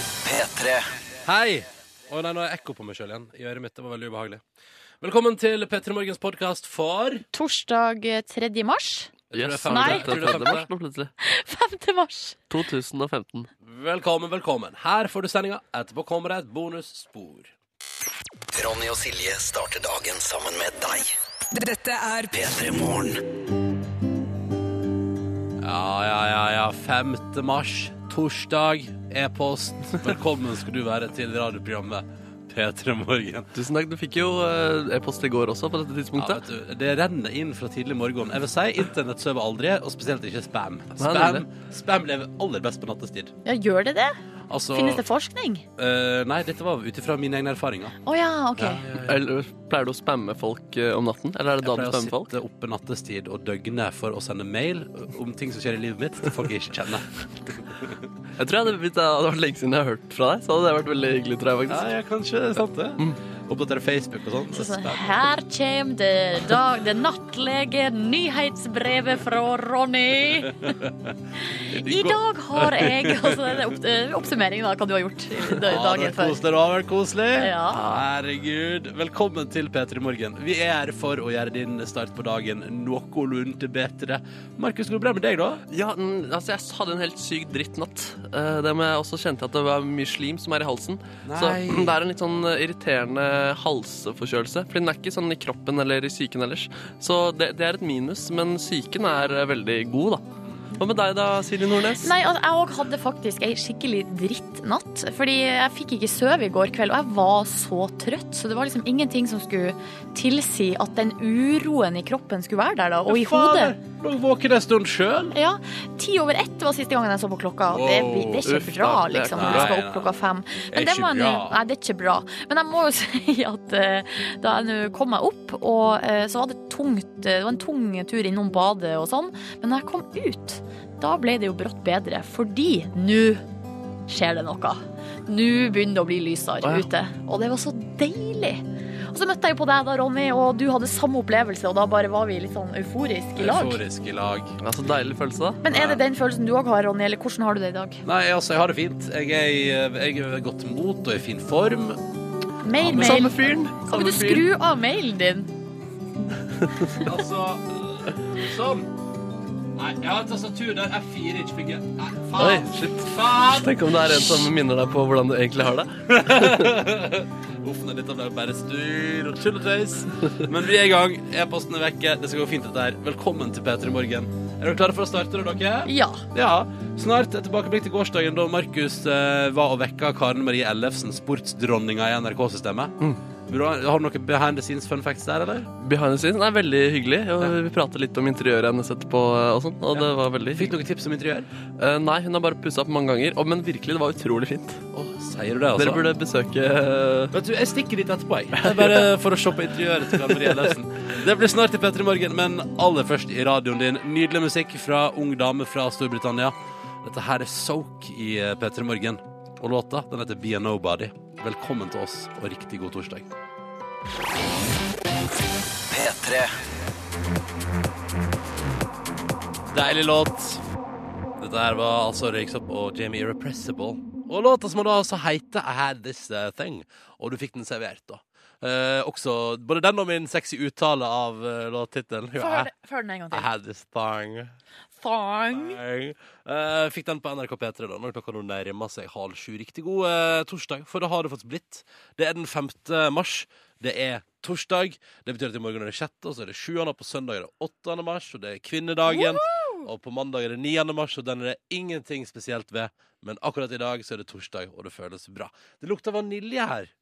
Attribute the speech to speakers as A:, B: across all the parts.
A: P3.
B: Hei! Å nei, nå har jeg ekko på meg sjøl igjen. I øret mitt. Det var veldig ubehagelig. Velkommen til P3 Morgens podkast for jeg
C: Torsdag eh, 3. mars?
B: tror det er
D: Yes,
B: femte-
C: Nei.
B: jeg
D: Det
B: tror
D: er
B: det er
D: 3. mars
B: femte.
D: nå, plutselig.
C: 5. mars.
D: 2015.
B: Velkommen, velkommen. Her får du sendinga. Etterpå kommer det et bonusspor.
A: Ronny og Silje starter dagen sammen med deg.
E: Dette er
A: P3 Morgen.
B: Ja, ja, ja, ja. 5. mars, torsdag, e-post. Velkommen skal du være til radioprogrammet P3 Morgen.
D: Tusen takk. Du fikk jo eh, e-post i går også på dette
B: Ja, vet
D: tidspunktet.
B: du, det renner inn fra tidlig morgen. Jeg vil si internett sover aldri, og spesielt ikke spam. Spam,
D: nemlig.
B: spam lever aller best på nattestid.
C: Ja, gjør det det?
B: Altså,
C: Finnes det forskning?
B: eh, nei, dette var ut ifra mine egne erfaringer.
C: Å ja, OK.
D: Eller Pleier du å spamme folk eh, om natten? Eller er det da du
B: Jeg pleier
D: spammer
B: å
D: folk?
B: sitte oppe nattestid og døgne for å sende mail om ting som skjer i livet mitt til folk jeg ikke kjenner.
D: Jeg tror jeg hadde, blitt- det hadde vært lenge siden jeg har hørt fra deg, så hadde det vært veldig hyggelig, tror jeg faktisk. Mm.
B: ja, kanskje det er sant, det. Oppdatere Facebook og sånn.
C: Så sånn, her kommer det, dag, det nattlege nyhetsbrevet fra Ronny. I dag har jeg altså, det er opp, eh, Oppsummering da, hva du har gjort i d- dagen før.
B: Det har vært koselig.
C: Ja.
B: Herregud. Velkommen til P3 Morgen. Vi er her for å gjøre din start på dagen noenlunde bedre. Markus, går det bra med deg, da?
D: Ja, mm, altså Jeg hadde en helt syk drittnatt. Eh, Det med jeg også kjente at det var mye slim som er i halsen. Så
B: Nei.
D: mm, det er en litt sånn irriterende halseforkjølelse. Fordi den er ikke sånn i kroppen eller i psyken ellers. Så det, det er et minus, men psyken er eh, veldig god, da. Hva med deg da, Silje Nordnes?
C: Nei, altså, jeg òg hadde faktisk ei skikkelig drittnatt. Fordi jeg fikk ikke sove i går kveld, og jeg var så trøtt. Så det var liksom ingenting som skulle tilsi at den uroen i kroppen skulle være der, da. Og i hodet.
B: Nå våken jeg en stund sjøl.
C: Sånn, Ja, Ti over ett var siste gangen jeg så på klokka. og Det,
B: Wow,
C: det er
D: uff
C: ikke
D: da,
C: bra,
D: det er
C: liksom,
D: ikke
C: når du
B: bra.
C: skal opp klokka fem. Men
B: Det er
C: det, var
B: ikke
C: en,
B: bra.
C: nei, det er ikke bra. Men jeg må jo si at eh, da jeg nå kom meg opp, og eh, så var det tungt, eh, det var en tung tur innom badet og sånn, men da jeg kom ut, da ble det jo brått bedre, fordi nå skjer det noe. Nå begynner det å bli lysere
D: Å, ja.
C: ute, og det var så deilig. Og så møtte jeg jo på deg da, Ronny, og du hadde samme opplevelse, og da bare var vi litt sånn euforiske i lag.
B: Euforisk i lag.
D: Ja, så deilig følelse, da.
C: Men er det den følelsen du òg har, Ronny, eller hvordan har du det i dag?
B: Nei, altså, jeg har det fint. Jeg er, i- jeg er i godt mot og i fin form.
C: Mail,
D: Men
C: mail.
D: Samme fyren.
C: Kan ikke
D: samme
C: du
D: fyren.
C: skru av mailen din?
B: Altså Sånn. Nei, jeg har et tastatur der F4 ikke fungerer. Nei,
D: Oi,
B: faen.
D: shit.
B: faen.
D: Tenk om det er en som minner deg på hvordan du egentlig har det.
B: Uff, nei, dette ble bare styr og tull og tøys. Men vi er i gang. E-posten er vekke. Det skal gå fint, dette her. Velkommen til P3 Morgen. Er dere klare for å starte, da, dere?
C: Ja.
B: Ja. Snart et tilbakeblikk til gårsdagen da Markus eh, var og vekka Karen Marie Ellefsen, sportsdronninga i NRK-systemet.
D: Mm.
B: Bra. Har du noen behind the scenes fun facts der, eller?
D: Behind the scenes er veldig hyggelig. Og vi prater litt om interiøret hennes etterpå. Og sånn, og det var veldig
B: Fikk du noen tips om interiør?
D: Eh, Nei, hun har bare pussa opp mange ganger. Og, men virkelig, det var utrolig fint.
B: Åh, sier du det, altså?
D: Dere burde besøke eh,
B: Vet du, Jeg stikker dit etterpå, jeg. Det er Bare for å se på interiøret til Karen Marie Ellefsen. Det blir snart i P3 Morgen, men aller først i radioen din. Nydelig musikk fra ung dame fra Storbritannia. Dette her er Soak i eh, P3 Morgen. Og låta den heter Be a Nobody. Velkommen til oss, og riktig god torsdag.
A: P3.
B: Deilig låt. Dette her var altså Røyksopp og Jamie Irrepressible. Og låta som da altså heter I Had This eh, Thing. Og du fikk den servert, da. Eh, også både den og min sexy uttale av uh, låttittelen.
C: Få høre få høre den en gang
B: I
C: til.
B: had this thong.
C: Fang.
B: Thong. Eh, fikk den på NRK P3 da når klokka nå nærmer seg halv sju. Riktig god eh, torsdag, for det har det faktisk blitt. Det er den 5. mars. Det er torsdag. Det betyr at i morgen er det 6., og så er det 7., og på søndag er det 8. mars, og det er kvinnedagen. Og på mandag er det 9. mars, og den er det ingenting spesielt ved. Men akkurat i dag så er det torsdag, og det føles bra. Det lukter vanilje her.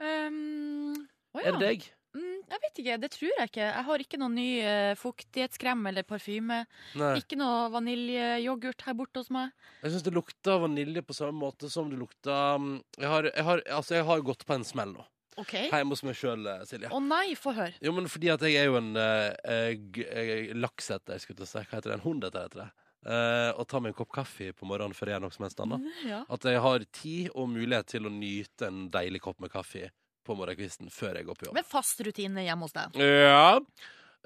C: Ehm,
F: Um, å
B: Er det
F: ja.
B: deg?
F: Mm, jeg vet ikke, det tror jeg ikke. Jeg har ikke noen ny eh, fuktighetskrem eller parfyme.
B: Nei.
F: Ikke noe vaniljeyoghurt her borte hos meg.
B: Jeg syns det lukter vanilje på samme måte som det lukter mm, jeg har, jeg, har, altså, jeg har gått på en smell nå.
F: OK? Å
B: Hjemme hos meg sjøl, Silje.
F: nei, få høre.
B: Jo, men fordi at jeg er jo en uh, lakseter, skulle jeg til å si. Hva heter det? En hundeter, heter det. Eh, og tar meg en kopp kaffe på morgenen før jeg gjør noe som helst annet.
F: Ja.
B: At jeg har tid og mulighet til å nyte en deilig kopp med kaffe på morgenkvisten før jeg går på jobb.
F: Med fast rutine hjemme hos deg.
B: Ja.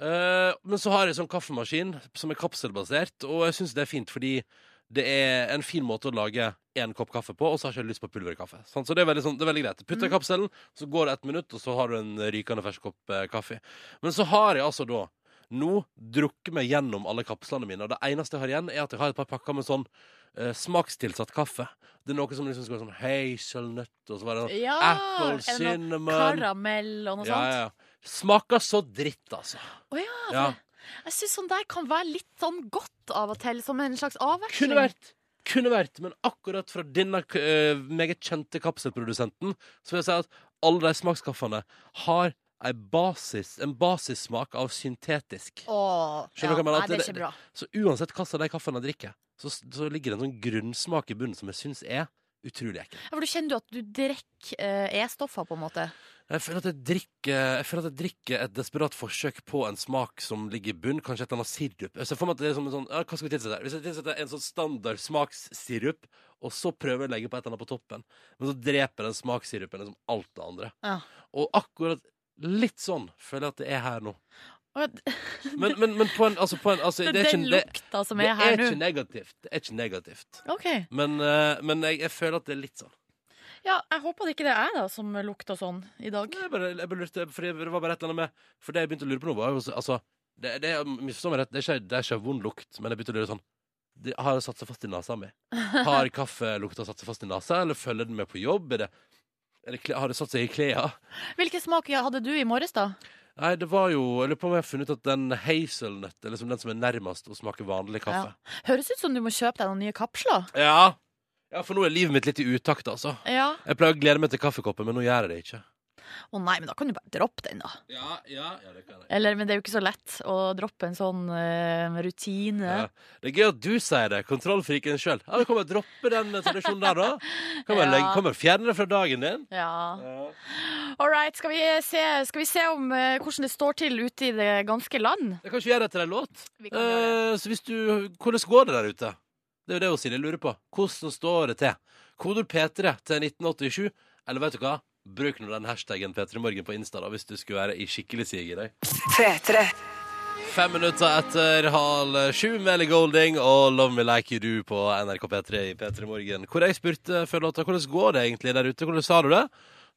B: Eh, men så har jeg sånn kaffemaskin som er kapselbasert, og jeg syns det er fint fordi Det er en fin måte å lage én kopp kaffe på, og så har jeg ikke lyst på pulverkaffe. Sånn, så det er veldig, sånn, det er veldig greit. Putt
C: Mm.
B: det i kapselen, så går det ett minutt, og så har du en rykende fersk kopp eh, kaffe. Men så har jeg altså da nå drukket meg gjennom alle kapslene mine, og det eneste jeg har igjen, er at jeg har et par pakker med sånn eh, smakstilsatt kaffe. Det er noe som liksom skal være sånn hazelnøtt, og så var det sånn
C: Ja!
B: apple
C: er det noe
B: cinnamon
C: karamell og noe
B: ja,
C: sånt?
B: ja. Smaker så dritt, altså.
C: Å ja,
B: Ja.
C: Jeg syns sånn der kan være litt sånn godt av og til, som en slags avveksling.
B: Kunne vært. Kunne vært, men akkurat fra denne k- eh, meget kjente kapselprodusenten så vil jeg si at alle de smakskaffene har ei basis, en basissmak av syntetisk.
C: Åh,
B: Skjønner du hva jeg mener?
C: Nei, det er
B: Det-
C: ikke bra.
B: Så uansett hva av de kaffene jeg drikker, så, så ligger det en sånn grunnsmak i bunnen som jeg syns er utrolig ekkel.
C: Ja, for du kjenner jo at du drikker eh, E-stoffer, på en måte.
B: Jeg føler, at jeg, drikker, jeg føler at jeg drikker et desperat forsøk på en smak som ligger i bunn. Kanskje et eller annet sirup. Jeg ser for meg at det er som en sånn, ja, hva skal vi tilsette her? Hvis jeg tilsetter en sånn standard smakssirup, og så prøver jeg å legge på et eller annet på toppen, men så dreper den smakssirupen liksom alt det andre.
C: Ja.
B: Og akkurat litt sånn føler jeg at det er her nå.
C: Og det,
B: Men, men, men på en, altså på en altså, det er
C: den
B: ikke, det,
C: lukta som
B: det
C: er her
B: er ikke
C: nå.
B: negativt. Det er ikke negativt.
C: OK.
B: Men, eh, men jeg, jeg føler at det er litt sånn.
C: Ja, jeg håper det ikke det er jeg da som lukter sånn i dag.
B: Nei, Jeg bare, jeg bare lurte, fordi det var bare et eller annet med For det jeg begynte å lure på nå, var jo også- altså Det, det, er- misforstå meg rett, det, er ikke, det er ikke vond lukt, men jeg begynte å lure sånn det, Har det satt seg fast i nesa mi? Har kaffelukta satt seg fast i nesa, eller følger den med på jobb? Er det, er det, kle- har det satt seg i klærne?
C: Hvilken smak hadde du i morges, da?
B: Nei, det var jo Jeg lurer på om jeg har funnet ut at den hazelnøtt er liksom den som er nærmest å smake vanlig kaffe.
C: Høres ut som du må kjøpe deg noen nye kapsler.
B: Ja. ja. for nå er livet mitt litt i utakt, altså.
C: Ja.
B: Jeg pleier å glede meg til kaffekoppen, men nå gjør jeg det ikke.
C: Å nei, men da kan du bare droppe den, da.
B: Ja, ja, ja det kan jeg
C: Eller, men det er jo ikke så lett å droppe en sånn eh, rutine.
B: Ja. Det er gøy at du sier det. Kontrollfriken sjøl. Ja, du kan bare droppe den tradisjonen der, da. Kan bare,
C: Ja.
B: legge, kan bare fjerne det fra dagen din.
C: Ja. All right, skal vi se, skal vi se om, eh, hvordan det står til ute i det ganske land?
B: Jeg kan ikke gjøre det til en låt.
C: Vi kan gjøre det.
B: Eh, så hvis du, hvordan går det der ute? Det er jo det hun Silje lurer på. Hvordan står det til? Kodord P3 til 1987. Eller vet du hva? Bruk nå den hashtaggen P3morgen på Insta da, hvis du skulle være i skikkelig sig i deg. Fem minutter etter halv sju, Melly Golding og Love Me Like You Do på NRK P3 i P3 Morgen. Hvor jeg spurte før låta hvordan går det egentlig der ute, hvordan sa du det?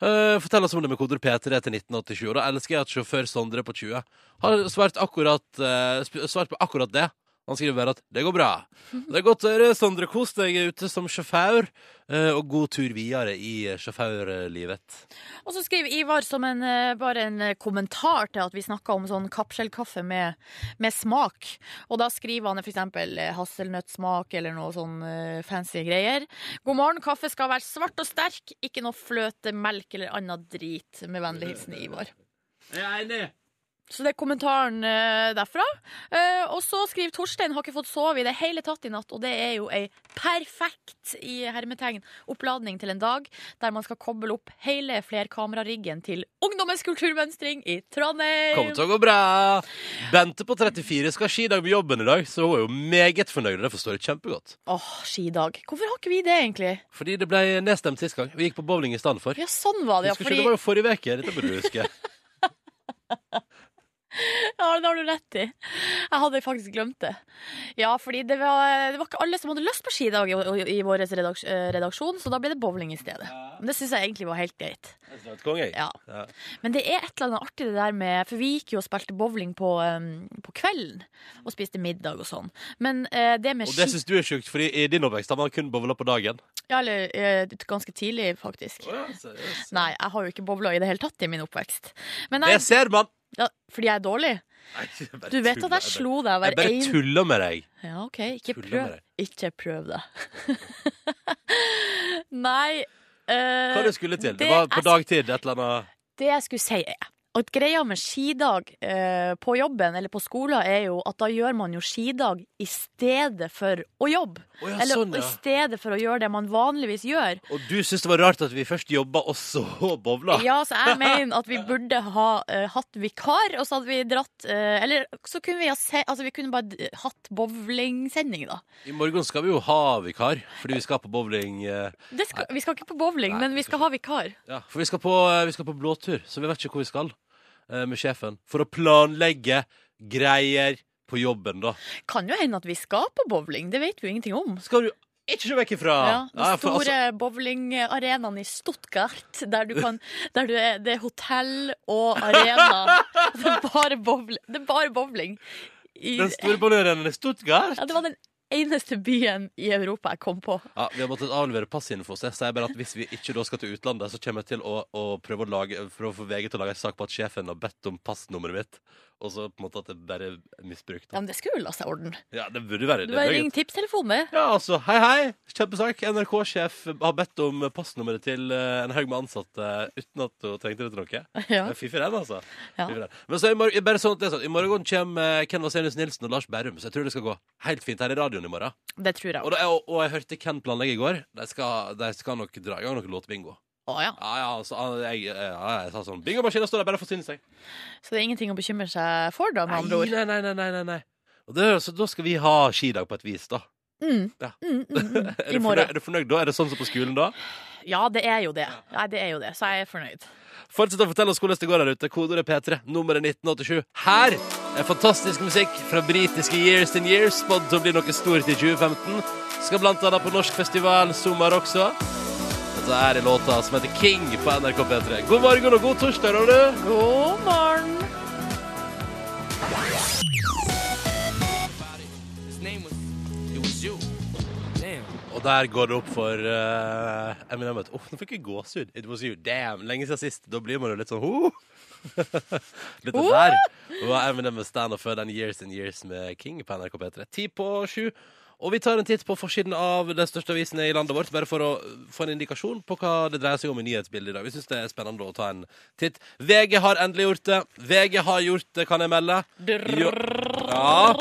B: Eh, fortell oss om det med koder P3 til 1987. Og da elsker jeg at sjåfør Sondre på 20 har svart, akkurat, eh, sp- svart på akkurat det. Han skriver bare at det går bra. Det er godt å høre, Sondre. Kos deg ute som sjåfør, eh, og god tur videre i sjåførlivet.
C: Og så skriver Ivar som en, eh, bare en eh, kommentar til at vi snakka om sånn kapselkaffe med, med smak. Og da skriver han f.eks. hasselnøttsmak eller noe sånn eh, fancy greier. God morgen, kaffe skal være svart og sterk, ikke noe fløte, melk eller annen drit. Med vennlig hilsen Ivar.
B: Jeg er enig.
C: Så det er kommentaren eh, derfra. Eh, og så skriver Torstein har ikke fått sove i det hele tatt i natt, og det er jo ei perfekt i hermetegn oppladning til en dag der man skal koble opp hele flerkamerariggen til Ungdommens kulturmønstring i
B: Kommer
C: Trondheim.
B: til å gå bra. Bente på 34 skal ha skidag på jobben i dag, så hun er jo meget fornøyd. og Det forstår jeg kjempegodt.
C: Åh, skidag. Hvorfor har ikke vi det, egentlig?
B: Fordi det ble nedstemt sist gang. Vi gikk på bowling i stedet for.
C: Ja, sånn var det, ja.
B: Husker ikke,
C: Fordi,
B: det var jo forrige uke. Dette burde du huske.
C: ja, det har du rett i. Jeg hadde faktisk glemt det. Ja, fordi det var, det var ikke alle som hadde lyst på skidag i, i vår redaks, eh, redaksjon, så da ble det bowling i stedet. Men det syns jeg egentlig var helt greit.
B: Jeg synes det var et konge, jeg.
C: Ja.
B: Ja.
C: Men det er et eller annet artig det der med For vi gikk jo og spilte bowling på, um, på kvelden. Og spiste middag og sånn. Men eh, det med
B: Og det
C: ski
B: syns du er sjukt, fordi i din oppvekst har man kun bowla på dagen.
C: Ja, eller eh, ganske tidlig, faktisk. Nei, jeg har jo ikke bowla i det hele tatt i min oppvekst. Men
B: Det
C: jeg,
B: ser man!
C: ja, fordi jeg er dårlig?
B: Nei, jeg bare
C: Du vet at
B: tuller.
C: jeg slo deg
B: Jeg
C: hver
B: bare
C: en
B: tuller med deg.
C: Ja, OK, ikke
B: tuller med
C: prøv.
B: deg.
C: Ikke prøv det. Nei eh,
B: Hva du skulle til? Det
C: det
B: var på
C: jeg
B: dagtid et eller annet
C: det jeg skulle si er at greia med skidag eh, på jobben eller på skolen er jo at da gjør man jo skidag i stedet for å jobbe.
B: Å ja,
C: eller
B: sånn,
C: i
B: ja.
C: stedet for å gjøre det man vanligvis gjør.
B: Og du syns det var rart at vi først jobba og så bowla?
C: Ja, så jeg mener at vi burde ha eh, hatt vikar, og så hadde vi dratt eh, Eller så kunne vi ha se, altså vi kunne bare d- hatt bowlingsending, da.
B: I morgen skal vi jo ha vikar, fordi vi skal på bowling. eh,
C: Det skal, vi skal ikke på bowling,
B: Nei,
C: men vi skal ha vikar.
B: Ja, for vi skal, på, vi skal på eh, blåtur, så vi vet ikke hvor vi skal eh, med sjefen. For å planlegge greier, på jobben, da.
C: Kan jo hende at vi skal på bowling, det vet vi jo ingenting om.
B: Skal du ikke se vekk ifra!
C: Ja, de
B: Ja, for altså-
C: store bowlingarenaene i Stuttgart, der du kan der du er, Det er hotell og arena. Det er bare bowling. Det er bare bowling. I,
B: Den store balløren i Stuttgart?
C: ja, det var den eneste byen i Europa jeg kom på.
B: Ja, Vi har måttet avlevere passinfo, så jeg sier bare at hvis vi ikke da skal til utlandet, så kommer jeg til å, å prøve, å lage, prøve å få VG til å lage en sak på at sjefen har bedt om passnummeret mitt, og så på en måte at det bare er misbrukt.
C: Ja, men Det skulle jo la seg ordne.
B: Ja, det burde være
C: Du
B: det. er
C: bare
B: meget.
C: ring tipstelefonen.
B: Ja, altså, hei hei, kjempesak. NRK-sjef har bedt om passnummeret til eh, en haug med ansatte uten at hun trengte det til noe.
C: Ja.
B: Det er Fiffig den, altså.
C: Ja.
B: Fiffig den. Men så i morgen, bare sånn at det er sånn, i morgen kommer eh, Ken Vasenius Nilsen og Lars Berrum, så jeg tror det skal gå helt fint her i radioen i morgen.
C: Det tror jeg.
B: Og, da, og, og jeg hørte Ken planlegge i går. De skal, de skal nok dra i gang noe låtbingo.
C: Å, ja.
B: Ja, ja, altså, jeg, jeg, jeg, jeg sa sånn Bingomaskinen står der, bare forsyne seg.
C: Så det er ingenting å bekymre seg for, da, med andre ord.
B: nei, nei, nei, nei, nei, nei. Og det, så da skal vi ha skidag på et vis, da.
C: Mm.
B: Ja.
C: Mm, mm, mm. I
B: Er du, fornøyd,
C: morgen.
B: er du fornøyd da? Er det sånn som på skolen da?
C: Ja, det er jo det. Nei, det er jo det. Så jeg er fornøyd.
B: Fortsett å fortelle oss hvordan det går der ute. Kodeordet P3, nummeret 1987. Her er fantastisk musikk fra britiske Years and Years, spådd til å bli noe stort i 2015. Skal blant annet på norsk festival Sommer også. Dette er låta som heter King på NRK P3. God morgen og god torsdag, har du.
C: God morgen.
B: Og der går det opp for eh, Eminem at Åh, nå fikk jeg gåsehud. It was you. Damn. Lenge siden sist. Da blir man jo litt sånn ho. Dette der var Eminem med stand-up før den Years and Years med King på NRK P3. Ti på sju. Og vi tar en titt på forsiden av den største avisen i landet vårt, bare for å få en indikasjon på hva det dreier seg om i nyhetsbildet i dag. Vi syns det er spennende å ta en titt. VG har endelig gjort det. VG har gjort det, kan jeg melde. Jo. Ja.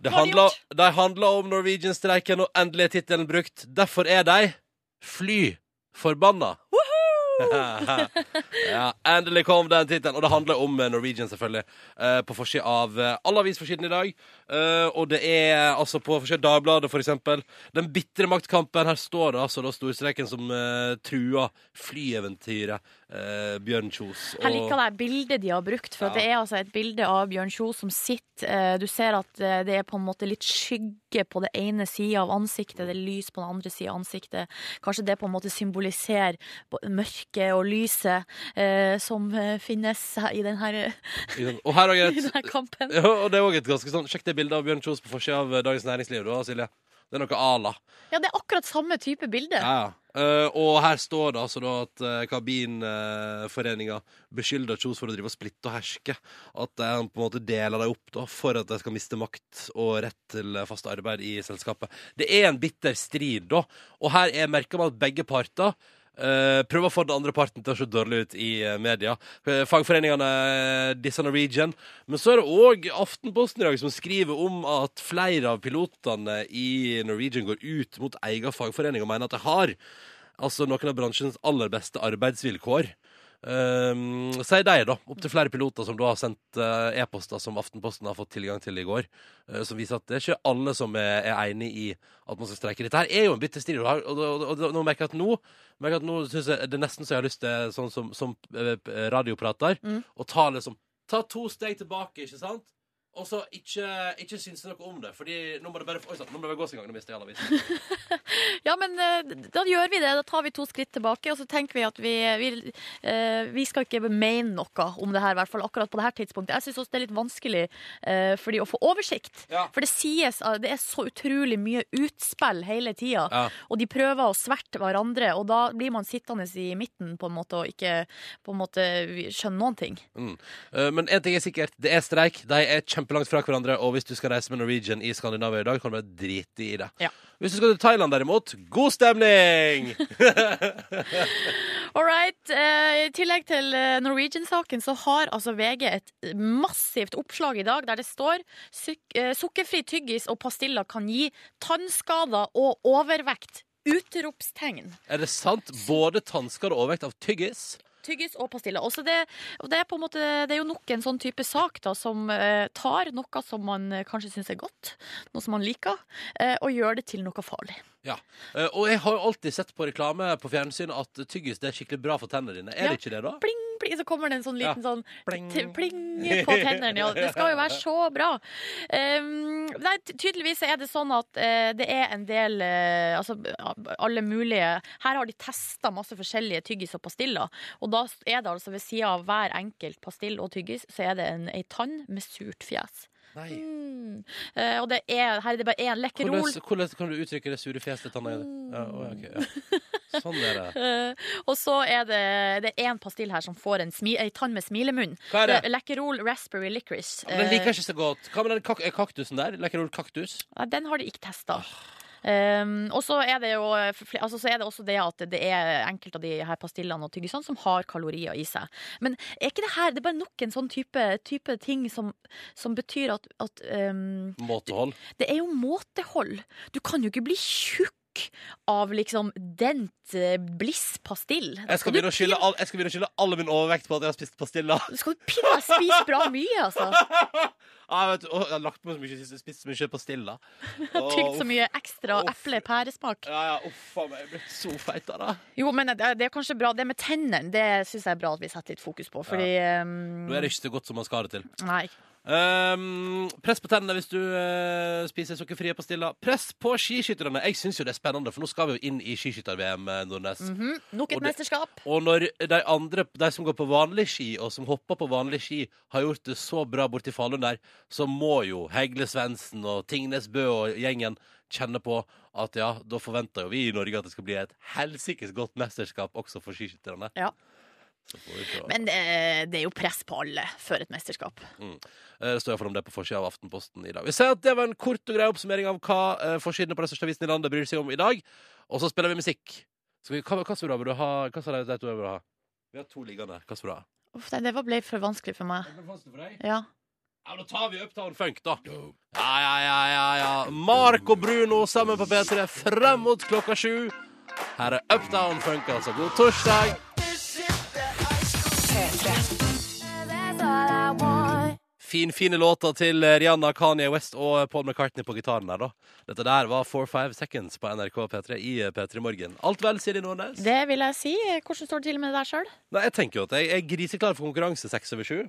B: Det handler, de handler om Norwegian-streiken, og endelig er tittelen brukt. Derfor er de fly forbanna. ja, endelig kom den tittelen. Og det handler om eh, Norwegian, selvfølgelig. eh, på forsida av eh, alle avisforsidene i dag. Eh, og det er altså på forsida av Dagbladet, for eksempel. Den bitre maktkampen. Her står det altså da storstreken som eh, truer flyeventyret eh, Bjørn Kjos.
C: Jeg liker det her bildet de har brukt, for at
B: Ja.
C: det er altså et bilde av Bjørn Kjos som sitter. eh, Du ser at eh, det er på en måte litt skygge på det ene sida av ansiktet, det er lys på den andre sida av ansiktet. Kanskje det på en måte symboliserer både mørket og lyset eh, som eh, finnes her- i denne,
B: Og her òg
C: i
B: er et
C: denne kampen.
B: Ja, og det er også et ganske sånn Sjekk det bildet av Bjørn Kjos på forsida av eh, Dagens Næringsliv, da, Silje. Det er noe ala.
C: Ja, det er akkurat samme type bilde.
B: Ja, ja. Eh, og her står det altså da at uh, Kabinforeninga beskylder Kjos for å drive og splitte og herske. At eh, han på en måte deler dem opp da for at de skal miste makt og rett til eh, fast arbeid i selskapet. Det er en bitter strid, da. Og her er merker man at begge parter eh, prøver å få den andre parten til å se dårlig ut i eh, media. Eh, Fagforeningene eh, disser Norwegian. Men så er det òg Aftenposten i dag som skriver om at flere av pilotene i Norwegian går ut mot egen fagforening og mener at de har altså noen av bransjens aller beste arbeidsvilkår. Um, sier de, da. Opptil flere piloter som da har sendt eh, e-poster som Aftenposten har fått tilgang til i går, eh, som viser at det er ikke alle som er, er enig i at man skal streike. Dette her er jo en bitter strid. Og, og, og, og, og nå merker jeg at nå, merker jeg at nå synes jeg det er nesten så jeg har lyst til, sånn som, som eh, radioprater,
C: Mm.
B: å ta liksom Ta to steg tilbake, ikke sant? Og så ikke, ikke synes noe om det, Fordi nå må det bare Oi sann, nå må det bare gå sin gang. Nå mister jeg alle avisene.
C: Ja, men eh, da gjør vi det. Da tar vi to skritt tilbake, og så tenker vi at vi, vi, eh, vi skal ikke mene noe om det her, i hvert fall akkurat på det her tidspunktet. Jeg syns også det er litt vanskelig eh, for de å få oversikt.
B: Ja.
C: For det sies eh, Det er så utrolig mye utspill hele tida,
B: Ja.
C: og de prøver å sverte hverandre, og da blir man sittende i midten på en måte og ikke på en måte skjønne noen ting.
B: Eh, Men en ting er sikkert, det er streik. De er kjempelangt fra hverandre. Og hvis du skal reise med Norwegian i Skandinavia i dag, kan du bare drite i det.
C: Ja.
B: Hvis du skal til Thailand, derimot, god stemning!
C: All right. eh, I tillegg til eh, Norwegian-saken så har altså VG et massivt oppslag i dag der det står «Suk- eh, sukkerfri tyggis og pastiller kan gi tannskader og overvekt. Utropstegn.
B: er det sant? Både tannskader og overvekt av tyggis?
C: Tyggis og pastiller. Også det, og det, er på en måte, det er jo nok en sånn type sak da, som eh, tar noe som man eh, kanskje syns er godt, noe som man liker, eh, og gjør det til noe farlig.
B: Ja. Eh, Og jeg har jo alltid sett på reklame på fjernsyn at tyggis det er skikkelig bra for tennene dine. Er
C: Ja.
B: det ikke det, da?
C: Bling, pling, så kommer det en sånn liten sånn
B: Pling.
C: t- pling på tennene. Ja. Det skal jo være så bra. Um, nei, ty- tydeligvis er det sånn at eh, det er en del eh, Altså alle mulige Her har de testa masse forskjellige tyggis og pastiller. Og da er det altså ved sida av hver enkelt pastill og tyggis, så er det en, ei tann med surt fjes.
B: Nei.
C: Mm. Eh, og det er, her er det bare én lekkerol.
B: Hvordan, hvordan kan du uttrykke det sure fjeset til tanna di? Ja, å, ja, ok, ja. Sånn er det.
C: Eh, og så er det Det er én pastill her som får en, smi, ei tann med smilemunn.
B: Hva er det?
C: Lekkerol raspberry licorice. Eh,
B: Ja, men Den liker jeg ikke så godt. Hva med den kak er kaktusen der? Lekker du kaktus?
C: Nei, den har de ikke testa. Um, og så er, det jo, fl- altså, så er det også det at det er enkelte av de her pastillene og tyggisene som har kalorier i seg. Men er ikke det her Det er bare nok en sånn type, type ting som, som betyr at, at um,
B: Måtehold?
C: Det er jo måtehold. Du kan jo ikke bli tjukk av liksom dent eh, bliss-pastill. Da
B: Jeg skal begynne å skylde all, jeg skal begynne å skylde all min overvekt på at jeg har spist pastiller.
C: pin- skal du pinne spise bra mye, altså?
B: Ah, vet du, å, jeg har lagt på så mye, spist så mye pastiller. Å,
C: Tygd så
B: uff.
C: mye ekstra
B: Uff.
C: eple-pæresmak.
B: Ja, ja, uff, faen, jeg er blitt så feit av det.
C: Jo, men det er, det er kanskje bra. Det med tennene det syns jeg er bra at vi setter litt fokus på. Fordi
B: Nå er det ikke så godt som man skal ha det til.
C: ikke Nei.
B: Ehm, press på tennene hvis du eh, spiser sukkerfrie pastiller. Press på skiskytterne! Jeg syns jo det er spennende, for nå skal vi jo inn i skiskytter-VM, eh, Nordnes.
C: mhm. Nok
B: Og
C: et
B: det-
C: mesterskap.
B: Og når de andre, de som går på vanlig ski, og som hopper på vanlig ski, har gjort det så bra borti Falun der, så må jo Hegle Svendsen og Tingnes Bø og gjengen kjenne på at ja, da forventer jo vi i Norge at det skal bli et helsikes godt mesterskap også for skiskytterne.
C: Ja.
B: Så får vi se.
C: Men eh, det er jo press på alle før et mesterskap.
B: Eh, Det står iallfall om det på forsida av Aftenposten i dag. Vi sier at Det var en kort og grei oppsummering av hva eh, forsidene på den største avisen i landet bryr seg om i dag. Og så spiller vi musikk. Skal vi, hva, hva, skal du ha? Vil du ha? hva sa de de to jeg vil ha? Vi har to liggende. Hva skal du ha?
C: Uff, nei, det var- ble for vanskelig for meg. Ja.
B: Ja, men Da tar vi Uptown Funk, da. Ja, ja, ja, ja, ja. Mark og Bruno sammen på P3 frem mot klokka sju. Her er Uptown Funk, altså. God torsdag. Fin, fine låter til eh, Rihanna, Kanye West og eh, Paul McCartney på gitaren der, da. Dette der var 4-5 Seconds på NRK P3 i eh, P3 Morgen. Alt vel, Siri Nordnes?
C: Det vil jeg si. Hvordan står det til med det der sjøl?
B: Nei, jeg tenker jo at jeg er griseklar for konkurranse seks over sju.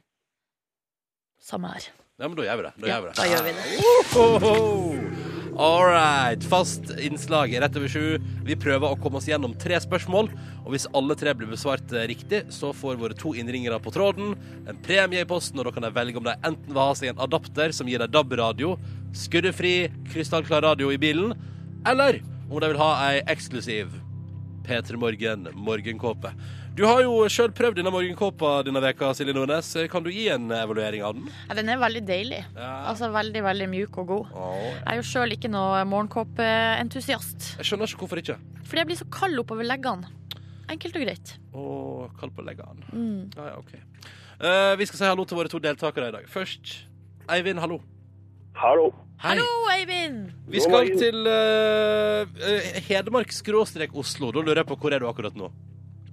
C: Samme her.
B: Ja, men da gjør vi det. Da
C: Ja,
B: gjør vi det.
C: da gjør vi det.
B: Ohoho! All right. Fast innslag rett over sju. Vi prøver å komme oss gjennom tre spørsmål. Og hvis alle tre blir besvart eh, riktig, så får våre to innringere på tråden en premie i posten, og da kan de velge om de enten vil ha seg en adapter som gir dem DAB-radio, skuddefri, krystallklar radio i bilen, eller om de vil ha ei eksklusiv P3 Morgen morgenkåpe. Du har jo sjøl prøvd denne morgenkåpa denne veka, Silje Nordnes. Kan du gi en evaluering av den?
C: Ja, den er veldig deilig. Altså veldig, veldig mjuk og god.
B: Åh.
C: Jeg er jo sjøl ikke noe morgenkåpeentusiast.
B: Jeg skjønner ikke hvorfor ikke.
C: Fordi jeg blir så kald oppover leggene. Enkelt og greit.
B: Og kall på leggene.
G: Mm.
B: Ja, ja, ok. Eh, vi skal si hallo til våre to deltakere i dag. Først Eivind, hallo.
E: Hallo.
B: Hei.
C: Hallo, Eivind!
B: Vi
E: God
B: skal
E: morgen.
B: til eh, eh, Hedmark skråstrek Oslo. Da lurer jeg på hvor er du akkurat nå?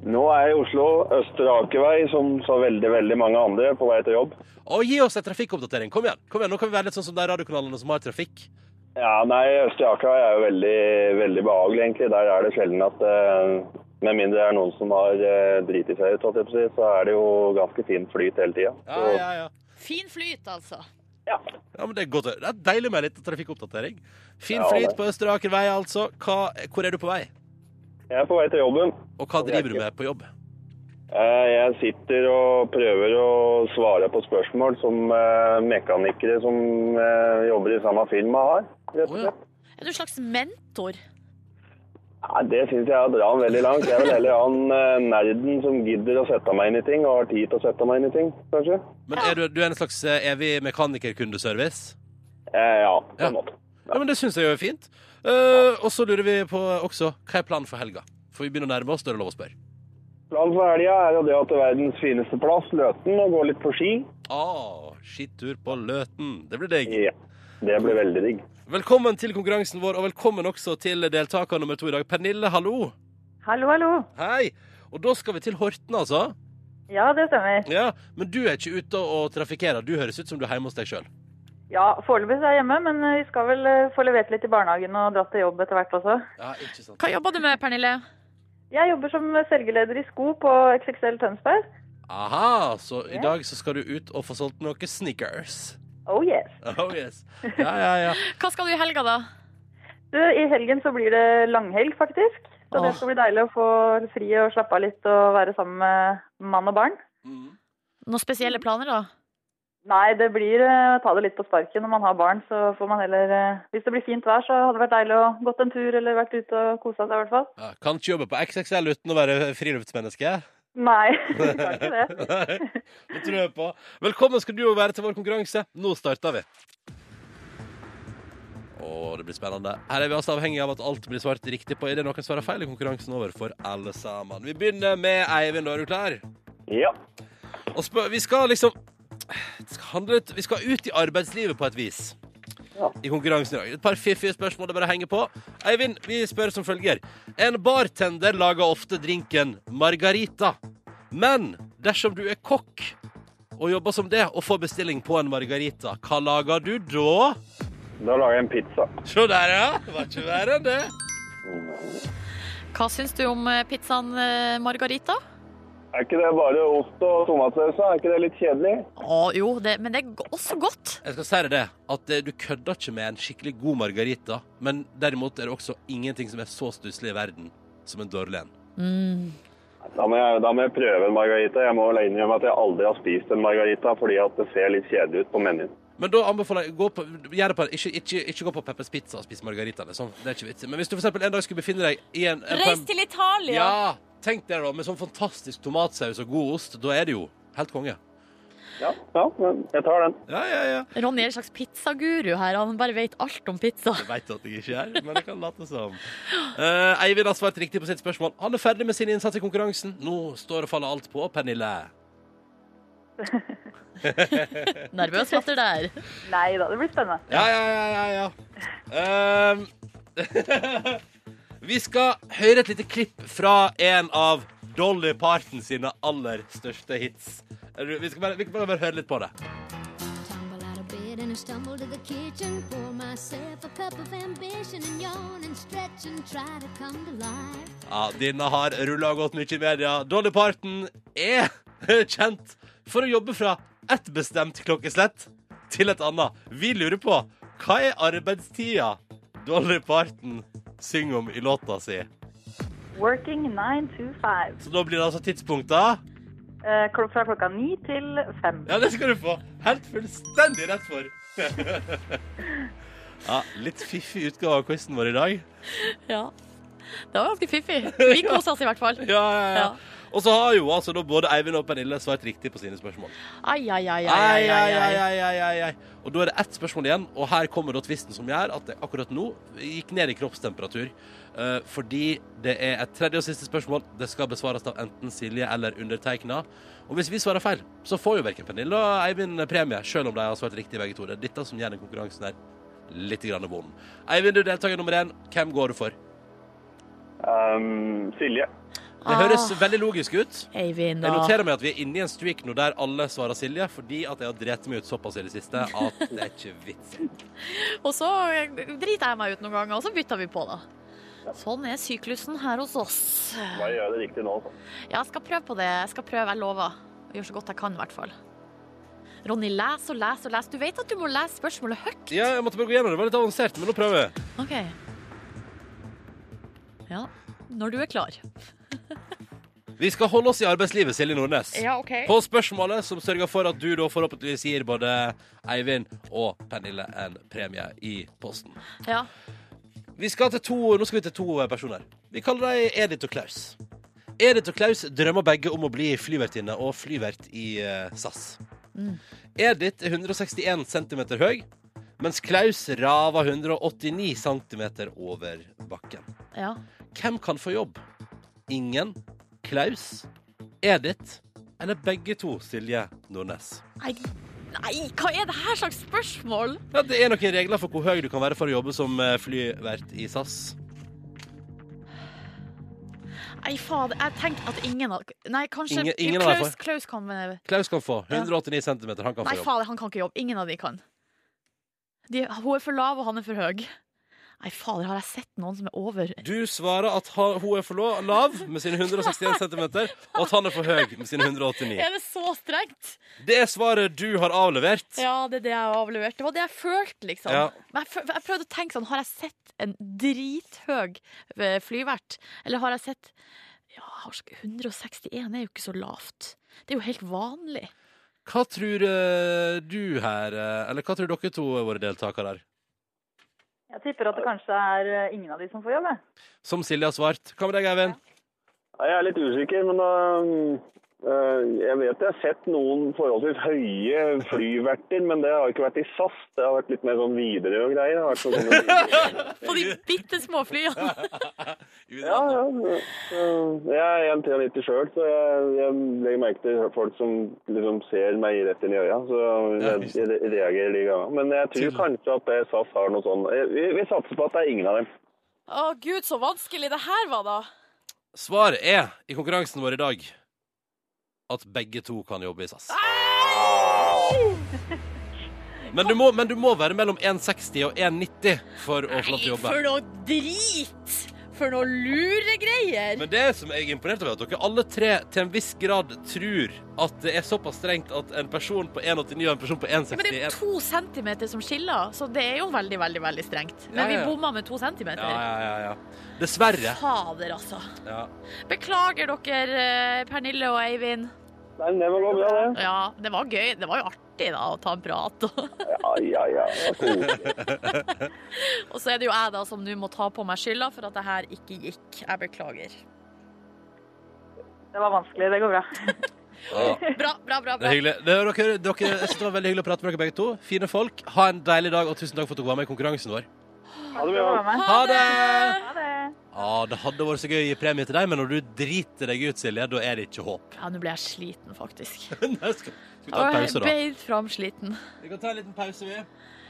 E: Nå er jeg i Oslo, Østre Akervei, som så veldig, veldig mange andre, på vei til jobb.
B: Og gi oss en trafikkoppdatering. Kom igjen. kom igjen, Nå kan vi være litt sånn som de radiokanalene som har trafikk.
E: Ja, nei, Østre Akervei er jo veldig, veldig behagelig, egentlig. Der er det sjelden at eh, Med mindre det er noen som har eh, driti seg ut, holdt jeg på å si, så er det jo ganske fint flyt hele tida.
B: Ja, ja, ja.
C: Fin flyt, altså.
E: ja.
B: Ja, men Det er godt. å- Det er deilig med litt trafikkoppdatering. Fin
E: Ja,
B: flyt
E: det.
B: på Østre Aker vei, altså. Hva, hvor er du på vei?
E: Jeg er på vei til jobben.
B: Og hva
E: Det er
B: driver du
E: ikke-
B: med på jobb?
E: Eh, Jeg sitter og prøver å svare på spørsmål som eh, mekanikere som eh, jobber i samme firma har, rett og
B: Å, ja.
E: slett.
C: Er du en slags mentor?
E: Nei, Det syns jeg er å dra den veldig langt. Jeg vil heller ha en eh, nerden som gidder å sette meg inn i ting, og har tid til å sette meg inn i ting, kanskje.
B: Men er du, du er en slags eh, evig mekanikerkundeservice?
E: Eh, ja, på
B: Ja.
E: en måte.
B: Ja, men Det syns jeg jo er fint. Eh, og så lurer vi på også hva er planen for helga? For vi begynner å nærme oss, da er det lov å spørre.
E: Planen for helga er jo det at det er verdens fineste plass, Løten, og gå litt på ski.
B: Ah, skitur på Løten. Det blir digg.
E: Ja, Det blir veldig digg.
B: Velkommen til konkurransen vår, og velkommen også til deltaker nummer to i dag. Pernille, hallo.
H: Hallo, hallo.
B: Hei. Og da skal vi til Horten, altså.
H: Ja, det stemmer.
B: Ja, Men du er ikke ute og trafikkerer. Du høres ut som du er hjemme hos deg sjøl.
H: Ja, Foreløpig så er jeg hjemme, men eh, vi skal vel eh, få levert litt i barnehagen og dratt til jobb etter hvert også.
B: Ja, ikke sant.
C: Hva jobber du med, Pernille?
H: Jeg jobber som selgerleder i sko på XXL Tønsberg.
B: Aha, så i dag så skal du ut og få solgt noen sneakers.
H: Oh yes.
B: Oh yes. Ja, ja, ja.
C: Hva skal du i helga, da?
H: Du, I helgen så blir det langhelg, faktisk. Så
C: Åh.
H: det skal bli deilig å få fri og slappe av litt og være sammen med mann og barn.
B: Mm.
C: Noen spesielle planer, da?
H: Nei, det blir eh, ta det litt på sparket når man har barn. Så får man heller eh, Hvis det blir fint vær, så hadde det vært deilig å gått en tur eller vært ute og kosa seg, i hvert fall.
B: Ja, kan ikke jobbe på XXL uten å være friluftsmenneske.
H: Nei, vi kan ikke det.
B: det tror jeg på. Velkommen skal du jo være til vår konkurranse. Nå starter vi. Å, det blir spennende. Her er vi altså avhengig av at alt blir svart riktig på. Er det noen svarer feil, er konkurransen over for alle sammen. Vi begynner med Eivind. Da er du klar?
E: Ja.
B: Og spør, vi skal liksom det skal handle litt, Vi skal ut i arbeidslivet på et vis. I konkurransen i dag. Et par fiffige spørsmål det bare henger på. Eivind, vi spør som følger. En bartender lager ofte drinken margarita. Men dersom du er kokk og jobber som det og får bestilling på en margarita, hva lager du da?
E: Da lager jeg en pizza.
B: Se der, ja. Var ikke verre enn det.
C: Hva syns du om eh, pizzaen eh, Margarita?
E: Er ikke det bare ost og tomatsaus? da? Er ikke det litt kjedelig?
C: Å jo, det, men det er go- også godt.
B: Jeg skal si deg det, at eh, du kødder ikke med en skikkelig god margarita, men derimot er det også ingenting som er så stusslig i verden som en dårlig en.
C: Mm.
E: Da må, jeg, da må jeg prøve en margarita. Jeg må vel innrømme at jeg aldri har spist en margarita fordi at det ser litt kjedelig ut på menyen.
B: Men da anbefaler jeg gå på, gjør det på, ikke, ikke, ikke gå på Peppers Pizza og spise margarita. Liksom. Det er ikke vits. i. Men hvis du for eksempel en dag skulle befinne deg i Eh, en, en
G: Reis til Italia!
B: Ja! Tenk deg da, med sånn fantastisk tomatsaus og god ost. Da er det jo helt konge.
E: Ja, ja, men jeg tar den.
B: Ja, ja, ja.
C: Ronny er en slags pizzaguru her. Han bare vet alt om pizza.
B: Jeg veit at jeg ikke er, men jeg kan late som. Eh, Eivind har svart riktig på sitt spørsmål. Han er ferdig med sin innsats i konkurransen. Nå står og faller alt på Pernille.
C: Nervøs latter der.
H: Nei da, det blir spennende.
B: Ja, ja, ja, ja, ja. Ehm, vi skal høre et lite klipp fra en av Dolly Parton sine aller største hits. Er du- Vi skal bare, vi kan bare, bare høre litt på det.
I: Tumble out of bed and I stumble to the kitchen. Pour myself a cup of ambition and yawn and stretch and try to come to life.
B: Ja, Denne har rulla og gått mye i media. Dolly Parton er kjent for å jobbe fra ett bestemt klokkeslett til et annet. Vi lurer på hva er arbeidstida Dolly Parton synger om i låta si?
H: Working 9 to 5.
B: Så da blir det altså tidspunkta.
H: Eh, kl- Fra klokka ni til fem.
B: Ja, det skal du få. Helt fullstendig rett for. ja, litt fiffig utgave av quizen vår i dag.
C: Ja. Det var ganske fiffig. Vi koser oss i hvert fall.
B: Ja, ja, ja.
C: Ja.
B: Og så har jo altså da både Eivind og Pernille svart riktig på sine spørsmål.
C: Ai, ai, ai, ai,
B: Ai, ai, ai,
C: ai.
B: ai, ai, ai, ai. Og da er det ett spørsmål igjen, og her kommer da tvisten som gjør at det akkurat nå gikk ned i kroppstemperatur. Eh, fordi det er et tredje og siste spørsmål. Det skal besvares av enten Silje eller undertegna. Og hvis vi svarer feil, så får jo verken Pernille og Eivind premie, selv om de har svart riktig begge to. Det er dette som gjør den konkurransen her litt grann vond. Eivind, du er deltaker nummer én. Hvem går du for?
E: Ehm, Silje.
B: Det høres veldig logisk ut.
C: Eivind,
B: Jeg
C: da.
B: noterer meg at vi er inne i en streak nå der alle svarer Silje, fordi at jeg har drept meg ut såpass i det siste at det er ikke vits i.
C: Og så eh, driter jeg meg ut noen ganger, og så bytter vi på, da. Sånn er syklusen her hos oss.
E: Bare gjør det riktig nå. altså. Så.
C: Ja, jeg skal prøve på det. Jeg skal prøve, jeg lover. Gjør så godt jeg kan, i hvert fall. Ronny, les og les og les. Du vet at du må lese spørsmålet høyt.
B: Ja, jeg måtte bare gå gjennom det. Det var litt avansert, men nå prøver jeg.
C: OK. Ja. Når du er klar.
B: Vi skal holde oss i arbeidslivet, Silje Nordnes.
C: OK.
B: På spørsmålet som sørger for at du da forhåpentligvis gir både Eivind og Pernille en premie i posten.
C: Ja.
B: Vi skal til to, nå skal vi til to personer. Vi kaller dem Edith og Klaus. Edith og Klaus drømmer begge om å bli flyvertinne og flyvert i eh, SAS. Edith er 161 cm høy, mens Klaus raver 189 cm over bakken.
C: ja.
B: Hvem kan få jobb? Ingen, Klaus, Edith eller begge to, Silje Nordnes?
C: Nei, nei, hva er det her slags spørsmål?
B: Ja, det er noen regler for hvor høy du kan være for å jobbe som eh, flyvert i SAS.
C: Nei, faen, jeg tenkte at ingen av Nei, kanskje
B: Ingen- ingen av
C: Klaus,
B: dere.
C: Klaus kan eh,
B: Klaus kan få 189 cm. Han kan
C: Nei,
B: få jobb.
C: faen, han kan ikke jobbe. Ingen av de kan. De, hun er for lav, og han er for høy. Nei, fader, har jeg sett noen som er over
B: Du svarer at ha, hun er for lå- lav med sine 161 cm, og at han er for høy med sine 189.
C: Er det så strengt?
B: Det er svaret du har avlevert.
C: Ja, det er det jeg avleverte. Det var det jeg følte, liksom.
B: Ja.
C: Men jeg, føl- jeg prøvde å tenke sånn, har jeg sett en drithøg eh, flyvert? Eller har jeg sett Ja, 161 er jo ikke så lavt. Det er jo helt vanlig.
B: Hva tror eh, du her, eh, eller hva tror dere to er våre deltakere her?
H: Jeg tipper at det kanskje er eh, ingen av de som får jobb. jeg.
B: Som Silje har svart. Hva med deg, Eivind?
E: Nei, Jeg er litt usikker, men øhm, øh, jeg vet jeg har sett noen forholdsvis høye flyverter, men det har ikke vært i SAS. Det har vært litt mer sånn videre og greier. Det har vært sånn, sånn-
C: På de bitte små flyene.
E: ja, ja. øh, Jeg er 1,93 sjøl, så jeg, jeg legger merke til folk som liksom ser meg rett inn i øya. Så jeg, jeg re- reagerer de gangene. Men jeg tror kanskje at det SAS har noe sånn jeg- Vi, vi satser på at det er ingen av dem.
C: Å gud, så vanskelig det her var, da.
B: Svaret er, i konkurransen vår i dag, at begge to kan jobbe i SAS. Men du må, men du må være mellom 1,60 og 1,90 for å få lov til å jobbe.
C: For noe drit! For noe luregreier!
B: Men det som jeg er imponert over, er at dere alle tre til en viss grad tror at det er såpass strengt at en person på 1,89 og en person på
C: Ja, Men det er
B: 1,61
C: to centimeter som skiller, så det er jo veldig, veldig veldig strengt. Men
B: Ja, ja, ja.
C: vi bomma med to
B: ja,
C: centimeter.
B: ja, ja, ja. Dessverre.
C: Fader, altså.
B: Ja.
C: Beklager dere, eh, Pernille og Eivind.
E: Nei, det var lov, ja, det.
C: Ja, det var gøy. Det var jo artig da, å ta en prat. og-
E: Ja, ja, ja. det var koselig.
C: Og så er det jo jeg da som nå må ta på meg skylda for at det her ikke gikk. Jeg beklager.
H: Det var vanskelig. Det går bra.
B: Ja.
C: Bra, bra, bra.
B: Det er
C: bra.
B: hyggelig. Det, dere, dere, jeg synes det var veldig hyggelig å prate med dere begge to. Fine folk. Ha en deilig dag, og tusen takk for at dere var med i konkurransen vår.
E: Ha det
H: Det
E: bra.
H: var meg.
B: Ha det!
H: Ha det.
B: Ja, det hadde vært så gøy å gi premie til deg, men når du driter deg ut, Silje, da er det ikke håp.
C: Ja, nå ble jeg sliten, faktisk.
B: Nei, skal, skal vi ta en
C: Jeg
B: pause, da?
C: beit fram sliten.
B: Vi kan ta en liten pause, vi.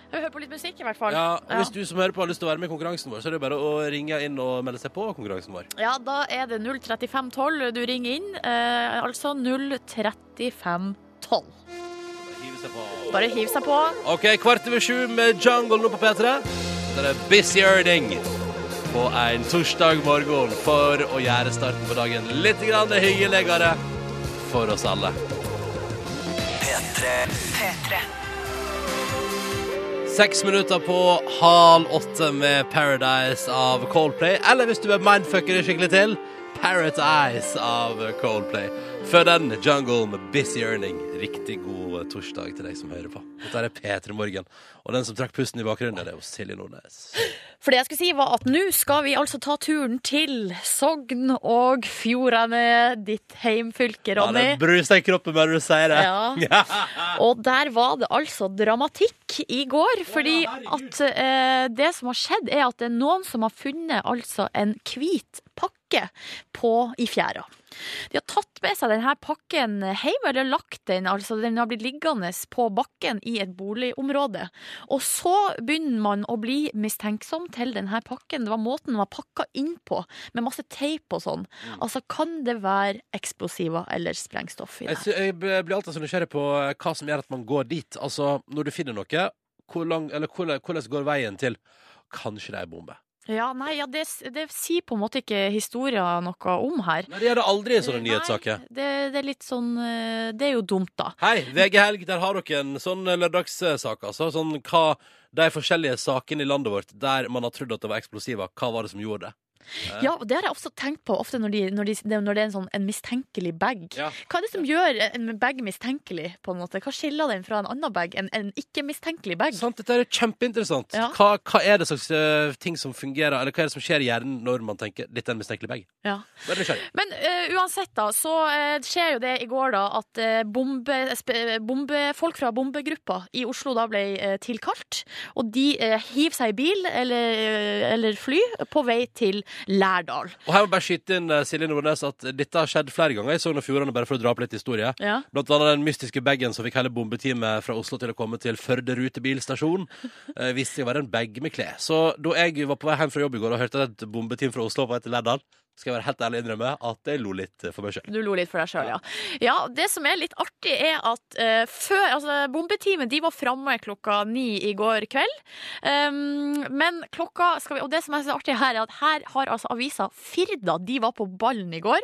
C: Vi hører på litt musikk, i hvert fall.
B: Ja, og hvis du som hører på har lyst til å være med i konkurransen vår, så er det jo bare å ringe inn og melde seg på konkurransen vår.
C: Ja, da er det 03512 du ringer inn. Eh, altså 03512.
B: Hive seg på.
C: Bare hiv seg på.
B: Ok, kvart over sju med Jungle nå på P3. Det er Busy Earning på en torsdag morgen for å gjøre starten på dagen litt grann hyggeligere for oss alle. Seks minutter på halv åtte med Paradise av Coldplay. Eller hvis du er mindfucker skikkelig til, Paradise av Coldplay. Før den, Jungle med Busy Earning. Riktig god eh, torsdag til deg som hører på. Dette er P3 Morgen. Og den som trakk pusten i bakgrunnen, det er jo Silje Nordnes.
C: For det jeg skulle si var at nå skal vi altså ta turen til Sogn og Fjordane, ditt heimfylke,
B: Ja,
C: Ronny.
B: det bruser i kroppen bare du sier det.
C: Ja. Og der var det altså dramatikk i går, fordi at eh, det som har skjedd er at det er noen som har funnet altså en hvit pakke på, i fjæra. De har tatt med seg denne pakken hjem, eller lagt den, altså den har blitt liggende på bakken i et boligområde. Og så begynner man å bli mistenksom til denne pakken. Det var måten den var pakka inn på, med masse teip og sånn.
B: Mm.
C: Altså, kan det være eksplosiver eller sprengstoff i det?
B: Jeg, sy- jeg b- blir alltid så nysgjerrig på eh, hva som gjør at man går dit. Altså, når du finner noe, hvor lang, eller hvordan, hvordan går veien til Kanskje det er en bombe.
C: Ja, nei, ja, det, det sier på en måte ikke historien noe om her.
B: Nei, det gjør det aldri i sånne
C: Eh,
B: nyhetssaker.
C: Nei, det, det er litt sånn eh, Det er jo dumt, da.
B: Hei, VG Helg, der har dere en sånn lørdagssak, altså. Sånn hva De forskjellige sakene i landet vårt der man har trodd at det var eksplosiver, hva var det som gjorde det? Eh,
C: Ja, og Det har jeg også tenkt på ofte når, de, når, de, det- når det er en sånn en mistenkelig bag.
B: Ja.
C: Hva er det som gjør en bag mistenkelig? på en måte? Hva skiller den fra en annen bag? En, en ikke-mistenkelig bag?
B: Sant, dette er kjempeinteressant.
C: Ja.
B: Hva, hva er det slags eh, ting som fungerer, eller hva er det som skjer i hjernen når man tenker 'dette er en mistenkelig bag'?
C: Ja.
B: Vær nysgjerrig.
C: Men eh, uansett, da, så eh, skjer jo det i går, da, at eh, bombe, sp- bombe, folk fra bombegruppa i Oslo da ble eh, tilkalt. Og de eh, hiver seg i bil eller, eh, eller fly på vei til Lærdal.
B: Og her må jeg bare skyte inn eh, Silje Nordnes at dette har skjedd flere ganger i Sogn og Fjordane, bare for å dra opp litt historie.
C: Ja.
B: Blant annet den mystiske bagen som fikk hele bombeteamet fra Oslo til å komme til Førde rutebilstasjon, eh, viste seg å være en bag med klær. Så da jeg var på vei hjem fra jobb i går og hørte at et bombeteam fra Oslo var på vei til Lærdal, skal jeg være helt ærlig innrømme at jeg lo litt eh, for meg sjøl.
C: Du lo litt for deg sjøl, ja. ja. Det som er litt artig, er at eh, før Altså, bombeteamet de var framme klokka ni i går kveld. Um, men klokka skal vi, Og det som er så artig her, er at her har altså avisa Firda De var på ballen i går.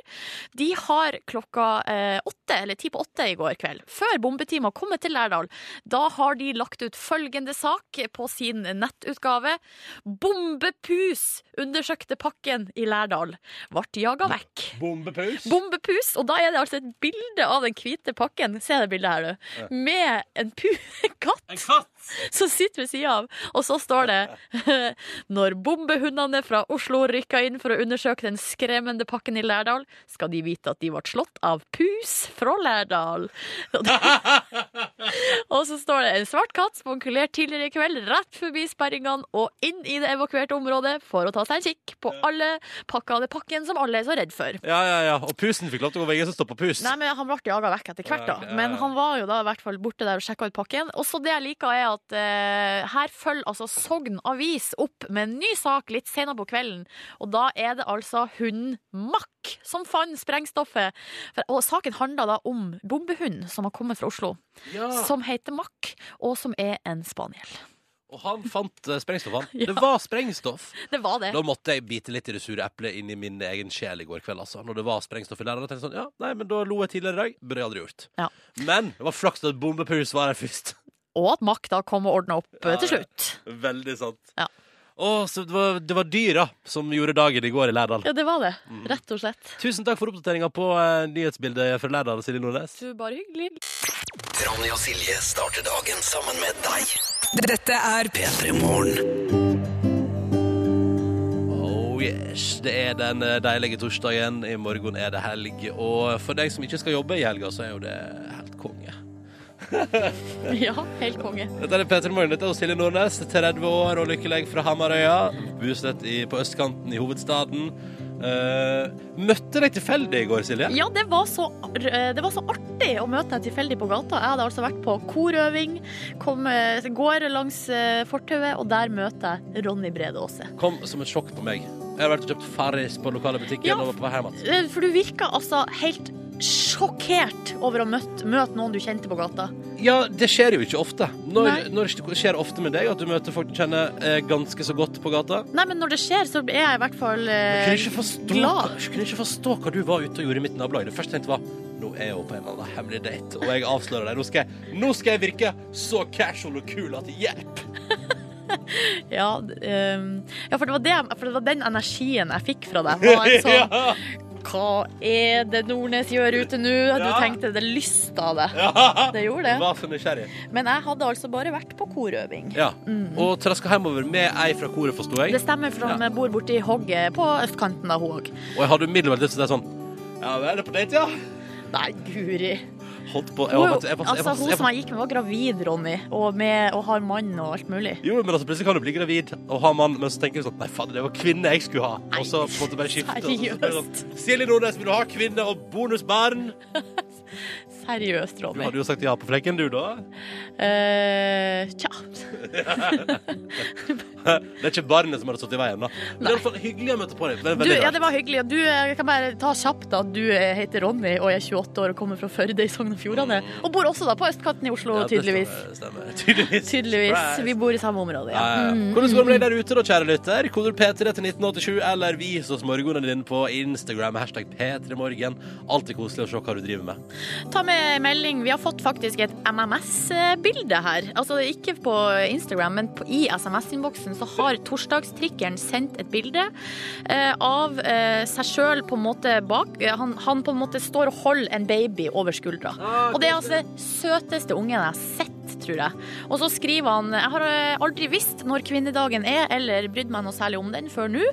C: De har klokka eh, åtte, eller ti på åtte i går kveld, før bombeteamet har kommet til Lærdal, da har de lagt ut følgende sak på sin nettutgave. Bombepus undersøkte pakken i Lærdal. Ble jaga vekk.
B: Bombepaus.
C: Bombepus, og da er det altså et bilde av den hvite pakken, se det bildet her,
B: Ja.
C: du, med en pu en katt
B: En katt!
C: som sitter ved sida av. Og så står det Når bombehundene fra Oslo rykka inn for å undersøke den skremmende pakken i Lærdal, skal de vite at de ble slått av pus fra Lærdal. Og det- Og så står det en svart katt spankulert tidligere i kveld rett forbi sperringene og inn i det evakuerte området for å ta seg en kikk på alle pakka av den pakken som alle er så redd for.
B: Ja, ja, ja. Og pusen fikk lov til å gå veggen, så stoppa pus.
C: Nei, men Han ble jaga vekk etter hvert,
B: Ja, ok, ja,
C: da.
B: ja.
C: Men han var jo da i hvert fall borte der og sjekka ut pakken. Og så det jeg liker, er at eh, her følger altså Sogn Avis opp med en ny sak litt senere på kvelden. Og da er det altså hunden Mack som fant sprengstoffet. For, og saken handler da om bombehunden som har kommet fra Oslo, som heter Mack, og som er en spaniel.
B: Og han fant eh, sprengstoff, han.
C: Ja.
B: Det var sprengstoff.
C: Det var det.
B: Da måtte jeg bite litt i det sure eplet inni min egen sjel i går kveld. altså Når det var sprengstoff i læreren. Da tenkte jeg sånn, ja, nei, men da lo jeg tidligere i dag. Burde jeg aldri gjort.
C: Ja.
B: Men det var flaks at bombepus var her først.
C: Og at Mack da kom og ordna opp eh, til
B: Ja, ja.
C: slutt.
B: Veldig sant.
C: Ja.
B: Å, så det var, det var dyra som gjorde dagen i går i Lærdal.
C: Ja, det var det.
B: Mm.
C: Rett og slett.
B: Tusen takk for oppdateringa på eh, nyhetsbildet fra Lærdal, Silje Nordnes.
C: Du, bare hyggelig.
A: Ronny og Silje starter dagen sammen med deg.
G: Dette er
A: P3 Morgen.
B: Oh yes, det er den eh, deilige torsdagen. I morgen er det helg. Og for deg som ikke skal jobbe i helga, så er jo det helt konge.
C: Ja, helt konge.
B: Dette er Peter Morgen, dette er Silje Nordnes, 30 år og lykkelig fra Hamarøya. Bosatt i- på østkanten i hovedstaden. Eh, møtte deg tilfeldig i går, Silje.
C: Ja, det var, så, eh, det var så artig å møte deg tilfeldig på gata. Jeg hadde altså vært på korøving, kom, går langs eh, fortauet, og der møter jeg Ronny Brede Aase.
B: Kom som et sjokk på meg. Jeg har vært og kjøpt Farris på lokale butikken
C: Ja.
B: og var på vei hjem igjen.
C: Eh, For du virka altså helt sjokkert over å møte, møte noen du kjente på gata.
B: Ja, det skjer jo ikke ofte.
C: Nei.
B: Når, når skjer det ofte med deg at du møter folk du kjenner eh, ganske så godt på gata?
C: Nei, men når det skjer, så er jeg i hvert fall
B: Jeg kunne
C: eh,
B: ikke forstå,
C: glad.
B: jeg kunne ikke forstå hva du var ute og gjorde i mitt nabolag. Det første jeg tenkte var nå er jeg jo på en eller annen hemmelig date, og jeg avslører deg. Nå skal jeg, nå skal jeg virke så casual og kul at hjelp!
C: Ja, d- eh, ja for, det var det, jeg- for det var den energien jeg fikk fra deg. Var en sånn, Hva er det Nordnes gjør ute nå? Du
B: Ja.
C: tenkte det lysta av deg.
B: Ja.
C: Det gjorde det.
B: Var for nysgjerrig.
C: Men jeg hadde altså bare vært på korøving.
B: Ja. Og traska hjemover med ei fra koret, forsto
C: Mm. Det
B: jeg.
C: stemmer, for han bor borti hogget på østkanten av hun òg.
B: Og jeg hadde umiddelbart lyst til å si sånn Ja, vi er det på date, ja?
C: Nei, guri.
B: Holdt på jeg
C: Hun,
B: var
C: altså,
B: faktisk- jeg var- jeg var-
C: hun
B: jeg
C: som
B: var-
C: jeg gikk med, var gravid, Ronny, og, med, og har mann og alt mulig.
B: Jo, men altså, plutselig kan du bli gravid og ha mann, men så tenker du sånn Nei, fader, det var kvinne jeg skulle ha. Og så på en måte bare skifte. og så- så ble det sånn, Silje Nordnes, vil du ha kvinne og bonusbarn?
C: Seriøst,
B: Du
C: Ronny.
B: hadde jo sagt ja på flekken, du, da.
C: Eh, tja.
B: Det er ikke barnet som hadde stått i veien, da. Men det er i hvert fall hyggelig å møte på deg. Veldig,
C: Du,
B: veldig
C: ja,
B: rart.
C: det var hyggelig. Og du eh, jeg kan bare ta kjapt at du eh, heter Ronny og jeg er 28 år og kommer fra Førde i Sogn og Fjordane. Og bor også da på østkanten i Oslo,
B: Ja, det
C: tydeligvis.
B: stemmer, stemmer. Tydeligvis.
C: Tydeligvis.
B: Surprise.
C: Vi bor i samme område, ja. Mm.
B: Ja, ja. Hvordan går det med deg der ute, da, kjære lytter? Kodord P3 til 1987, eller vis oss morgenene dine på Instagram. Hashtag P3morgen. Alltid koselig å se hva du driver med.
C: Ta med en melding. Vi har fått faktisk et MMS-bilde her. Altså ikke på Instagram, men på, i SMS-innboksen så har torsdagstrikkeren sendt et bilde eh, av eh, seg sjøl på en måte bak. Eh, Han, han på en måte står og holder en baby over skuldra. Og det er altså den søteste ungen jeg har sett, tror jeg. Og så skriver han Jeg har eh, aldri visst når kvinnedagen er, eller brydd meg noe særlig om den før nå.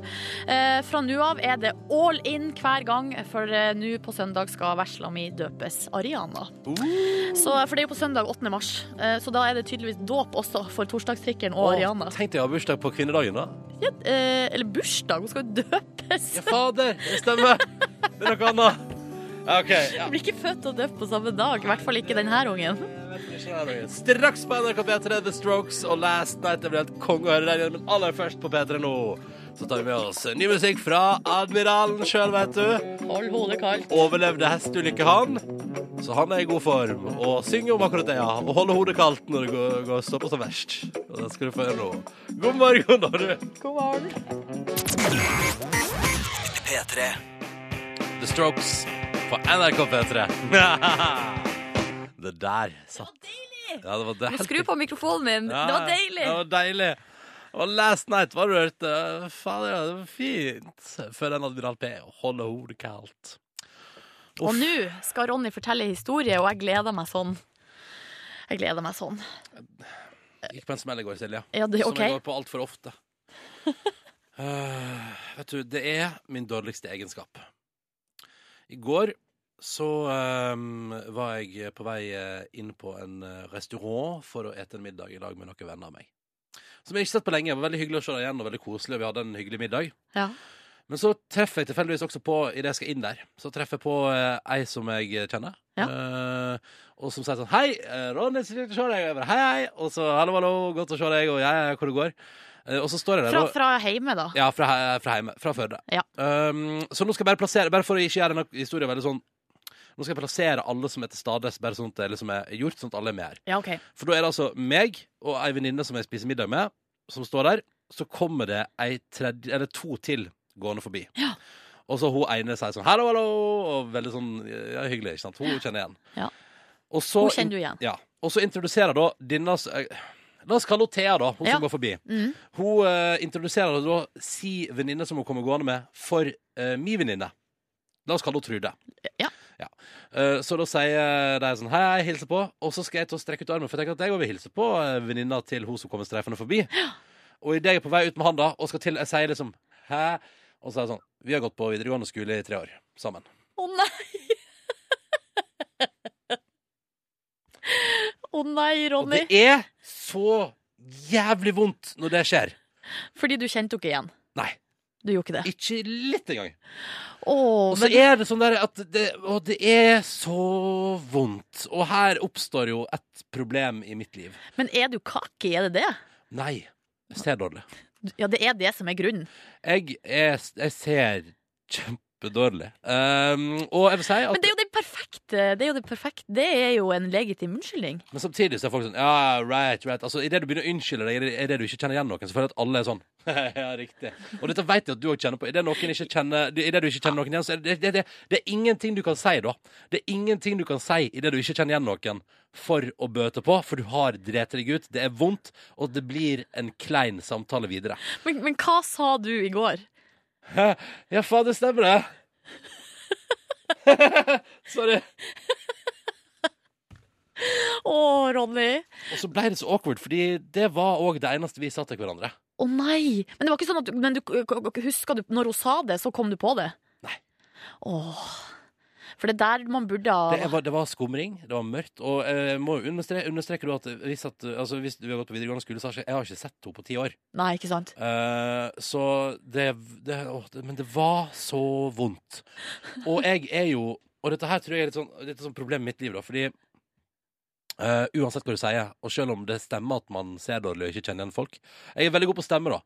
C: Eh, Fra nå av er det all in hver gang, for eh, nå på søndag skal vesla mi døpes Ariana. Så, for det er jo på søndag 8. mars, eh, så da er det tydeligvis dåp også for torsdagstrikkeren og Ariana.
B: Å, Tenk deg å ha bursdag på kvinnedagen, da.
C: Ja, eh, eller bursdag, hun skal jo døpes.
B: Ja, fader, det stemmer. Det er noe annet. Ja, OK. Ja.
C: Hun blir ikke født og døpt på samme dag, i hvert fall ikke denne ungen.
B: Straks på NRK P3 The Strokes og Last Night. Det blir helt konge å høre deg igjen, men aller først på P3 nå. Så tar vi med oss ny musikk fra Admiralen sjøl, vet du.
F: Hold hodet kaldt.
B: Overlevde hesteulykke, han. Så han er i god form og synger om akkurat det, ja. Og holder hodet kaldt når det går, går står på som verst. Og det skal du få høre nå. God morgen, da, du.
F: God morgen.
A: P3.
B: The Strokes på NRK P3. det der satt. Ja, det var deilig!
C: Skru på mikrofonen min.
B: Ja,
C: Det var deilig.
B: Det var deilig. Og last night var rørt. eh, Fader, ja, det var fint. Før en Admiral P holder hodet kaldt.
C: Og nå skal Ronny fortelle historie, og jeg gleder meg sånn. Jeg gleder meg sånn.
B: Gikk på en smell i går, Silja.
C: Ja, det,
B: Som jeg
C: ok.
B: går på altfor ofte. Eh, vet du, det er min dårligste egenskap. I går så eh, var jeg på vei eh, inn på en eh, restaurant for å ete en middag i dag med noen venner av meg. Som jeg ikke har sett på lenge. Det var veldig hyggelig å se deg igjen, og veldig koselig. og Vi hadde en hyggelig middag.
C: Ja.
B: Men så treffer jeg tilfeldigvis også på I det jeg skal inn der Så treffer jeg på eh, ei som jeg kjenner Eh, Og som sier sånn Hei, eh, Ronny, så fint å se deg Jeg bare, Hei, hei Og så hallo, hallo, godt å se deg Og ja, ja, hvor det går Eh, Og så står jeg der
C: Fra,
B: og-
C: fra hjemme, da.
B: ja, fra, he- fra hjemme. Fra Førde.
C: Ja.
B: Um, så nå skal jeg bare plassere Bare for å ikke gjøre denne historien veldig sånn Nå skal jeg plassere alle som heter Stades, bare sånn at det liksom er gjort, sånn at alle er med her.
C: Ja, ok.
B: For da er det altså meg og ei venninne som jeg spiser middag med, som står der. Så kommer det ei tredje, eller to til gående forbi.
C: Ja.
B: Og så hun ene sier sånn 'hallo, hallo', og veldig sånn ja, hyggelig. ikke sant? Hun kjenner igjen.
C: Ja.
B: Og så,
C: Hun kjenner du igjen.
B: ja. og så introduserer da denne s- eh, La oss kalle henne Thea, da, hun
C: Ja.
B: som går forbi.
C: Mm.
B: Hun eh, introduserer da si venninne som hun kommer gående med, for uh, mi venninne. La oss kalle henne Trude.
C: Ja.
B: Eh, så da sier de sånn Hei, jeg hilser på. Og så skal jeg til å strekke ut armen, for jeg tenker at jeg også vil hilse på eh, venninna til hun som kommer streifende forbi. Og idet jeg er på vei ut med handa og skal til Jeg sier liksom Hæ? Og så er det sånn Vi har gått på videregående skole i tre år sammen.
C: Å nei! Å nei,
B: Og
C: Ronny.
B: det er så jævlig vondt når det skjer.
C: Fordi du kjente henne ikke igjen.
B: Nei,
C: Du gjorde ikke det.
B: ikke litt engang.
C: Å,
B: Og så
C: men
B: er det sånn der at det, Og det er så vondt. Og her oppstår jo et problem i mitt liv.
C: Men er du kaki, er det det?
B: Nei, jeg ser dårlig.
C: Ja, det er det som er grunnen.
B: Jeg, er, jeg ser kjempedårlig. Um, og jeg vil si at
C: Men det er jo det perfekte. Det er jo, det perfekte. Det er jo en legitim unnskyldning.
B: Men samtidig så er folk sånn Ja, right, right Altså, Idet du begynner å unnskylde deg, i det- i det du ikke kjenner igjen noen, så føler jeg at alle er sånn Ja, riktig. Og dette vet jeg at du òg kjenner på. Idet noen ikke kjenner i det du ikke kjenner noen igjen, så er det, det, det, det er ingenting du kan si da. Det er ingenting du kan si idet du ikke kjenner igjen noen, for å bøte på, for du har drept deg ut. Det er vondt, og det blir en klein samtale videre.
C: Men, men hva sa du i går?
B: Ja, faen, det stemmer det. Sorry.
C: Å, Ronny.
B: Og så ble det så awkward, fordi det var òg det eneste vi sa til hverandre.
C: Å nei! Men det var ikke sånn at du- Men du, husker du når hun sa det, så kom du på det?
B: Nei.
C: Åh. For det er der man burde ha
B: Det var, det var skumring, det var mørkt. Og eh, må jo understreke, understreke du at hvis, at altså, hvis du har gått på videregående skole, så har ikke, jeg har ikke sett henne på ti år.
C: Nei, ikke sant?
B: Eh, så det, det, åh, det Men det var så vondt. Og jeg er jo Og dette her tror jeg er litt sånn, litt sånn problem i mitt liv, da, fordi eh, uansett hva du sier, og selv om det stemmer at man ser dårlig og ikke kjenner igjen folk Jeg er veldig god på å stemme, da.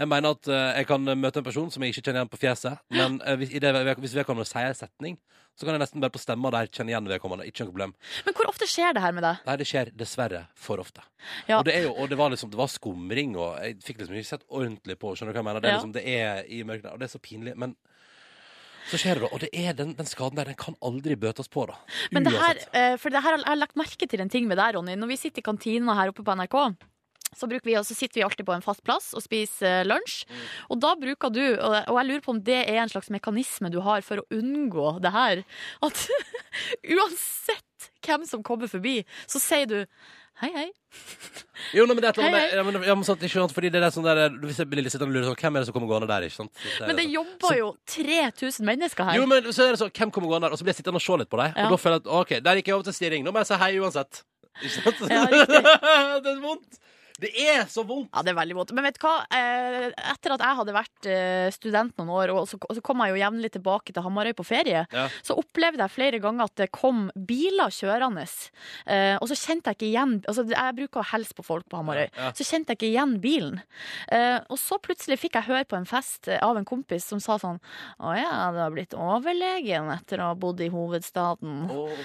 B: Jeg mener at eh, jeg kan møte en person som jeg ikke kjenner igjen på fjeset, men eh, hvis, i det, hvis vedkommende sier en setning, så kan jeg nesten bare på stemma der kjenne igjen vedkommende. Ikke noe problem.
C: Men hvor ofte skjer det her med deg?
B: Nei, det skjer dessverre for ofte.
C: Ja.
B: Og, det er jo, og det var liksom, det var skumring, og jeg fikk liksom ikke sett ordentlig på. Skjønner du hva jeg mener? Det er,
C: Ja.
B: liksom, det er i mørket, der, og det er så pinlig. Men så skjer det, da. Og det er den, den skaden der, den kan aldri bøtes på, da.
C: Men det her,
B: Uansett.
C: eh, for det her, har- jeg har lagt merke til en ting med deg, Ronny. Når vi sitter i kantina her oppe på NRK, så, bruker vi, og så sitter vi alltid på en fast plass og spiser eh, lunsj.
B: Mm.
C: Og da bruker du, og, og jeg lurer på om det er en slags mekanisme du har for å unngå det her, at uansett hvem som kommer forbi, så sier du hei, hei.
B: Jo, nei, men det er et eller annet
C: Hei, hei.
B: med- ja, men, ja, men sant, ikke sant, fordi det er sånn der Hvis jeg blir litt sittende og lurer sånn, hvem er det som kommer gående der, ikke sant? Så er
C: Men det
B: sånn.
C: jobber jo 3000 mennesker her.
B: Jo, men så er det sånn, hvem kommer gående der? Og så blir jeg sittende og se litt på deg,
C: Ja.
B: og da føler jeg at OK, der gikk jeg over til stirring. Nå må jeg si hei uansett. Ikke sant?
C: Ja, riktig.
B: det er vondt. Det er så vondt!
C: Ja, det er veldig vondt. Men vet du hva? Eh, Etter at jeg hadde vært eh, student noen år, og så, og så kom jeg jo jevnlig tilbake til Hamarøy på ferie,
B: Ja.
C: så opplevde jeg flere ganger at det kom biler kjørende. Eh, Og så kjente jeg ikke igjen Altså, jeg bruker å hilse på folk på Hamarøy.
B: Ja.
C: Så kjente jeg ikke igjen bilen. Eh, Og så plutselig fikk jeg høre på en fest eh, av en kompis som sa sånn Å ja, du har blitt overlegen etter å ha bodd i hovedstaden.
B: Åh.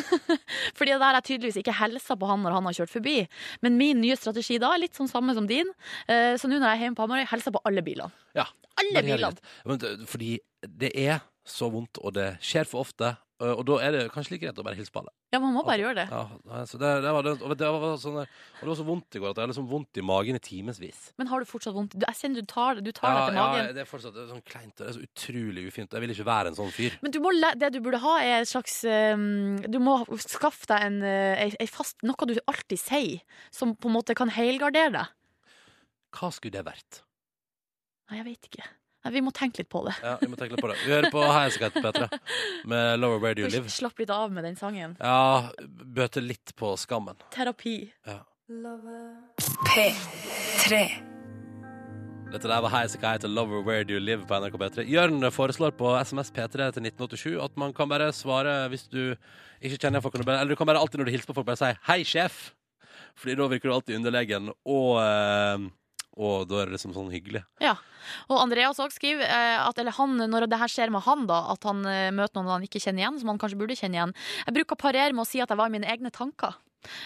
C: Fordi der jeg tydeligvis ikke helsa på han når han har kjørt forbi. Men min nye strategi da er litt sånn samme som din. Eh, Så nå når jeg er hjemme på Hamarøy, helser jeg på alle bilene.
B: Ja.
C: Alle
B: Men helt
C: bilene.
B: greit. Men, det- fordi det er så vondt, og det skjer for ofte. øh, Og og da er det kanskje like greit å bare hilse på alle.
C: Ja, man må bare gjøre det.
B: Ja, nei, så det, det, var, det, og det, var sånn, der- og det var så vondt i går at jeg hadde liksom vondt i magen i timevis.
C: Men har du fortsatt vondt? Du- Jeg kjenner du tar, det- du tar
B: Ja,
C: det til magen.
B: ja, det er fortsatt det er sånn kleint. og Det er så utrolig ufint. Jeg vil ikke være en sånn fyr.
C: Men du må, læ- det du burde ha, er et slags eh, Du må skaffe deg en, eh, ei- ei fast, noe du alltid sier, som på en måte kan helgardere deg.
B: Hva skulle det vært?
C: Nei, jeg vet ikke. Nei, vi må tenke litt på det.
B: Ja, Vi må tenke litt på det. Vi hører på High Skate på P3 med Lower Where Do You
C: Vi
B: Live.
C: slapp litt av med den sangen.
B: Ja, bøter litt på skammen.
C: Terapi.
B: Dette der var Highasakite heter Lover Where Do You Live på NRK P3. Jørn foreslår på SMS P3 til 1987 at man kan bare svare hvis du ikke kjenner folk. kan du bare- Eller du kan bare alltid når du hilser på folk, bare si 'hei, sjef'. Fordi da virker du alltid underlegen, og, eh, og da er det liksom sånn hyggelig.
C: Ja, og Andreas også skriver eh, at eller han, når det her skjer med han da, at han eh, møter noen han ikke kjenner igjen, som han kanskje burde kjenne igjen. Jeg bruker å parere med å si at jeg var i mine egne tanker.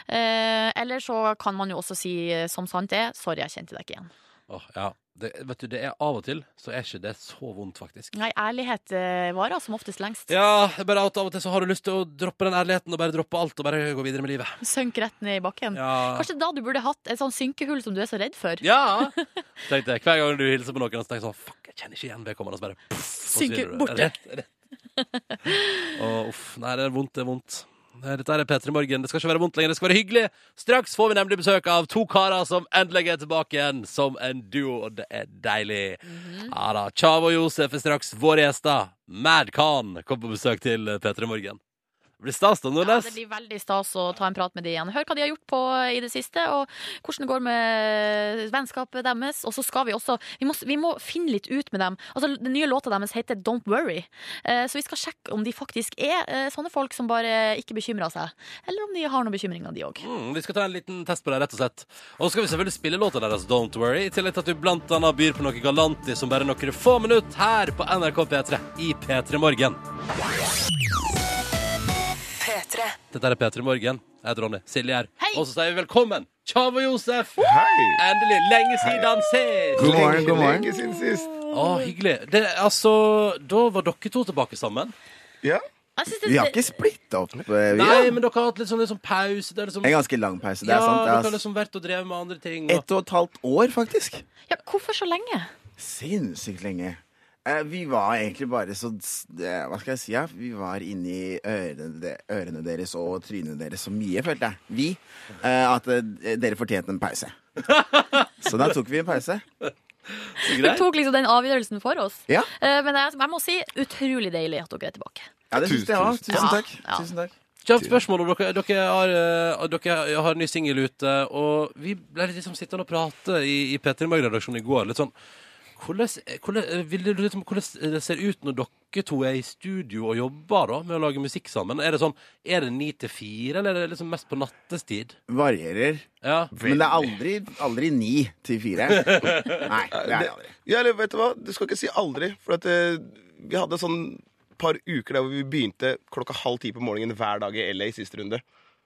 C: Eh, eller så kan man jo også si eh, som sant er, sorry, jeg kjente deg ikke igjen.
B: Åh, ja. Det, vet du, det er av og til så er ikke det så vondt, faktisk.
C: Nei, ærlighet eh, varer som oftest lengst.
B: Ja, det er bare at av og til så har du lyst til å droppe den ærligheten og bare droppe alt og bare gå videre med livet.
C: Sønk rett ned i bakken.
B: Ja.
C: Kanskje da du burde hatt et sånn synkehull som du er så redd for.
B: Ja! Tenkte jeg, Hver gang du hilser på noen, så tenker jeg sånn Fuck, jeg kjenner ikke igjen vedkommende. Og så bare pff,
C: Synker
B: forsvinner du.
C: borte.
B: Rett, rett. Å, uff. Nei, det er vondt, det er vondt. Nei, Dette er P3 Morgen. Det skal ikke være vondt lenger, det skal være hyggelig. Straks får vi nemlig besøk av to karer som endelig er tilbake igjen som en duo, og det er deilig.
C: Mhm.
B: Ja da, Tjav og Josef er straks våre gjester. Mad Khan kom på besøk til P3 Morgen. Det blir stas, da,
C: Ja,
B: Nordnes.
C: det blir veldig stas å ta en prat med de igjen. Hør hva de har gjort på i det siste, og hvordan det går med vennskapet deres. Og så skal vi også Vi må, vi må finne litt ut med dem. Altså, Den nye låta deres heter Don't Worry. Eh, Så vi skal sjekke om de faktisk er eh, sånne folk som bare ikke bekymrer seg. Eller om de har noen bekymringer, de òg.
B: Mm, vi skal ta en liten test på det, rett og slett. Og så skal vi selvfølgelig spille låta deres, Don't Worry, i tillegg til at vi blant annet byr på noe galantis om bare noen få minutter her på NRK P3 i P3 Morgen. Dette er P3 Morgen. Jeg heter Ronny. Silje her.
C: Hei!
B: Og så sier vi velkommen, Tjav og Josef. Endelig. Lenge siden sist.
G: God morgen, god morgen. Lenge siden sist.
B: Å, hyggelig. Det, altså, da var dere to tilbake sammen.
G: Ja.
C: Jeg synes
G: Vi har
C: det,
G: ikke splitta opp. eh, Vi
B: Nei,
G: har
B: men dere har hatt litt sånn, litt sånn pause. Det er liksom,
G: en ganske lang pause. Det er
B: ja, dere
G: sant.
B: har
G: Det er altså
B: liksom vært og drevet med andre ting. Og...
G: ett og et halvt år, faktisk.
C: ja, hvorfor så lenge?
G: Sinnssykt lenge. Eh, Vi var egentlig bare så eh, Hva skal jeg si? Ja? Vi var inni ørene, de- ørene deres og trynene deres så mye, følte jeg. Vi. eh, At eh, dere fortjente en pause. Så da tok vi en pause.
C: Vi tok liksom den avgjørelsen for oss.
G: Ja,
C: Eh, Men jeg, jeg må si utrolig deilig at dere er tilbake.
G: ja det syns jeg òg. Tusen takk.
C: Ja.
G: Tusen takk.
B: Kjapt spørsmål om dere, dere, har, eh, dere har en ny singel ute, og vi ble liksom sittende og prate i, i P3 Morgen-redaksjonen i går. Litt sånn hvordan, hvordan, eh, vil dere liksom, hvordan det ser ut når dere to er i studio og jobber da, med å lage musikk sammen? Er det sånn, er det ni til fire, eller er det liksom mest på nattestid?
G: Varierer.
B: Ja.
G: Men det er aldri, aldri ni til fire. Nei, det er det aldri.
J: Ja, eller vet du hva? Du skal ikke si aldri. For at, eh, vi hadde sånn par uker der hvor vi begynte klokka halv ti på morgenen hver dag i LA i siste runde.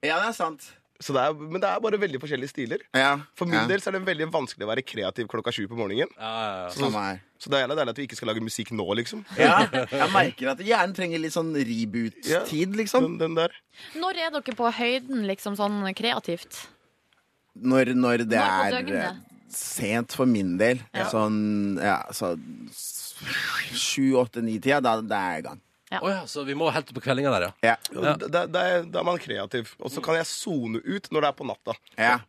G: Ja, det er sant.
J: Så det er, men det er bare veldig forskjellige stiler.
G: Ja,
J: For min del så er det veldig vanskelig å være kreativ klokka sju på morgenen.
B: Ja, ja, ja.
G: Samme her.
J: Så det er jævla deilig at vi ikke skal lage musikk nå, liksom.
G: Ja, jeg merker at hjernen trenger litt sånn reboot-tid, liksom.
J: Den, den der.
C: Når er dere på høyden liksom sånn kreativt?
G: Når, når det
C: Når på
G: er
C: døgnet?
G: eh, sent for min del. Sånn ja, så s- sju, åtte, ni-tida, da, da er jeg i gang.
C: Ja.
B: Å ja, så vi må helt opp på kveldinga der, ja.
G: Ja.
J: Da, da, da, er- da er man kreativ. Og så kan jeg sone ut når det er på natta.
G: ja.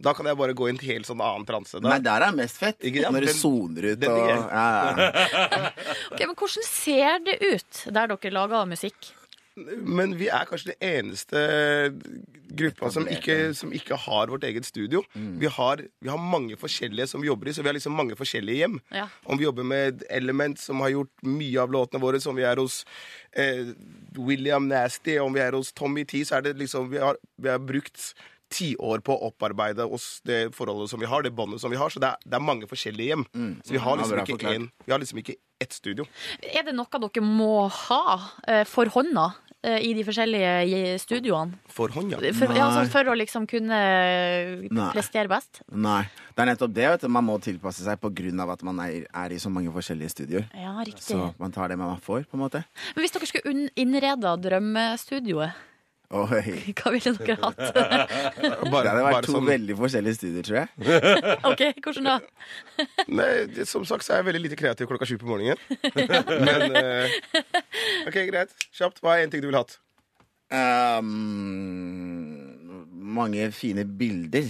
J: Da kan jeg bare gå i en helt sånn annen transe. Da.
G: Nei, der er det mest fett.
J: Ikke- ja,
G: når du
J: den-
G: soner ut
J: den
G: og
J: digger jeg.
G: ja, ja.
C: Ok, men Hvordan ser det ut der dere lager musikk?
J: Men vi er kanskje den eneste gruppa som ikke, som ikke har vårt eget studio.
G: Mm.
J: Vi, har, vi har mange forskjellige som vi jobber i, så vi har liksom mange forskjellige hjem.
F: Ja.
J: Om vi jobber med Element, som har gjort mye av låtene våre, som vi er hos eh, William Nasty, om vi er hos Tommy T, så er det liksom Vi har, vi har brukt tiår på å opparbeide oss det forholdet som vi har, det båndet som vi har. Så det er, det er mange forskjellige hjem. Så vi har
G: Mm. Ja,
J: liksom
G: bra
J: ikke
G: forklart.
J: én Vi har liksom ikke ett studio.
F: Er det noe dere må ha eh, for hånda eh, i de forskjellige je- studioene?
J: For hånd, ja.
F: For, ja,
G: Nei.
F: sånn for å liksom kunne eh,
G: Nei.
F: prestere best?
G: Nei. Det er nettopp det. Vet du. Man må tilpasse seg pga. at man er, er i så mange forskjellige studioer.
F: Ja, riktig.
G: Så man tar det man får, på en måte.
F: Men hvis dere skulle unn- innreda drømmestudioet,
G: Oi.
F: hva ville dere hatt?
J: Bare,
G: Det hadde vært
J: bare
G: to
J: sånn-
G: veldig forskjellige studier, tror jeg.
F: ok, hvordan da?
J: Nei, det- som sagt så er jeg veldig lite kreativ klokka sju på morgenen. Men eh, OK, greit. Kjapt. Hva er en ting du ville hatt?
G: Ehm, mange fine bilder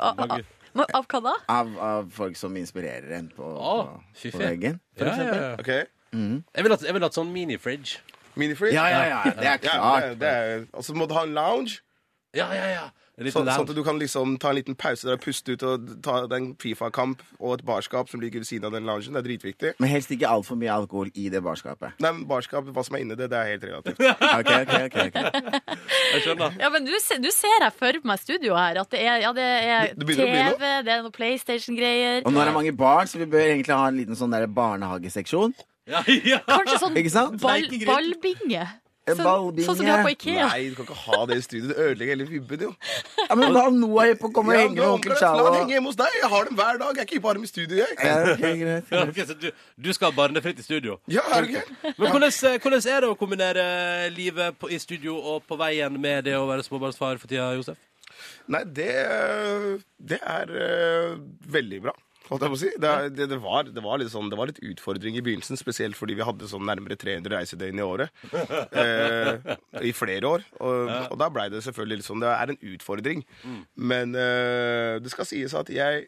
F: Av, av, av, av hva da?
G: av, av folk som inspirerer en på,
B: Å, fy
G: på, på
B: faen.
G: veggen.
B: Ja, ja, ja.
J: Ok,
B: Jeg ville hatt, jeg vil hatt sånn mini-fridge.
J: Minifreeze?
G: Ja, ja, ja. Det er
J: Ja, det,
G: klart.
J: er- det er, altså må du ha en lounge,
B: Ja, ja, ja. En liten
J: sånn, sånn
B: lounge.
J: at du kan liksom ta en liten pause der og puste ut og ta deg en Fifa-kamp og et barskap som ligger ved siden av den loungen. Det er dritviktig.
G: Men helst ikke altfor mye alkohol i det barskapet.
J: Nei, men barskap, hva som er inni det, det er helt relativt.
G: Ok, ok, ok, ok.
B: Jeg skjønner.
F: Ja, men du, se- du ser jeg for meg studio her. At det er, ja, det er
J: Det- det
F: TV,
J: begynner å bli
F: det er noe PlayStation-greier.
G: Og nå er det mange barn, så vi bør egentlig ha en liten sånn der barnehageseksjon.
B: Ja, ja.
F: Kanskje sånn
G: Ikke sant?
F: ball,
G: Leikegrill.
F: ballbinge.
G: En
F: Sånn-
G: ballbinge.
F: Sånn som de har på Ikea.
J: Nei, du kan ikke ha det i studio. Det ødelegger hele vibben, jo.
G: Ja, men hva om Noah på kommer og
J: Ja,
G: henger med
J: nå,
G: onkel
J: la
G: Chalo?
J: den henge hjemme hos deg. Jeg har dem hver dag. Jeg er ikke bare med studio, jeg.
G: Ja, ok, greit.
B: Ja, ok, så du, du skal ha barnefritt i studio.
J: Ja, er du gæren?
B: Men hvordan, eh, hvordan er det å kombinere livet på, i studio og på veien med det å være småbarnsfar for tida, Josef?
J: Nei, det, det er eh, veldig bra. Holdt jeg på å si. Det, er- det, det, var, det, var litt sånn, det var litt utfordring i begynnelsen, spesielt fordi vi hadde sånn nærmere 300 reisedøgn i året. Eh, I flere år. Og, og da blei det selvfølgelig litt sånn. Det er en utfordring. Men eh, det skal sies at jeg,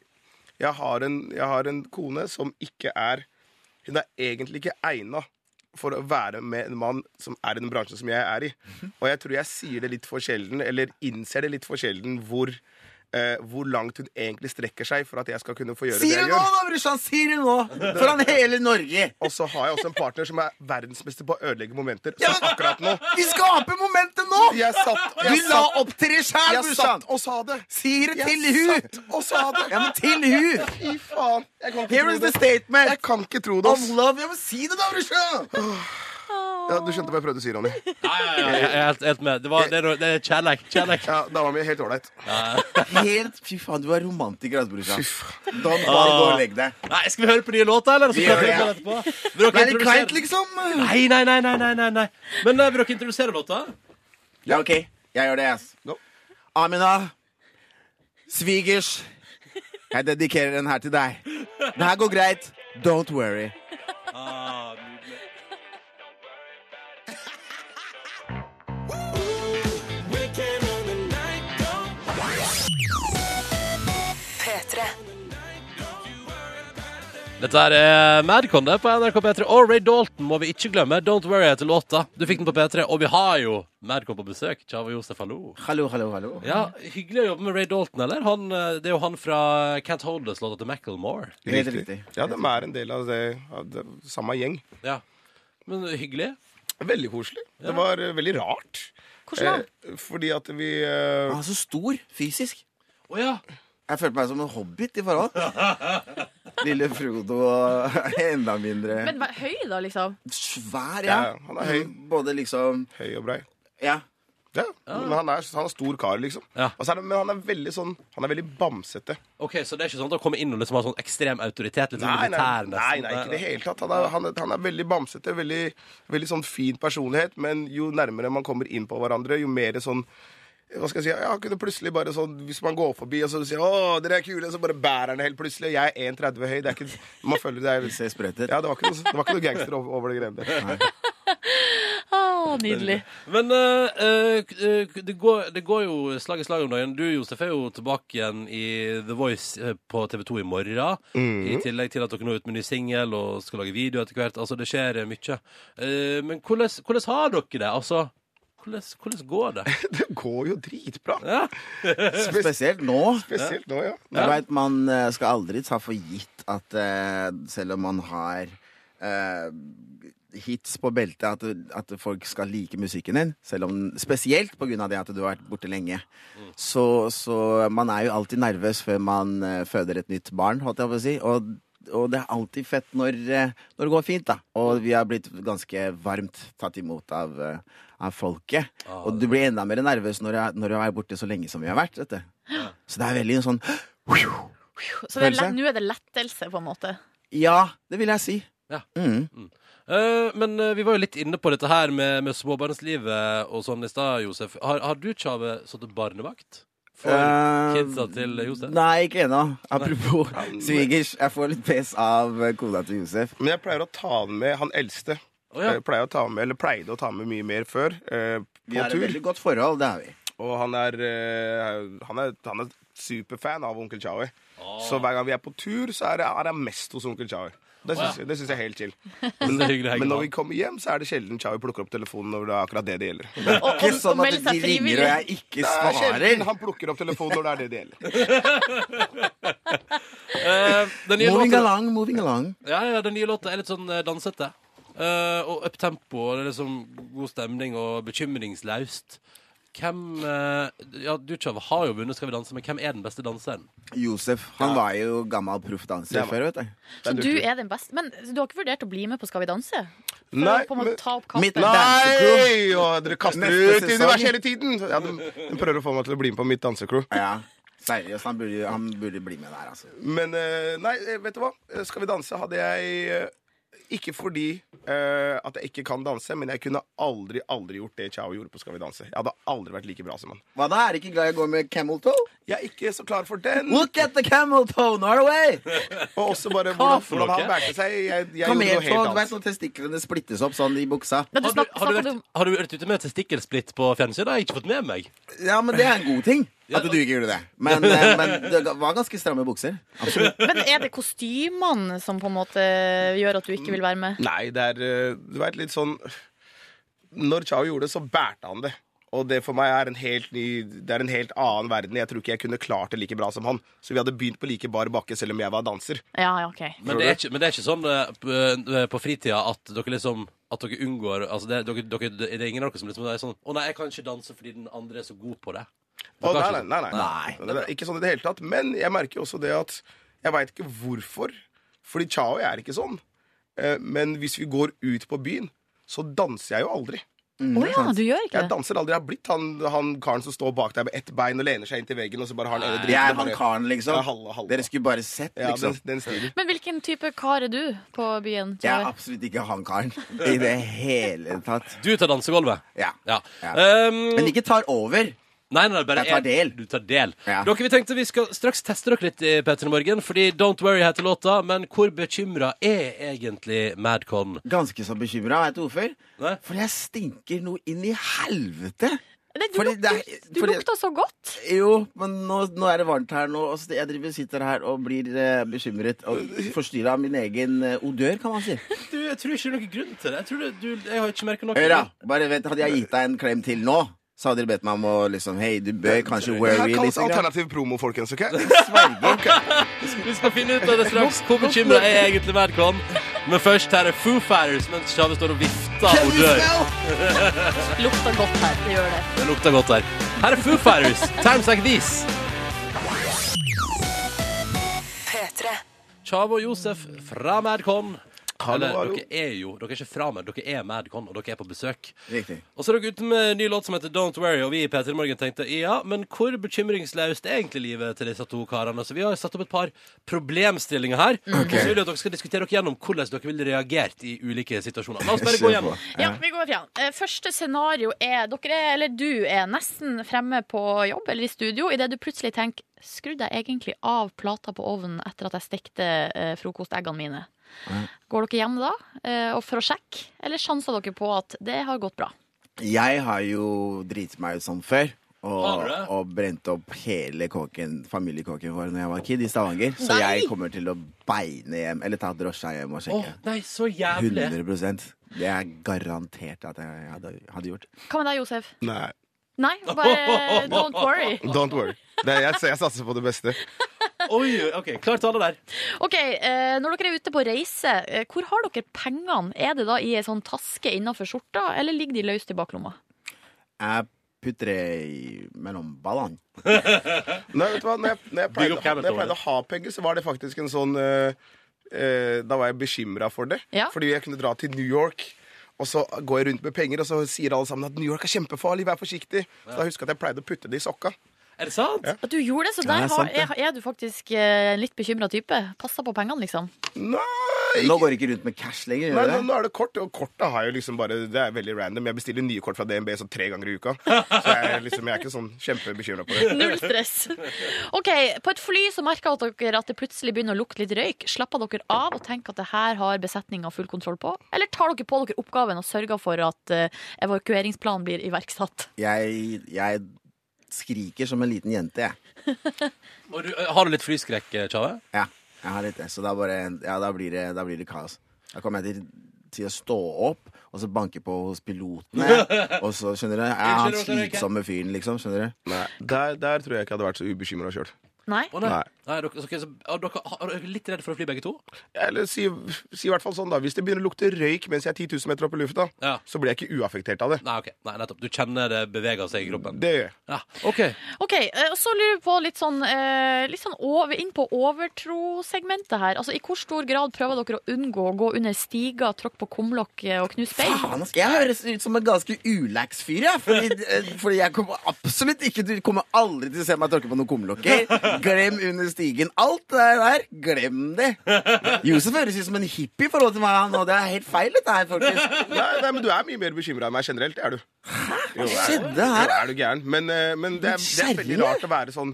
J: jeg, har en, jeg har en kone som ikke er Hun er egentlig ikke egna for å være med en mann som er i den bransjen som jeg er i. Og jeg tror jeg sier det litt for sjelden, eller innser det litt for sjelden, hvor, eh, hvor langt hun egentlig strekker seg for at jeg skal kunne få gjøre
G: Si
J: det
G: det
J: jeg
G: nå,
J: gjør.
G: da, brorsan! Si det nå! Foran hele Norge!
J: Og så har jeg også en partner som er verdensmester på å ødelegge momenter. Som akkurat nå.
G: Vi skaper momentet nå!
J: Jeg satt,
G: Du
J: jeg
G: la
J: satt,
G: opp til det sjæl,
J: jeg
G: brorsan!
J: satt og sa det.
G: Si det til
J: Jeg
G: hu!
J: satt og sa det.
G: Ja, men til hu!
J: Fy faen. Jeg kan
G: Here
J: ikke
G: is
J: tro
G: the
J: det.
G: statement
J: Jeg kan ikke tro det.
G: of
J: ass.
G: love. Ja, men si det, da, brorsan!
J: Ja, du skjønte hva jeg prøvde å si, Ronny.
B: Ja, ja, ja, jeg er helt, helt med. Det, var, det, er- det er kjærleik. kjærleik.
J: Ja, Dama mi er helt ålreit.
G: Helt Fy faen, du er romantiker, altså, brorsan. Don, bare
B: Ah.
G: gå og legg deg.
B: Nei, skal vi høre på nye låter, eller? Så
G: Vi
B: prater
G: gjør
B: vi
G: det.
B: på den etterpå. Vil
G: Det
B: dere
G: er litt kleint,
B: introdusere-
G: liksom.
B: Nei, nei, nei, nei, nei, nei, nei. Men eh, vil dere introdusere låta?
G: Ja, OK. Jeg gjør det, ass.
J: Go.
G: Amina. Svigers. Jeg dedikerer den her til deg. Det her går greit. Don't worry.
B: Ah, Dette her er Madcon det, på NRK P3. Og Ray Dalton må vi ikke glemme. Don't Worry heter låta. Du fikk den på P3. Og vi har jo Madcon på besøk. Chavo Josef, hallo.
G: Hallo, hallo, hallo.
B: Ja, Hyggelig å jobbe med Ray Dalton, eller? Han, eh, det er jo han fra Can't Hold Us-låta til Macclemore.
G: Helt riktig.
J: Ja, de er en del av det, av det samme gjeng.
B: Ja. Men hyggelig.
J: Veldig koselig. Det var eh, veldig rart.
F: Hvordan da?
J: Eh, fordi at vi eh,
G: Han er så stor fysisk.
B: Å ja.
G: Jeg følte meg som en hobbit i forhold. Lille Frodo og enda mindre
F: Men vær høy, da, liksom.
G: Svær,
J: ja,
G: ja.
J: Han er høy,
B: Mm.
G: Både liksom
J: høy og brei.
G: Ja.
J: Ja, Men han er, han er stor kar, liksom.
B: Ja.
J: Og så er det, men han er veldig sånn Han er veldig bamsete.
B: Ok, Så det er ikke sånn at han kommer inn og liksom har sånn ekstrem autoritet? Litt sånn
J: Nei, nei,
B: militær, nesten?
J: nei, nei, ikke i det hele tatt. Han er, han, er- han er veldig bamsete, veldig, veldig sånn fin personlighet, men jo nærmere man kommer inn på hverandre, jo mer sånn hva skal jeg si, ja, kunne plutselig bare sånn, Hvis man går forbi og så sier 'Å, dere er kule', så bare bærer han det helt plutselig. Og jeg er 1,30 høy. Det er ikke, man føler det er
G: Ser sprøtt ut.
J: Ja, det var ikke noe, det var ikke noe gangster over, over det greiene der.
F: Ah, Nydelig.
B: Men eh, eh, k- eh, k- det, går, det går jo slag i slag om dagen. Du, Josef, er jo tilbake igjen i The Voice eh, på TV 2 i morgen.
G: Mm.
B: I tillegg til at dere nå er ute med ny singel og skal lage video etter hvert. Altså, det skjer eh, mye. Eh, men hvordan, hvordan har dere det? Altså, hvordan, hvordan går det?
J: Det går jo dritbra.
B: Ja.
G: Spesielt nå.
J: Spesielt nå, ja.
G: Du vet, Man eh, skal aldri ta for gitt at eh, selv om man har eh, hits på beltet, at, du- at folk skal like musikken din. Selv om, spesielt pga. det at du har vært borte lenge. Så, så man er jo alltid nervøs før man eh, føder et nytt barn, holdt jeg på å si. Og, og det er alltid fett når, eh, når det går fint, da. Og vi har blitt ganske varmt tatt imot av, eh, av folket. og du blir enda mer nervøs når du er- når du er borte så lenge som vi har vært. Vet du. Så det er veldig en sånn
F: Så det er lett,
G: Følelse?
F: nå er det lettelse, på en måte.
G: Ja, det vil jeg si.
B: Ja.
G: Mm.
B: Eh, men eh, vi var jo litt inne på dette her med, med småbarnslivet og sånn i stad, Josef. Har, har du, Tjave, satt barnevakt for
G: Eh,
B: kidsa til Josef?
G: Nei, ikke ennå. Apropos svigers, jeg får litt pes av eh, kona til Josef.
J: Men jeg pleier å ta den med han eldste.
B: Å ja.
J: Jeg pleier å ta med, eller pleide å ta med mye mer før. Eh,
G: Vi
J: på
G: har et
J: tur.
G: veldig godt forhold, det har vi.
J: Og han er, eh, han er, han er superfan av Onkel Chaui.
F: Ah.
J: Så hver gang vi er på tur, så er det- er han mest hos Onkel Chaui. Det syns jeg, det syns jeg er helt chill. Men,
B: Så hyggelig å
J: men
B: henge med
J: når
B: han.
J: vi kommer hjem, så er det sjelden Chaui plukker opp telefonen når det er akkurat det det gjelder. Det
F: Og, og,
G: Ikke
F: og
G: sånn at
F: melde
G: de
F: seg
G: ringer
F: frivillig.
G: og jeg ikke
J: er sjelden
G: svarer.
J: han plukker opp telefonen når det er det det gjelder.
B: Eh, den nye
G: Moving
B: låten-
G: along, moving along.
B: Ja, ja, den nye låta er litt sånn eh, dansete. Eh, og uptempo, og det er liksom god stemning og bekymringslaust. Hvem eh, Ja, du Tjav, har jo vunnet Skal vi danse, men hvem er den beste danseren?
G: Josef han var jo gammel proffdanser
J: Ja.
G: før, vet du.
F: Så du er den beste. Men du har ikke vurdert å bli med på Skal vi danse? For
J: Nei,
F: å på en måte
J: men-
F: ta opp
G: Mitt-
F: kampen?
J: Nei! Og dere kaster
G: Neste
J: ut
G: sesong.
J: universet hele tiden! Ja, de, de prøver å få meg til å bli med på mitt dansecrew.
G: Ja, Seriøst, han burde, han burde bli med der, altså.
J: Men eh, nei, eh, vet du hva? Eh, Skal vi danse hadde jeg eh, Ikke fordi eh, at jeg ikke kan danse, men jeg kunne aldri aldri gjort det Chao gjorde på Skal vi danse. Jeg hadde aldri vært like bra som han.
G: Hva da, er du ikke glad i å gå med camel toe?
J: Jeg er ikke så klar for den.
G: Look at the camel toe, Norway!
J: Og også bare hvordan,
B: for
J: hvordan han
B: noe?
J: bærte seg. Jeg, jeg gjorde noe
G: Kameltog,
J: helt
G: du vet
J: annet.
G: når testiklene splittes opp sånn i buksa.
F: Men du
B: Har du,
F: snak-
B: har du,
F: snakket
B: vært,
F: om
B: har du vært ute med et testikkelsplitt på fjernsynet? Jeg har ikke fått med meg.
G: Ja, men det er en god ting. At du ikke gjorde det. Men, eh, men det var ganske stramme bukser. Absolutt.
F: Men er det kostymene som på en måte gjør at du ikke vil være med?
J: Nei, det er eh, Du veit litt sånn Når Chao gjorde det, så bærte han det. Og det for meg er en helt ny Det er en helt annen verden. Jeg tror ikke jeg kunne klart det like bra som han. Så vi hadde begynt på like bar bakke selv om jeg var danser.
F: Ja, ja, OK.
B: Men det er ikke, men det er ikke sånn eh, p- eh, på fritida at dere liksom At dere unngår altså det, dere, dere, det er ingen av dere som liksom er sånn 'Å nei, jeg kan ikke danse fordi den andre er så god på det'.
J: Å,
B: Dere har
J: nei,
B: ikke-
J: nei, nei, nei. Det er ikke sånn i det hele tatt. Men jeg merker jo også det at jeg veit ikke hvorfor. Fordi Chao er ikke sånn. Eh, Men hvis vi går ut på byen, så danser jeg jo aldri.
F: Å ja, du gjør ikke
J: Jeg
F: det?
J: danser aldri. Jeg har blitt han, han karen som står bak deg med ett bein og lener seg inn til veggen, og så bare har han ene
G: Jeg er
J: dritten og
G: han
J: bare-
G: karen, liksom.
J: Ja, halve, halve.
G: Dere skulle bare sett,
J: Ja,
G: liksom.
J: den, den stilen.
F: Men hvilken type kar er du på byen?
G: Jeg
F: Tove?
G: er absolutt ikke han karen i det hele tatt.
B: Du tar dansegulvet.
G: Ja.
B: Ja.
G: Ja.
B: Um,
G: Men ikke tar over.
B: Nei, nei, bare
G: Jeg tar
B: en-
G: del.
B: Du tar del.
G: Ja.
B: Dere, Vi tenkte vi skal straks teste dere litt i Petter i morgen, fordi Don't Worry heter låta. Men hvor bekymra er egentlig Madcon?
G: Ganske så bekymra, veit du hvorfor?
B: Nei.
G: For jeg stinker noe inn i helvete.
F: Nei, du,
G: Fordi
F: luk-
G: det er-
F: du
G: fordi-
F: lukta så godt!
G: Jo, men nå, nå er det varmt her nå. Og så jeg driver, sitter her og blir eh, bekymret og forstyrra av min egen eh, odør, kan man si.
B: Du, Jeg tror ikke det er noen grunn til det. Jeg, tror det, du, jeg har ikke merka noe.
G: Hør, da. Bare vent, hadde jeg gitt deg en klem til nå, så hadde dere bedt meg om å liksom Hei, du bør kanskje
J: Det
G: worry
J: her
G: litt. liksom.
J: kalles
G: grann.»
J: alternativ promo, folkens. ok?
B: Vi skal finne ut av det straks. Hvor bekymra er egentlig Madcon? Men først her er Foo Fighters mens Tjave står og vifter og dør.
F: Lukta godt her. Det gjør det.
B: Det lukter godt her. Her er Foo Fighters, Times Like These. Tjave og Josef fra Madcon.
J: Hallo,
B: Eller,
J: hallo.
B: dere er jo dere er ikke fra meg, dere er Madcon, og dere er på besøk.
G: Riktig.
B: Og så er dere ute med en ny låt som heter Don't Worry, og vi i P3 Morgen tenkte ja, men hvor bekymringsløst er egentlig livet til disse to karene? Så vi har satt opp et par problemstillinger her. Og så vil jeg at dere skal diskutere dere gjennom hvordan dere ville reagert i ulike situasjoner. La oss bare gå
G: Kjør på.
B: gjennom.
F: Ja, vi går fram. Eh, Første scenario er dere er, eller du er nesten fremme på jobb eller i studio idet du plutselig tenker Skrudde jeg egentlig av plata på ovnen etter at jeg stekte eh, frokosteggene mine? Går dere hjem da eh, og for å sjekke, eller sjanser dere på at det har gått bra?
G: Jeg har jo driti meg ut sånn før.
B: Har
G: Og,
B: du det?
G: og brent opp hele kåken, familiekåken vår når jeg var kid i Stavanger. Så
B: Nei!
G: jeg kommer til å beine hjem, eller ta drosja hjem og
B: Å,
G: sjekke.
B: nei, så jævlig.
G: 100 Det er garantert at jeg hadde, hadde gjort.
C: Hva med deg, Josef?
J: Nei.
C: Nei, bare don't worry.
J: Don't worry. Det, jeg, jeg satser på det beste.
B: Oi, ok, klar tale der.
C: Ok, eh, Når dere er ute på reise, eh, hvor har dere pengene? Er det da i ei sånn taske innafor skjorta, eller ligger de løst i baklomma?
G: Jeg putter det i mellom ballene.
J: Nei, vet du hva? Når jeg, når jeg,
B: Bygg
J: pleide,
B: opp cabinet
J: når jeg pleide å ha penger, så var det faktisk en sånn eh, eh, Da var jeg bekymra for det.
C: Ja.
J: Fordi jeg kunne dra til New York. Og så går jeg rundt med penger, og så sier alle sammen at New York er kjempefarlig, vær forsiktig. Så da husker jeg at jeg pleide å putte det i sokka.
B: Er det sant?
C: At du gjorde det, så
G: Ja,
C: der
G: det er
C: har,
G: sant, det.
C: er, er du faktisk eh, en litt bekymra type. Passer på pengene, liksom.
J: Nei,
G: Nå går jeg ikke rundt med cash lenger.
J: Nei,
G: Gjør
J: nå,
G: jeg det?
J: nå er det kort, og kortet har jeg liksom bare Det er veldig random. Jeg bestiller nye kort fra DNB sånn tre ganger i uka. Så jeg, er liksom, jeg er ikke sånn kjempebekymra på det.
C: Null stress. OK, på et fly så merker dere at det plutselig begynner å lukte litt røyk. Slapper dere av og tenker at det her har besetninga full kontroll på? Eller tar dere på dere oppgaven og sørger for at eh, evakueringsplanen blir iverksatt?
G: Jeg, jeg skriker som en liten jente, jeg.
B: Og du, har du litt flyskrekk, Tjave?
G: Ja, jeg har litt det. Så da, bare, ja, da, blir det, da blir det kaos. Da kommer jeg til, til å stå opp og så banke på hos pilotene. Og så, skjønner du, jeg er han slitsomme fyren, liksom. Skjønner du?
J: Nei, der, der tror jeg ikke jeg hadde vært så ubekymra sjøl.
C: Nei?
B: Å, nei.
J: Nei.
B: nei dere, ok, så, er dere, er dere litt redd for å fly, begge to?
J: Eller si, si i hvert fall sånn, da. Hvis det begynner å lukte røyk mens jeg er 10 000 meter opp i lufta,
B: Ja.
J: så blir jeg ikke uaffektert av det.
B: Nei, ok. Nei, nettopp. Du kjenner det beveger seg i kroppen.
J: Det gjør jeg.
B: Ja, ok.
C: OK, eh, og så lurer jeg på litt sånn, eh, litt sånn over, inn på overtrosegmentet her. Altså, I hvor stor grad prøver dere å unngå å gå under stiger, tråkke på kumlokk eh, og knuse bein?
G: Faen, ass, jeg høres ut som en ganske ulæks fyr, jeg. Fordi, eh, fordi jeg kommer absolutt ikke Du kommer aldri til å se meg tråkke på noen kumlokker. Glem under stigen. Alt det der, glem det. Josef høres ut som en hippie i forhold til meg, han, og det er helt feil, dette her, folkens.
J: Nei, nei, men du er mye mer bekymra enn meg generelt. Det er du. Hva
G: skjedde her,
J: Jo, er du gæren. Men, eh, men det, er, det er veldig
G: Kjerre?
J: rart å være sånn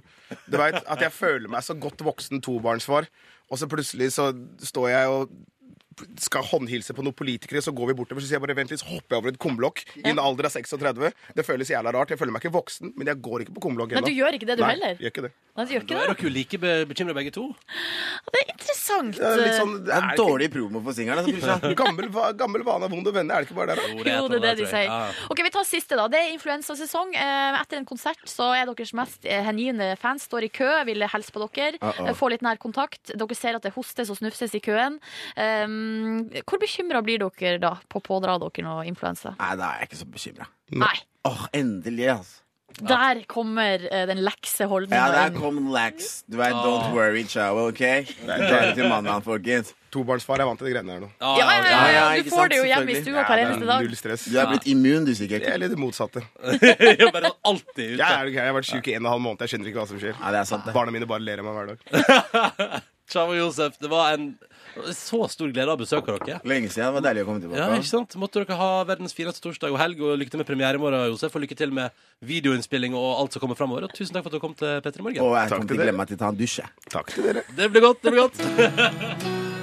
J: Du vet, At jeg føler meg så godt voksen tobarnsfar, og så plutselig så står jeg og skal håndhilse på noen politikere, så går vi bortover, så sier jeg bare vent litt, så hopper jeg over et kumlokk i en alder av 36. Det føles jævla rart. Jeg føler meg ikke voksen, men jeg går ikke på kumlokk
C: Men
J: ennå.
C: du gjør ikke det, du
J: Nei,
C: heller?
J: gjør ikke det.
C: Nei, du gjør
B: Da
C: ikke
B: er
C: det.
B: dere jo like be bekymra, begge to.
C: Det er interessant. eh,
J: Det er litt sånn
G: Det er dårlig promo for singelen. altså, Pusha.
J: ikke- gammel, va- gammel vane er vond å vende, er det ikke bare det? da?
B: Jo,
C: Jo, det er det de
B: tror jeg.
C: sier.
B: Ja, ja.
C: Ok, Vi tar siste, da. Det er influensasesong. Eh, Etter en konsert så er deres mest eh, hengive fans står i kø, vil hilse på dere, eh, få litt nær kontakt. Dere ser at det hostes og snufses i køen. Eh, Hvor bekymra blir dere da på å pådra dere noe influensa?
G: Nei, da er jeg ikke så bekymra.
C: Nei.
G: Åh, endelig, altså.
C: Der kommer eh, den lekseholdninga
G: Ja, der
C: inn.
G: kom lax. Du er don't worry, chavo, OK? Bare til mannen, folkens.
J: Tobarnsfar er vant til de greiene der nå.
C: Ja,
B: Ja,
C: ja, ja, ja,
G: Ja, ja,
C: du
G: ikke
C: får
G: sant,
C: det jo hjemme i
G: selvfølgelig.
C: stua hver
J: Det
C: eneste
J: er
C: dag.
J: null stress.
G: Du er blitt immun, du, sikkert.
J: Jeg er litt det motsatte.
B: Jeg er bare sånn alltid ute.
J: Jeg, er, jeg har vært syk i en og en halv måned. Jeg skjønner ikke hva som skjer.
G: Ja, det er sant, det.
J: Barna mine bare ler av meg hver dag.
B: Tjave og Josef, det var en så stor glede av besøk av dere.
G: Lenge siden. Det var deilig å komme tilbake.
B: Ja, ikke sant? Måtte dere ha verdens fineste torsdag og helg, og lykke til med premiere i morgen, Josef, og lykke til med videoinnspilling og alt som kommer fremover Og tusen takk for at du kom til Petter i morgen.
G: Og jeg
J: Takk
G: kommer
J: til
G: til å
J: dere.
G: glemme at jeg tar en dusj. jeg.
J: Takk til dere.
B: Det blir godt, det blir godt.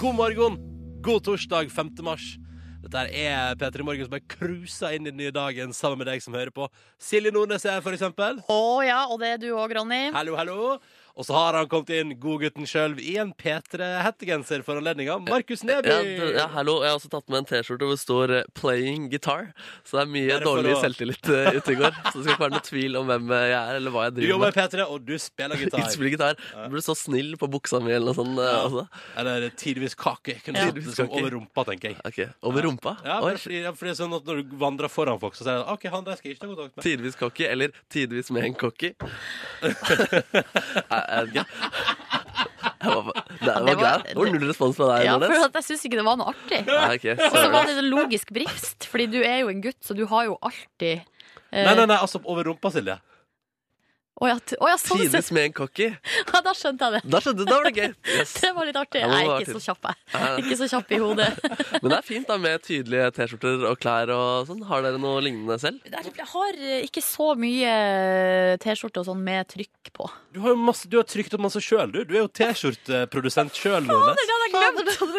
B: God morgen. God torsdag 5. mars. Dette er P3 Morgen som er cruisa inn i den nye dagen sammen med deg som hører på. Silje Nordnes er her, for eksempel.
C: Å ja, og det er du òg, Ronny.
B: Hallo, hallo. Og så har han kommet inn, godgutten sjøl, i en P3-hettegenser for anledninga. Markus Neby.
D: Ja, d- ja, hallo. Jeg har også tatt med en T-skjorte hvor det står eh, 'playing guitar'. Så det er mye
B: Bare for
D: dårlig
B: å-
D: selvtillit eh, ute i går. Så det skal ikke være noe tvil om hvem eh, jeg er, eller hva jeg
B: Du
D: driver
B: jobber i
D: med.
B: P3, og du spiller
D: Ikke
B: gitar.
D: spille gitar. Du burde stå 'snill' på buksa mi eller noe sånt. eh, Også.
B: Eller tidvis kake. Kunne
D: Ja.
B: satt det som over rumpa, tenker jeg.
D: Ok, Over rumpa?
B: Ja,
D: Oi.
B: bare fordi, ja, fordi det er sånn at Når du vandrer foran folk, så sier de OK, han der skal jeg ikke ta kontakt med.
D: Tidvis cocky, eller tidvis med en cocky. Nei, jeg vet ikke. Jeg var, det, var
C: det var-
D: greit. Det var null respons fra deg,
C: Ja, for
D: Nordnes.
C: at jeg syns ikke det var noe artig.
D: Nei, ok,
C: Og så
D: sorry.
C: var det en logisk brist, fordi du er jo en gutt, så du har jo alltid eh,
B: Nei, nei, nei, altså over rumpa, Silje.
C: Å ja, t- å ja, sånn sett.
D: Trines med en cocky.
C: Ja, da skjønte jeg det.
D: Da skjønte du, da var det gøy. Yes.
C: Det var litt artig.
D: Ja, det
C: Nei,
D: var
C: ikke
D: artig.
C: så kjapp,
D: Nei,
C: jeg.
D: nei.
C: Ikke så kjapp i hodet.
D: Men det er fint da med tydelige T-skjorter og klær og sånn. Har dere noe lignende selv?
C: Det er- Jeg har eh, ikke så mye T-skjorte og sånn med trykk på.
B: Du har jo masse, du har trykt opp masse sjøl, du. Du er jo T-skjorteprodusent sjøl,
C: Det
B: Nordnes.
C: hadde jeg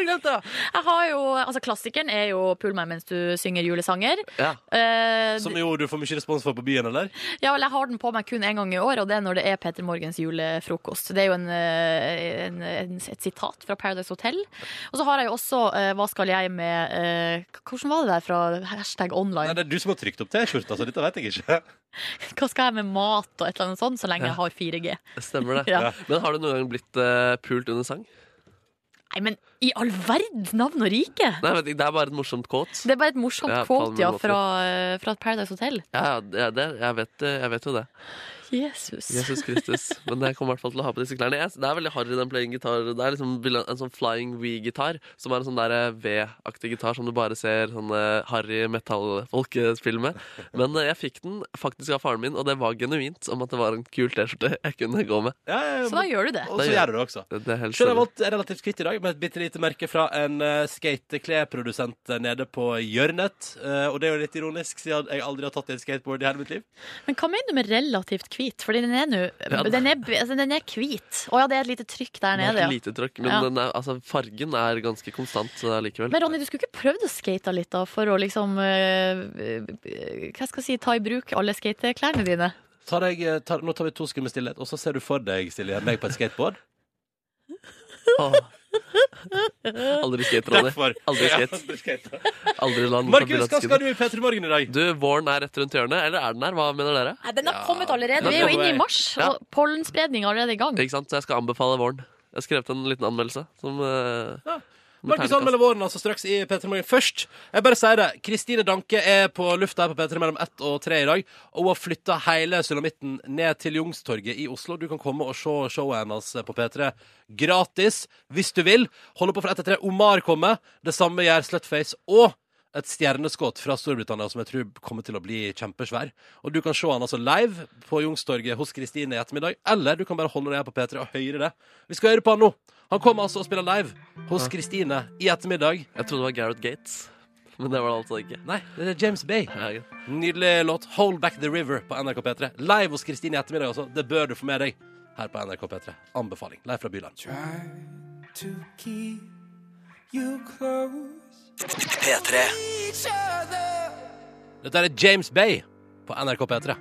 C: glemt! Jeg har jo, altså Klassikeren er jo 'Pull meg mens du synger julesanger'.
D: Ja.
C: Eh,
B: Som jo du får mye respons for på byen, eller?
C: Ja, vel, jeg har den på meg kun én gang i år, og det er når det er Peter Morgens julefrokost. Det er jo en, eh, en, en, et sitat fra Paradise Hotel. Og så har jeg jo også eh, 'Hva skal jeg med eh, k- Hvordan var det der fra hashtag
B: Nei,
C: online?
B: det er du som har trykt opp T-skjorta, så dette vet jeg ikke.
C: Hva skal jeg med mat og et eller annet sånt, så lenge jeg har 4G?
D: Stemmer det.
C: Ja.
D: Men har du noen gang blitt eh, pult under sang?
C: Nei, men i all verdens navn og rike!
D: Nei, vet ikke, det er bare et morsomt kåt.
C: Det er bare et morsomt
D: Ja,
C: quote ja,
D: palmemåte.
C: fra, eh, fra Paradise Hotel.
D: Ja, ja, det, det, jeg, vet, det- jeg vet jo det.
C: Jesus.
D: Jesus Kristus. Men jeg kommer i hvert fall til å ha på disse klærne. Jeg, det er veldig harry, den playing-gitar. Det er liksom vil- en sånn flying V-gitar, som er en sånn der eh, V-aktig gitar som du bare ser sånne harry metallfolk eh, spille med. Men eh, jeg fikk den faktisk av faren min, og det var genuint om at det var en kul T-skjorte jeg kunne gå med.
B: Ja, ja, ja,
C: Så da gjør du det.
B: Og så gjør du det også.
D: Det, det er helt
B: Sjøl har jeg
D: stille.
B: valgt relativt kvitt i dag, med et bitte lite merke fra en uh, skatekleprodusent eh, nede på hjørnet. Eh, og det er jo litt ironisk, siden jeg aldri har tatt i et skateboard i hele mitt liv.
C: Men hva mener du med relativt hvit? Fordi den er nå den, er, altså, den er hvit. Å ja, det er et lite trykk der
D: Det er
C: nede,
D: et
C: ja.
D: lite trøkk, men
C: Ja.
D: den er, altså, fargen er ganske konstant eh, likevel.
C: Men Ronny, du skulle ikke prøvd å skate litt da, for å liksom eh, eh, Hva skal jeg si, ta i bruk alle skateklærne dine?
B: Tar jeg, eh, tar, nå tar vi to sekunder med stillhet, og så ser du for deg Silje, meg på et skateboard.
D: Åh. Aldri skate, Ronny.
B: Derfor.
D: Aldri skate.
B: Aldri skate.
D: Aldri la
B: Markus,
D: den
B: hva
D: forbi
B: skal
D: latsken.
B: du i P3 Morgen i dag?
D: Du, våren er rett rundt hjørnet. Eller er den her? Hva mener dere?
C: Nei, Den har kommet allerede.
B: Den
C: Vi er
B: er
C: jo
B: på
C: inne
B: vei.
C: i mars,
D: Ja.
C: og pollenspredning er allerede i gang.
D: Ikke sant? Så jeg skal anbefale våren. Jeg har skrevet en liten anmeldelse. Som, eh,
B: Ja.
D: med
B: Markus
D: terningkast.
B: anmelder våren altså straks i P3 Morgen. Først, jeg bare sier det. Kristine Danke er på lufta her på P3 mellom ett og tre i dag. Og hun har flytta hele sulamitten ned til Youngstorget i Oslo. Du kan komme og se showet hennes på P3 gratis hvis du vil. Holder på for ett til tre. Omar kommer. Det samme gjør Slutface og et stjerneskudd fra Storbritannia som jeg tror kommer til å bli kjempesvær. Og du kan se han altså live på Youngstorget hos Kristine i ettermiddag, eller du kan bare holde deg her på P3 og høre det. Vi skal høre på han nå. Han kommer altså og spiller live hos Kristine i ettermiddag.
D: Jeg trodde det var Gareth Gates, men det var det altså ikke.
B: Nei, det er James Bay.
D: Ja, ja.
B: Nydelig låt. 'Hold Back The River' på NRK P3. Live hos Kristine i ettermiddag, altså. Det bør du få med deg her på NRK P3. Anbefaling. Live fra Byland.
A: P3.
B: Dette er James Bay på NRK P3.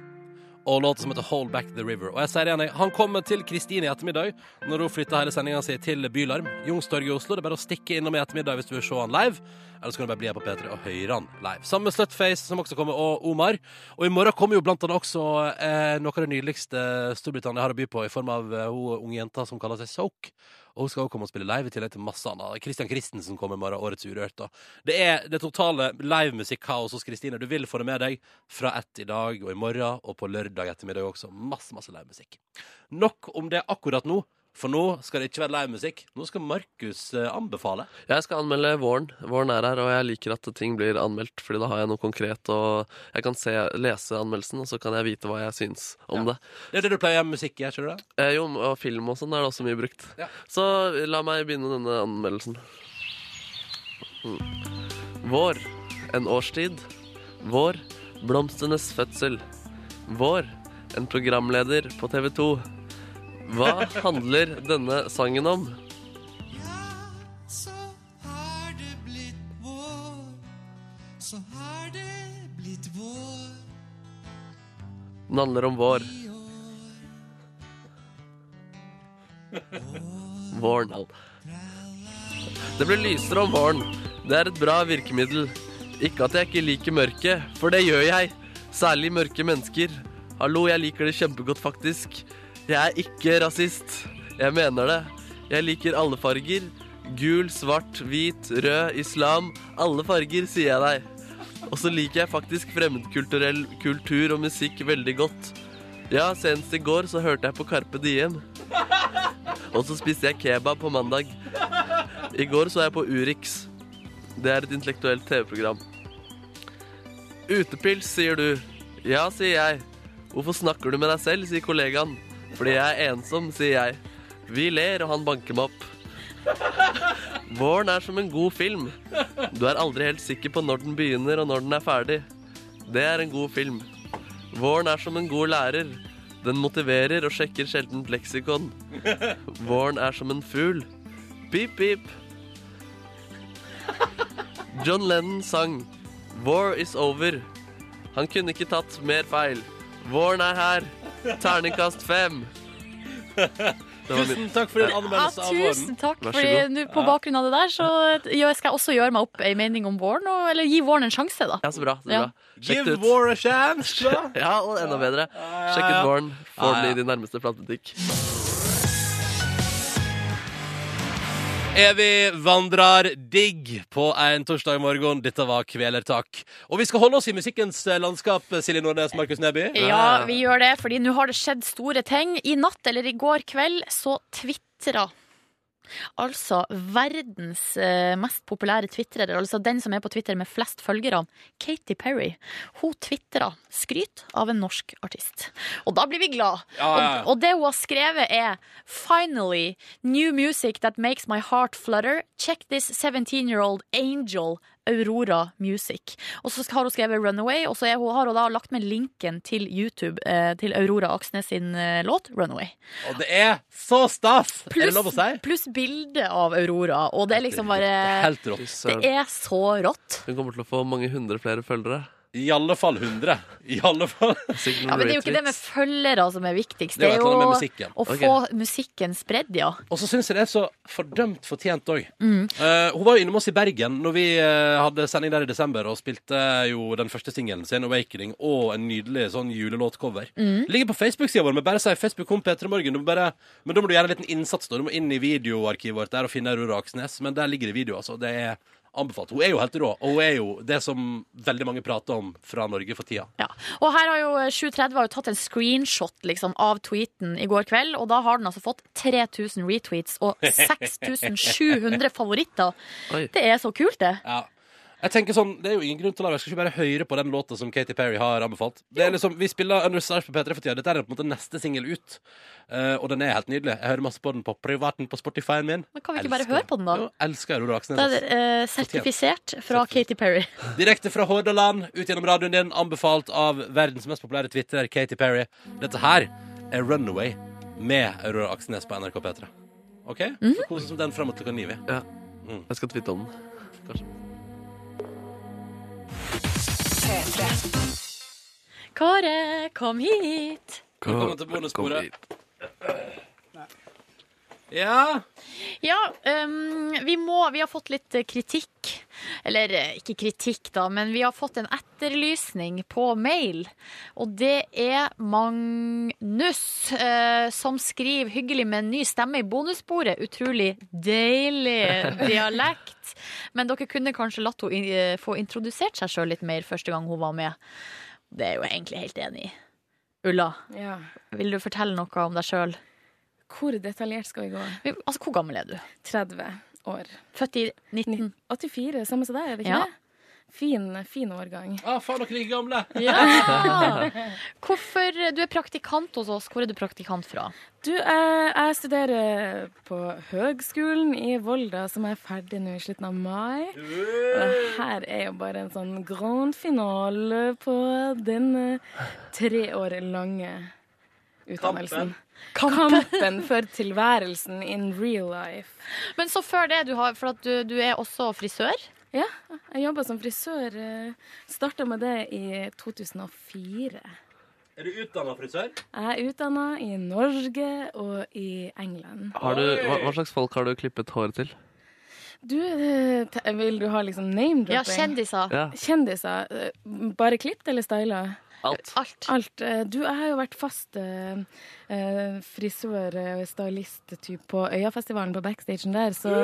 B: Og låten som heter 'Hold Back The River'. Og jeg sier det igjen, jeg, han kommer til Kristine i ettermiddag når hun flytter hele sendinga si til Bylarm. Youngstorget i Oslo. Det er bare å stikke innom i ettermiddag hvis du vil se han live. Eller så kan du bare bli her på P3 og høre han live. Sammen med Slutface, som også kommer, og Omar. Og i morgen kommer jo blant annet også eh, noe av det nydeligste Storbritannia har å by på, i form av eh, hun unge jenta som kaller seg Soak. Og hun skal også komme og spille live i tillegg til masse annet. Christian Christensen kommer i morgen, årets Urørt. da. Det er det totale livemusikkaos hos Kristine. Du vil få det med deg fra ett i dag og i morgen og på lørdag ettermiddag også. Masse, masse livemusikk. Nok om det akkurat nå, for nå skal det ikke være livemusikk. Nå skal Markus eh, anbefale.
D: Jeg skal anmelde våren. Våren er her, og jeg liker at ting blir anmeldt, fordi da har jeg noe konkret, og jeg kan se, lese anmeldelsen, og så kan jeg vite hva jeg syns om det.
B: Det er det du pleier med musikk i, er ikke det?
D: Eh, jo, og film og sånn er det også mye brukt.
B: Ja.
D: Så la meg begynne denne anmeldelsen. Mm. Vår, en årstid. Vår, blomstenes fødsel. Vår, en programleder på TV 2. Hva handler denne sangen om? Den handler om vår. Våren. Det blir lysere om våren. Det er et bra virkemiddel. Ikke at jeg ikke liker mørket, for det gjør jeg. Særlig mørke mennesker. Hallo, jeg liker det kjempegodt, faktisk. Jeg er ikke rasist. Jeg mener det. Jeg liker alle farger. Gul, svart, hvit, rød, islam. Alle farger, sier jeg deg. Og så liker jeg faktisk fremmedkulturell kultur og musikk veldig godt. Ja, senest i går så hørte jeg på Carpe Diem. Og så spiste jeg kebab på mandag. I går så jeg på Urix. Det er et intellektuelt TV-program. Utepils, sier du. Ja, sier jeg. Hvorfor snakker du med deg selv, sier kollegaen. Fordi jeg er ensom, sier jeg. Vi ler, og han banker meg opp. Våren er som en god film. Du er aldri helt sikker på når den begynner, og når den er ferdig. Det er en god film. Våren er som en god lærer. Den motiverer og sjekker sjeldent leksikon. Våren er som en fugl. Pip, pip. John Lennon sang War is over. Han kunne ikke tatt mer feil. Våren er her. Terningkast fem. Det var min.
B: Tusen takk for din
C: Ja,
B: anmeldelse av våren.
C: tusen takk.
D: Vær så
C: Fordi
D: god.
C: nå på bakgrunn av det der, så gjør- skal jeg også gjøre meg opp ei mening om våren. Og, eller gi våren en sjanse, da.
D: Ja, så bra. Så
C: Ja.
D: bra. Sjekk det
B: Give
D: ut.
B: war a chance, da.
D: Ja, og enda bedre. Sjekk ut Våren. Få den i din nærmeste platebutikk.
B: Evig vandrar digg på en torsdag morgen. Dette var Kvelertak. Og vi skal holde oss i musikkens eh, landskap, Silje Nordnes, Markus Neby.
C: Ja, vi gjør det, fordi nå har det skjedd store ting. I natt eller i går kveld så tvitra altså verdens eh, mest populære tvitrer, altså den som er på Twitter med flest følgere, Katy Perry. Hun tvitra skryt av en norsk artist. Og da blir vi glad.
B: Ja, ja, ja.
C: Og, og det hun har skrevet er Finally, new music that makes my heart flutter. Check this 17-year-old angel. Aurora Music. Og så har hun skrevet Runaway, og så er hun, har hun da lagt med linken til YouTube eh, til Aurora Aksnes sin eh, låt Runaway.
B: Og det er så stas! er det lov å
C: Pluss
B: si?
C: pluss bilde av Aurora, og det er liksom bare
B: Helt rått.
C: Det er så rått.
D: Hun kommer til å få mange hundre flere følgere.
B: I alle fall 100. I alle fall.
C: Ja,
D: Sikkert
C: men
D: noen
C: det er jo ikke det med
D: retweets.
C: følgere som er viktigst.
B: Det er jo et eller annet med
C: jo
B: musikken.
C: å få musikken spredd, ja. Mm,
B: Og så syns jeg det er så fordømt fortjent òg. Eh, hun var jo innom oss i Bergen når vi eh, hadde sending der i desember, og spilte jo den første singelen sin, 'Awakening', og en nydelig sånn julelåtcover. Ligger på Facebook-sida vår, men bare si 'Facebook.com P3 Morgen'. Du må bare, men da må du gjøre en liten innsats. Da. Du må inn i videoarkivet vårt der og finne Aurora Aksnes, men der ligger det video, altså. Det er anbefalt. Hun er jo helt rå, og hun er jo det som veldig mange prater om fra Norge for tida.
C: ja. Og her har jo 730 har jo tatt en screenshot liksom, av tweeten i går kveld, og da har den altså fått 3000 retweets og 6700 favoritter.
D: Oi.
C: Det er så kult, det.
B: Ja. Jeg tenker sånn, Det er jo ingen grunn til å la være. Jeg skal ikke bare høre på den låta som Katy Perry har anbefalt. Det er liksom, Vi spiller Under Stars på P3 for tida. Dette er på en måte neste singel ut. Eh, og den er helt nydelig. Jeg hører masse på den på privaten på Spotify-en min.
C: Men kan vi ikke bare
B: Elsker
C: høre på den, da?
B: Jo, elsker Aurora Aksnes.
C: Da er det eh, sertifisert fra Katy Perry.
B: ass. Direkte fra Hordaland, ut gjennom radioen din, anbefalt av verdens mest populære twitrer Katy Perry. Dette her er Runaway med Aurora Aksnes på NRK P3. OK?
C: Mhm.
B: Så Kos oss med den fram til klokka ni. vi. Mm.
D: Jeg skal twitte om den.
C: Kåre, kom hit.
B: Velkommen til bonussporet.
D: Kom hit.
B: Ja.
C: Ja, øhm, vi, må, vi har fått litt eh, kritikk. Eller eh, ikke kritikk, da, men vi har fått en etterlysning på mail. Og det er Magnus eh, som skriver 'hyggelig med en ny stemme i bonussporet'. Utrolig deilig dialekt. Men dere kunne kanskje latt henne eh, få introdusert seg sjøl litt mer første gang hun var med. Det er jeg jo egentlig helt enig i. Ulla,
K: Ja.
C: vil du fortelle noe om deg sjøl?
K: Hvor detaljert skal vi gå?
C: Altså, hvor gammel er du?
K: 30 år.
C: Født i 19...
K: 84, samme som deg, er det ikke
C: Ja.
K: det? Fin, fin årgang.
B: Ah, faen, dere er like gamle.
C: Ja! Hvorfor, Eh, du er praktikant hos oss. Hvor er du praktikant fra?
K: Du, jeg, jeg studerer på Høgskolen i Volda, som er ferdig nå i slutten av mai. Og det her er jo bare en sånn grand finale på den eh, tre år lange utdannelsen. Kampen. for tilværelsen in real life.
C: Men så før det, du har, for at du, du er også frisør.
K: Ja, jeg jobba som frisør. Starta med det i 2004.
B: Er du utdanna frisør?
K: Jeg er utdanna i Norge og i England.
D: Har du, hva, hva slags folk har du klippet håret til?
K: Du, eh, te- vil du ha liksom name-dropping?
C: Ja, kjendiser.
D: Ja,
K: Kjendiser. eh, Bare klippet eller styla?
D: alt.
C: Alt.
K: Alt. eh, Du, jeg har jo vært fast eh, eh, frisør, eh, stylist typ på Øyafestivalen på backstagen der, så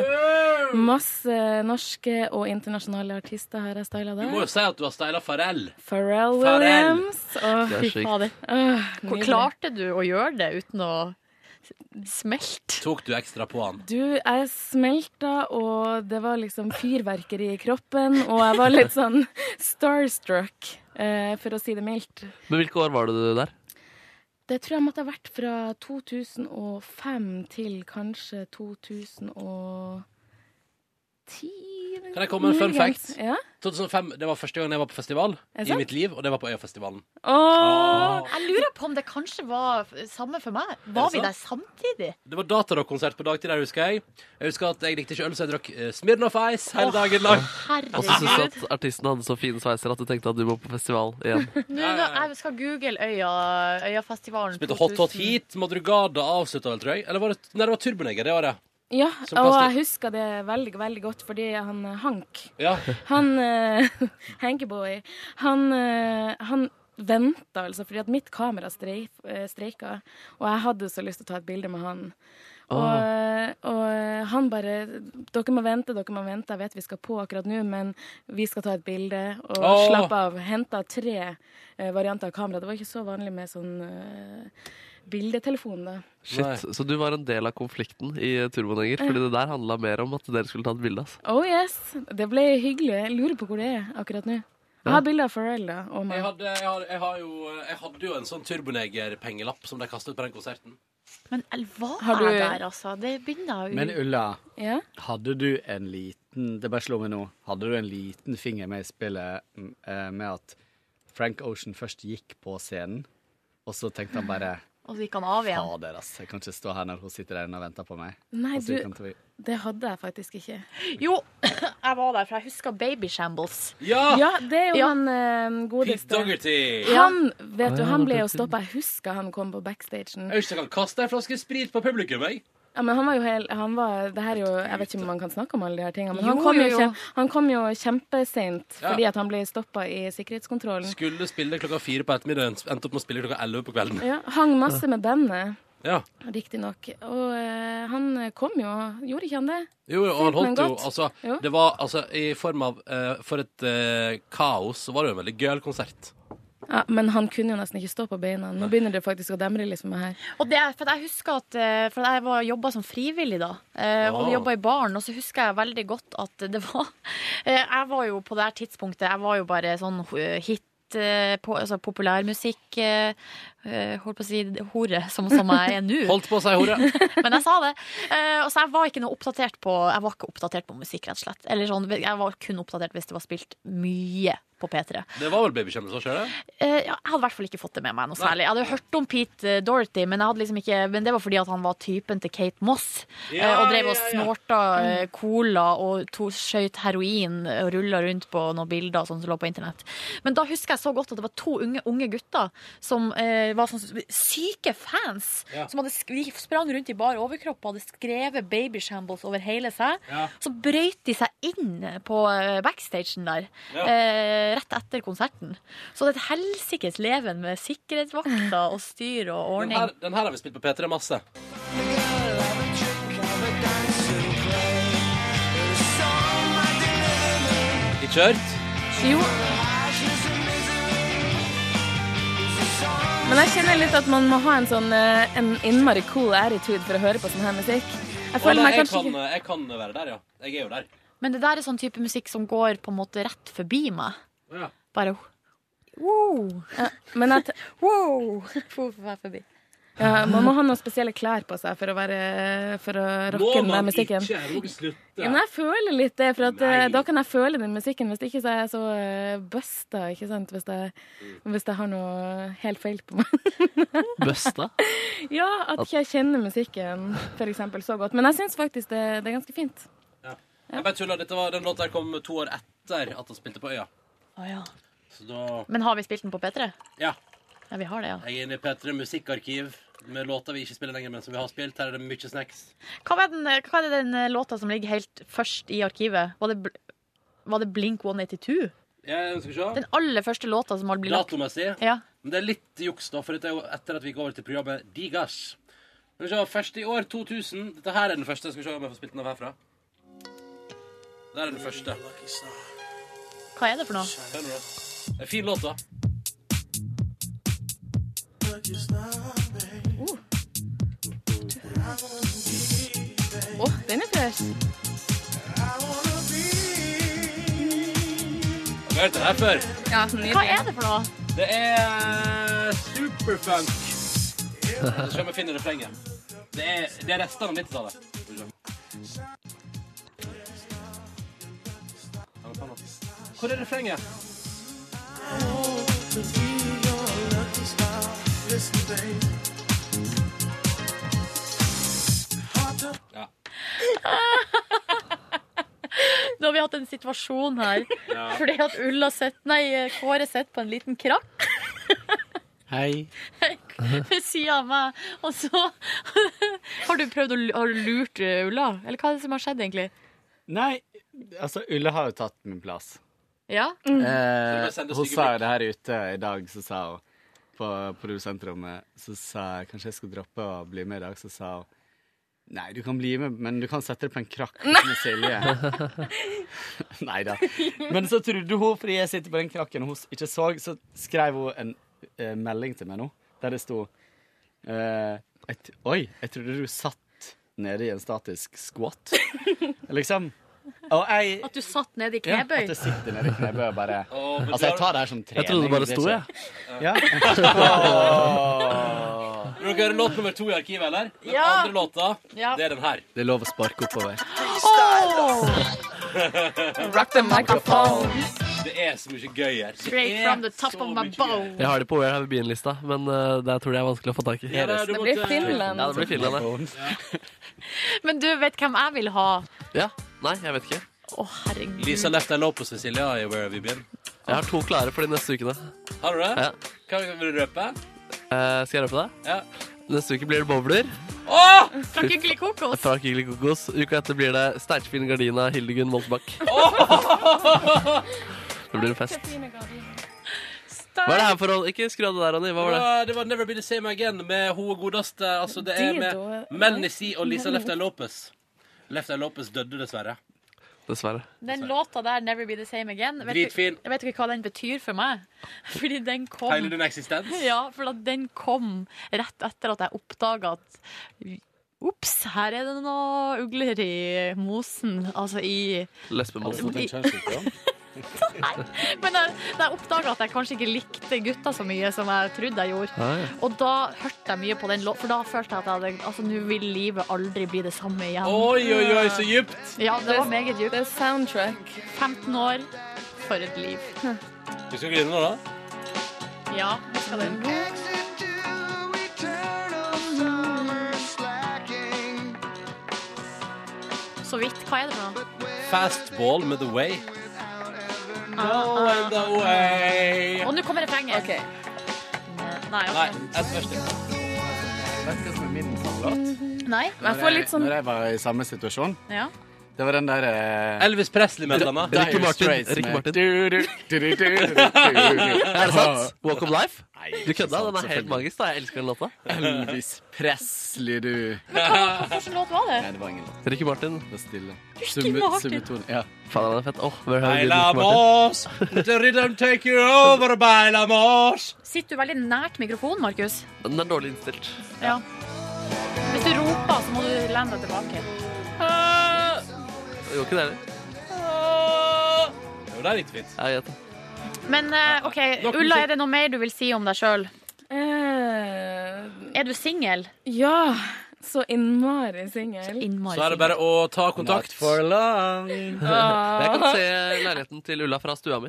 K: masse norske og internasjonale artister har jeg styla
B: Du må jo
K: der.
B: si at du har styla Farrell.
K: Pharrell
B: Pharrell.
K: Williams. Og,
D: Det er sykt.
C: Fader. Hvor klarte du å gjøre det uten å smelte?
B: Tok du ekstra på han?
K: Du, jeg smelta, og det var liksom fyrverkeri i kroppen, og jeg var litt sånn starstruck, eh, for å si det mildt.
D: Men hvilke år var du der?
K: Det tror jeg måtte ha vært fra 2005 til kanskje 2010.
B: Kan jeg komme med en fun
K: muligens.
B: fact?
K: Ja?
B: 2005, Det var første gang jeg var på festival
K: Er det
B: i
K: sant?
B: mitt liv, og det var på Øyafestivalen.
K: Åh,
C: Jeg lurer på om det kanskje var f- samme for meg. Var vi
B: sant?
C: der samtidig?
B: Det var datarock-konsert på dagtid der, husker jeg. Jeg husker at jeg likte ikke øl, så jeg drakk eh, Smirnoff Ice hele dagen lang.
D: Og så syns du
C: Herregud.
D: at artisten hadde så fine sveiser at du tenkte at du må på festival igjen.
C: Nå, nå, jeg skal google Øya, Øyafestivalen.
B: Spilte Hot Hot
C: 2000.
B: Heat, Madrugada avslutta vel, tror jeg. Eller var det, nei, det var Turboneger det året.
K: ja,
B: Som
K: og
B: pastor.
K: jeg husker det veldig, veldig godt, fordi han eh, Hank,
B: Ja.
K: han eh, Hankyboy, han, eh, han venta altså, fordi at mitt kamera streif, eh, streika, og jeg hadde så lyst til å ta et bilde med han. Og, og han bare 'Dere må vente, dere må vente. Jeg vet vi skal på akkurat nå, men vi skal ta et bilde.' Og
B: Åh.
K: slapp av. Henta tre eh, varianter av kamera. Det var ikke så vanlig med sånn eh, bildetelefon, da.
D: Shit, Så du var en del av konflikten i Turboneger? Fordi det der handla mer om at dere skulle ta et bilde. ass.
K: Oh yes, det ble hyggelig. Jeg lurer på hvor det er akkurat nå. Jeg har bilder av Pharrell da, og
B: Jeg
K: meg.
B: hadde, jeg, har, jeg, har jo, jeg hadde jo en sånn Turboneger-pengelapp som de kastet på den konserten.
C: Men jeg var
K: Har du-
C: jeg der, altså? Det begynner jo
L: Men Ulla,
K: Ja.
L: hadde du en liten Det bare slo meg nå. Hadde du en liten finger med i spillet mm, eh, med at Frank Ocean først gikk på scenen, og så tenkte han bare
C: Og så gikk han av igjen.
L: Fader, ass. Jeg kan ikke stå her når hun sitter der inne og venter på meg.
K: Nei,
L: Og så
K: du,
L: gikk han til-
K: det hadde jeg faktisk ikke.
C: Jo, jeg var der, for jeg husker Baby Shambles.
B: Ja!
K: Ja, det er jo
C: Ja.
K: han eh,
B: Pete
K: godeste.
B: Dougherty.
K: Han, vet du, han ble jo stoppa. Jeg husker han kom på backstagen.
B: Jeg husker han kasta ei flaske sprit på publikum, jeg.
K: Ja, men han var jo hel, han var, det her er jo, Jeg vet ikke om man kan snakke om alle de her tingene, men
C: Jo,
K: han kom jo,
C: jo, jo.
K: kjem, han kom jo kjempeseint
B: Ja.
K: fordi at han ble stoppa i sikkerhetskontrollen.
B: Skulle spille klokka fire på ettermiddagen, endte opp med å spille klokka elleve på kvelden.
K: Ja, hang masse med bandet,
B: Ja.
K: riktignok. Og eh, han kom jo, gjorde ikke han det?
B: Jo, jo, og han
K: Fint, men
B: holdt jo
K: godt.
B: altså,
K: Jo.
B: Det var altså i form av eh, For et eh, kaos, så var det jo en veldig gøyal konsert.
K: Ja, men han kunne jo nesten ikke stå på beina. Nå begynner det faktisk å demre litt for meg her.
C: Og det, er- for at jeg husker at eh, For jeg var- jobba som frivillig da, eh, og
B: Ah.
C: jobba i baren. Og så husker jeg veldig godt at det var eh, Jeg var jo på det her tidspunktet Jeg var jo bare sånn eh, hit. eh, På, altså populærmusikk eh, eh, Holdt på å si hore, som, som jeg er nå.
B: Holdt på å si hore.
C: Men jeg sa det. Eh, og så jeg var ikke noe oppdatert på Jeg var ikke oppdatert på musikk, rett og slett. Eller sånn, jeg var kun oppdatert hvis det var spilt mye på P3.
B: Det var vel babykjennelse, var ikke det?
C: Eh, ja, jeg hadde i hvert fall ikke fått det med meg noe særlig. Jeg hadde jo hørt om Pete eh, Dorothy, men, jeg hadde liksom ikke, men det var fordi at han var typen til Kate Moss. eh,
B: Ja,
C: og drev og
B: ja, Mm. ja.
C: snorta eh, cola og to- skjøt heroin og rulla rundt på noen bilder og sånt som lå på internett. Men da husker jeg så godt at det var to unge, unge gutter som eh, var sånn syke fans.
B: Ja.
C: Som hadde, sk- de sprang rundt i bar overkropp og hadde skrevet Baby Shambles over hele seg.
B: Ja.
C: Så brøyt de seg inn på eh, backstagen der,
B: Ja.
C: eh, rett etter konserten. Så det er et helsikes leven med sikkerhetsvakter og styr og
B: Den
C: ordning.
B: her, den her har vi spilt på P3 masse. Ikke hørt?
K: Jo. Men jeg kjenner litt at man må ha en sånn eh, en innmari cool attitude for å høre på sånn her musikk. Jeg
B: Å,
K: føler
B: nei,
K: meg
B: jeg,
K: kanskje
B: kan,
K: ikke
B: jeg kan være der, ja. Jeg er jo der.
C: Men det der er sånn type musikk som går på en måte rett forbi meg.
B: Ja.
C: Bare wow,
K: Men at,
C: wow, for meg forbi.
K: ja, man må ha noen spesielle klær på seg for å, være, for å rocke den der musikken.
B: Nå må du slutte.
K: Ja, men jeg føler litt det, for at,
B: Nei.
K: eh, da kan jeg føle den musikken. Hvis ikke så er jeg så eh, busta, ikke sant? Hvis jeg, hvis jeg har noe helt feil på meg.
D: Busta.
K: ja, at ikke jeg kjenner musikken, for eksempel, så godt. Men jeg syns faktisk det, det er ganske fint.
B: Jeg bare tuller. Dette var, den låten her kom to år etter at han spilte på Øya.
C: Å ja.
B: Så da
C: Men har vi spilt den på P3?
B: Ja.
C: Ja, vi har det, ja.
B: Jeg er inne i P3 Musikkarkiv med låter vi ikke spiller lenger, men som vi har spilt. Her er det mye snacks.
C: Hva er, den, hva er det den eh, låta som ligger helt først i arkivet? Var det, bl- var det Blink 182?
B: Jeg ønsker å se.
C: Den aller første låta som har blitt lagt
B: Datomessig.
C: Ja.
B: Men det er litt juks, da, for dette er jo etter at vi gikk over til programmet Digas. Skal vi se, Først i år 2000. Dette her er den første. Skal vi se om jeg får spilt den av herfra. Der er den første.
C: Hva er det for noe?
B: Hør nå, da. Det er en fin låt, da.
K: Å, den er fresh.
B: Har du hørt den her før?
K: Ja,
C: Hva er det for noe?
B: Det er superfunk. Så skal vi finne refrenget. Det er, det er restene av 90-tallet. Hvor er refrenget?
C: Nå har vi hatt en situasjon her.
L: Ja.
C: Fordi at Ulla sitter, nei, Kåre sitter på en liten krakk
L: Hei.
C: ved sida av meg. Og så har du prøvd å lu- har du lurt eh, Ulla? Eller hva er det som har skjedd, egentlig?
L: Nei, altså Ulle har jo tatt min plass.
C: Ja?
L: Eh, hun sa jo det her ute i dag, så sa hun på produsentrommet Så sa jeg kanskje jeg skulle droppe å bli med i dag, så sa hun Nei, du kan bli med, men du kan sette deg på en krakk med Silje. Nei da. Men så trodde hun, fordi jeg sitter på den krakken og hun ikke så, så skrev hun en eh, melding til meg nå, der det sto eh, jeg t- Oi, jeg trodde du satt nede i en statisk squat, liksom. Og jeg
C: At du satt nede i
L: ja,
C: knebøy?
L: at jeg sitter nede i knebøy og bare
B: Åh, men
L: Altså, jeg
B: da-
L: tar det her som trening.
B: Jeg trodde det bare
L: er
B: sto,
L: ikke-
B: jeg.
L: Ja.
B: Vil dere høre låt nummer to i arkivet, eller? Den
C: Ja.
B: andre låta,
C: Ja.
B: det er den her.
L: Det er lov å sparke oppover.
B: Rock the microphone. Det er så mye gøy her. Det
C: Straight
B: er
C: from the top of my bow.
D: Jeg har det på Where Have You Been-lista, men eh, der tror jeg det er vanskelig å få tak i.
B: Ja, det- du Det blir måtte- Finland.
D: Ja, det blir Finland,
C: Men du vet hvem jeg vil ha?
D: ja. ja. Nei, jeg vet ikke.
C: Å, herregud.
B: Lisa Left Eye Lopez med Silja i Where Have You Been.
D: Jeg har to klare for de neste ukene.
B: Har du det?
D: Ja.
B: Hva vil du røpe?
D: Eh, skal jeg røpe det?
B: Ja.
D: Neste uke blir det bobler.
B: Åh!
C: Fra Kykkeli Kokos.
D: Fra Kyggelig Kokos. Uka etter blir det Steinkjefin Gardina Hildegunn Moltebakk. Det blir en fest. Hva er det her for rolle? Ikke skru av det der, Anni. Hva var det?
B: var, det var Never Be The Same Again med hun godeste altså Det er
D: Det
B: med
D: da-
B: Melanie C og Lisa Left Eye Lopez. Left Eye Lopez døde, dessverre.
D: Dessverre.
C: Den låta der, 'Never Be The Same Again', vet du,
B: Dritfin.
C: jeg vet ikke hva den betyr for meg. Fordi den kom
B: Hele din eksistens?
C: Ja, for at den kom rett etter at jeg oppdaga at Ops, her er det noe ugler i mosen. Altså i
D: Lesbemål.
C: I- Men jeg, da jeg oppdaga at jeg kanskje ikke likte gutta så mye som jeg trodde jeg gjorde.
D: Ja, ja.
C: Og da hørte jeg mye på den låta, for da følte jeg at jeg hadde Altså, nå vil livet aldri bli det samme igjen.
B: Oi, oi, oi, så djupt!
C: Ja, det var meget djupt. Det er soundtrack. Hm. 15 år, for et liv.
B: Du skal grine nå, da?
C: Ja, vi skal den. Så vidt. Hva er det for noe?
B: Fastball med The Way.
C: Ah,
B: ah, ah.
C: Og nå kommer refrenget. Nei,
B: Nei,
C: ok.
B: ett vers til.
L: Vet du hva som er min favoritt?
C: Nei, men Mhm. jeg får litt sånn
L: Når jeg var i samme situasjon,
C: Ja.
L: det var den der eh,
B: Elvis Presley med den, da.
L: Dire
B: Ricky Martin,
L: Straits
B: Ricky
L: med-
B: Martin.
L: Du, du, du, du, du, du, du.
D: Er det sant? Walk of Life?
L: Nei,
D: Du
L: ikke
D: kødda?
L: sant,
D: Den er helt
L: selvfølgelig.
D: magisk. da, Jeg elsker den låta.
L: Elvis Presley, du.
C: Hvilken låt var
L: Nei,
C: det?
L: det var ingen låt.
D: Ricky Martin.
L: Det var stille.
C: Ricky
L: Summe-
C: Martin.
L: summetone, Ja.
D: Faen, han er fett. Åh, Where Have You Been?
B: Baila
D: Ricky Martin.
B: mos, let the rhythm take you over, baila mos.
C: Sitter du veldig nært mikrofonen, Markus?
D: Den er dårlig innstilt.
C: Ja. Hvis du roper, så må du lene deg tilbake.
D: Det går ikke det heller.
B: Jo, det er litt fint.
D: Jeg vet det.
C: Men eh, OK, Ulla, er det noe mer du vil si om deg sjøl?
K: Er Eh,
C: du singel?
K: Ja. Så innmari singel.
B: Så er det bare å ta kontakt.
D: Not for
B: long.
D: Jeg kan se leiligheten til Ulla fra stua mi.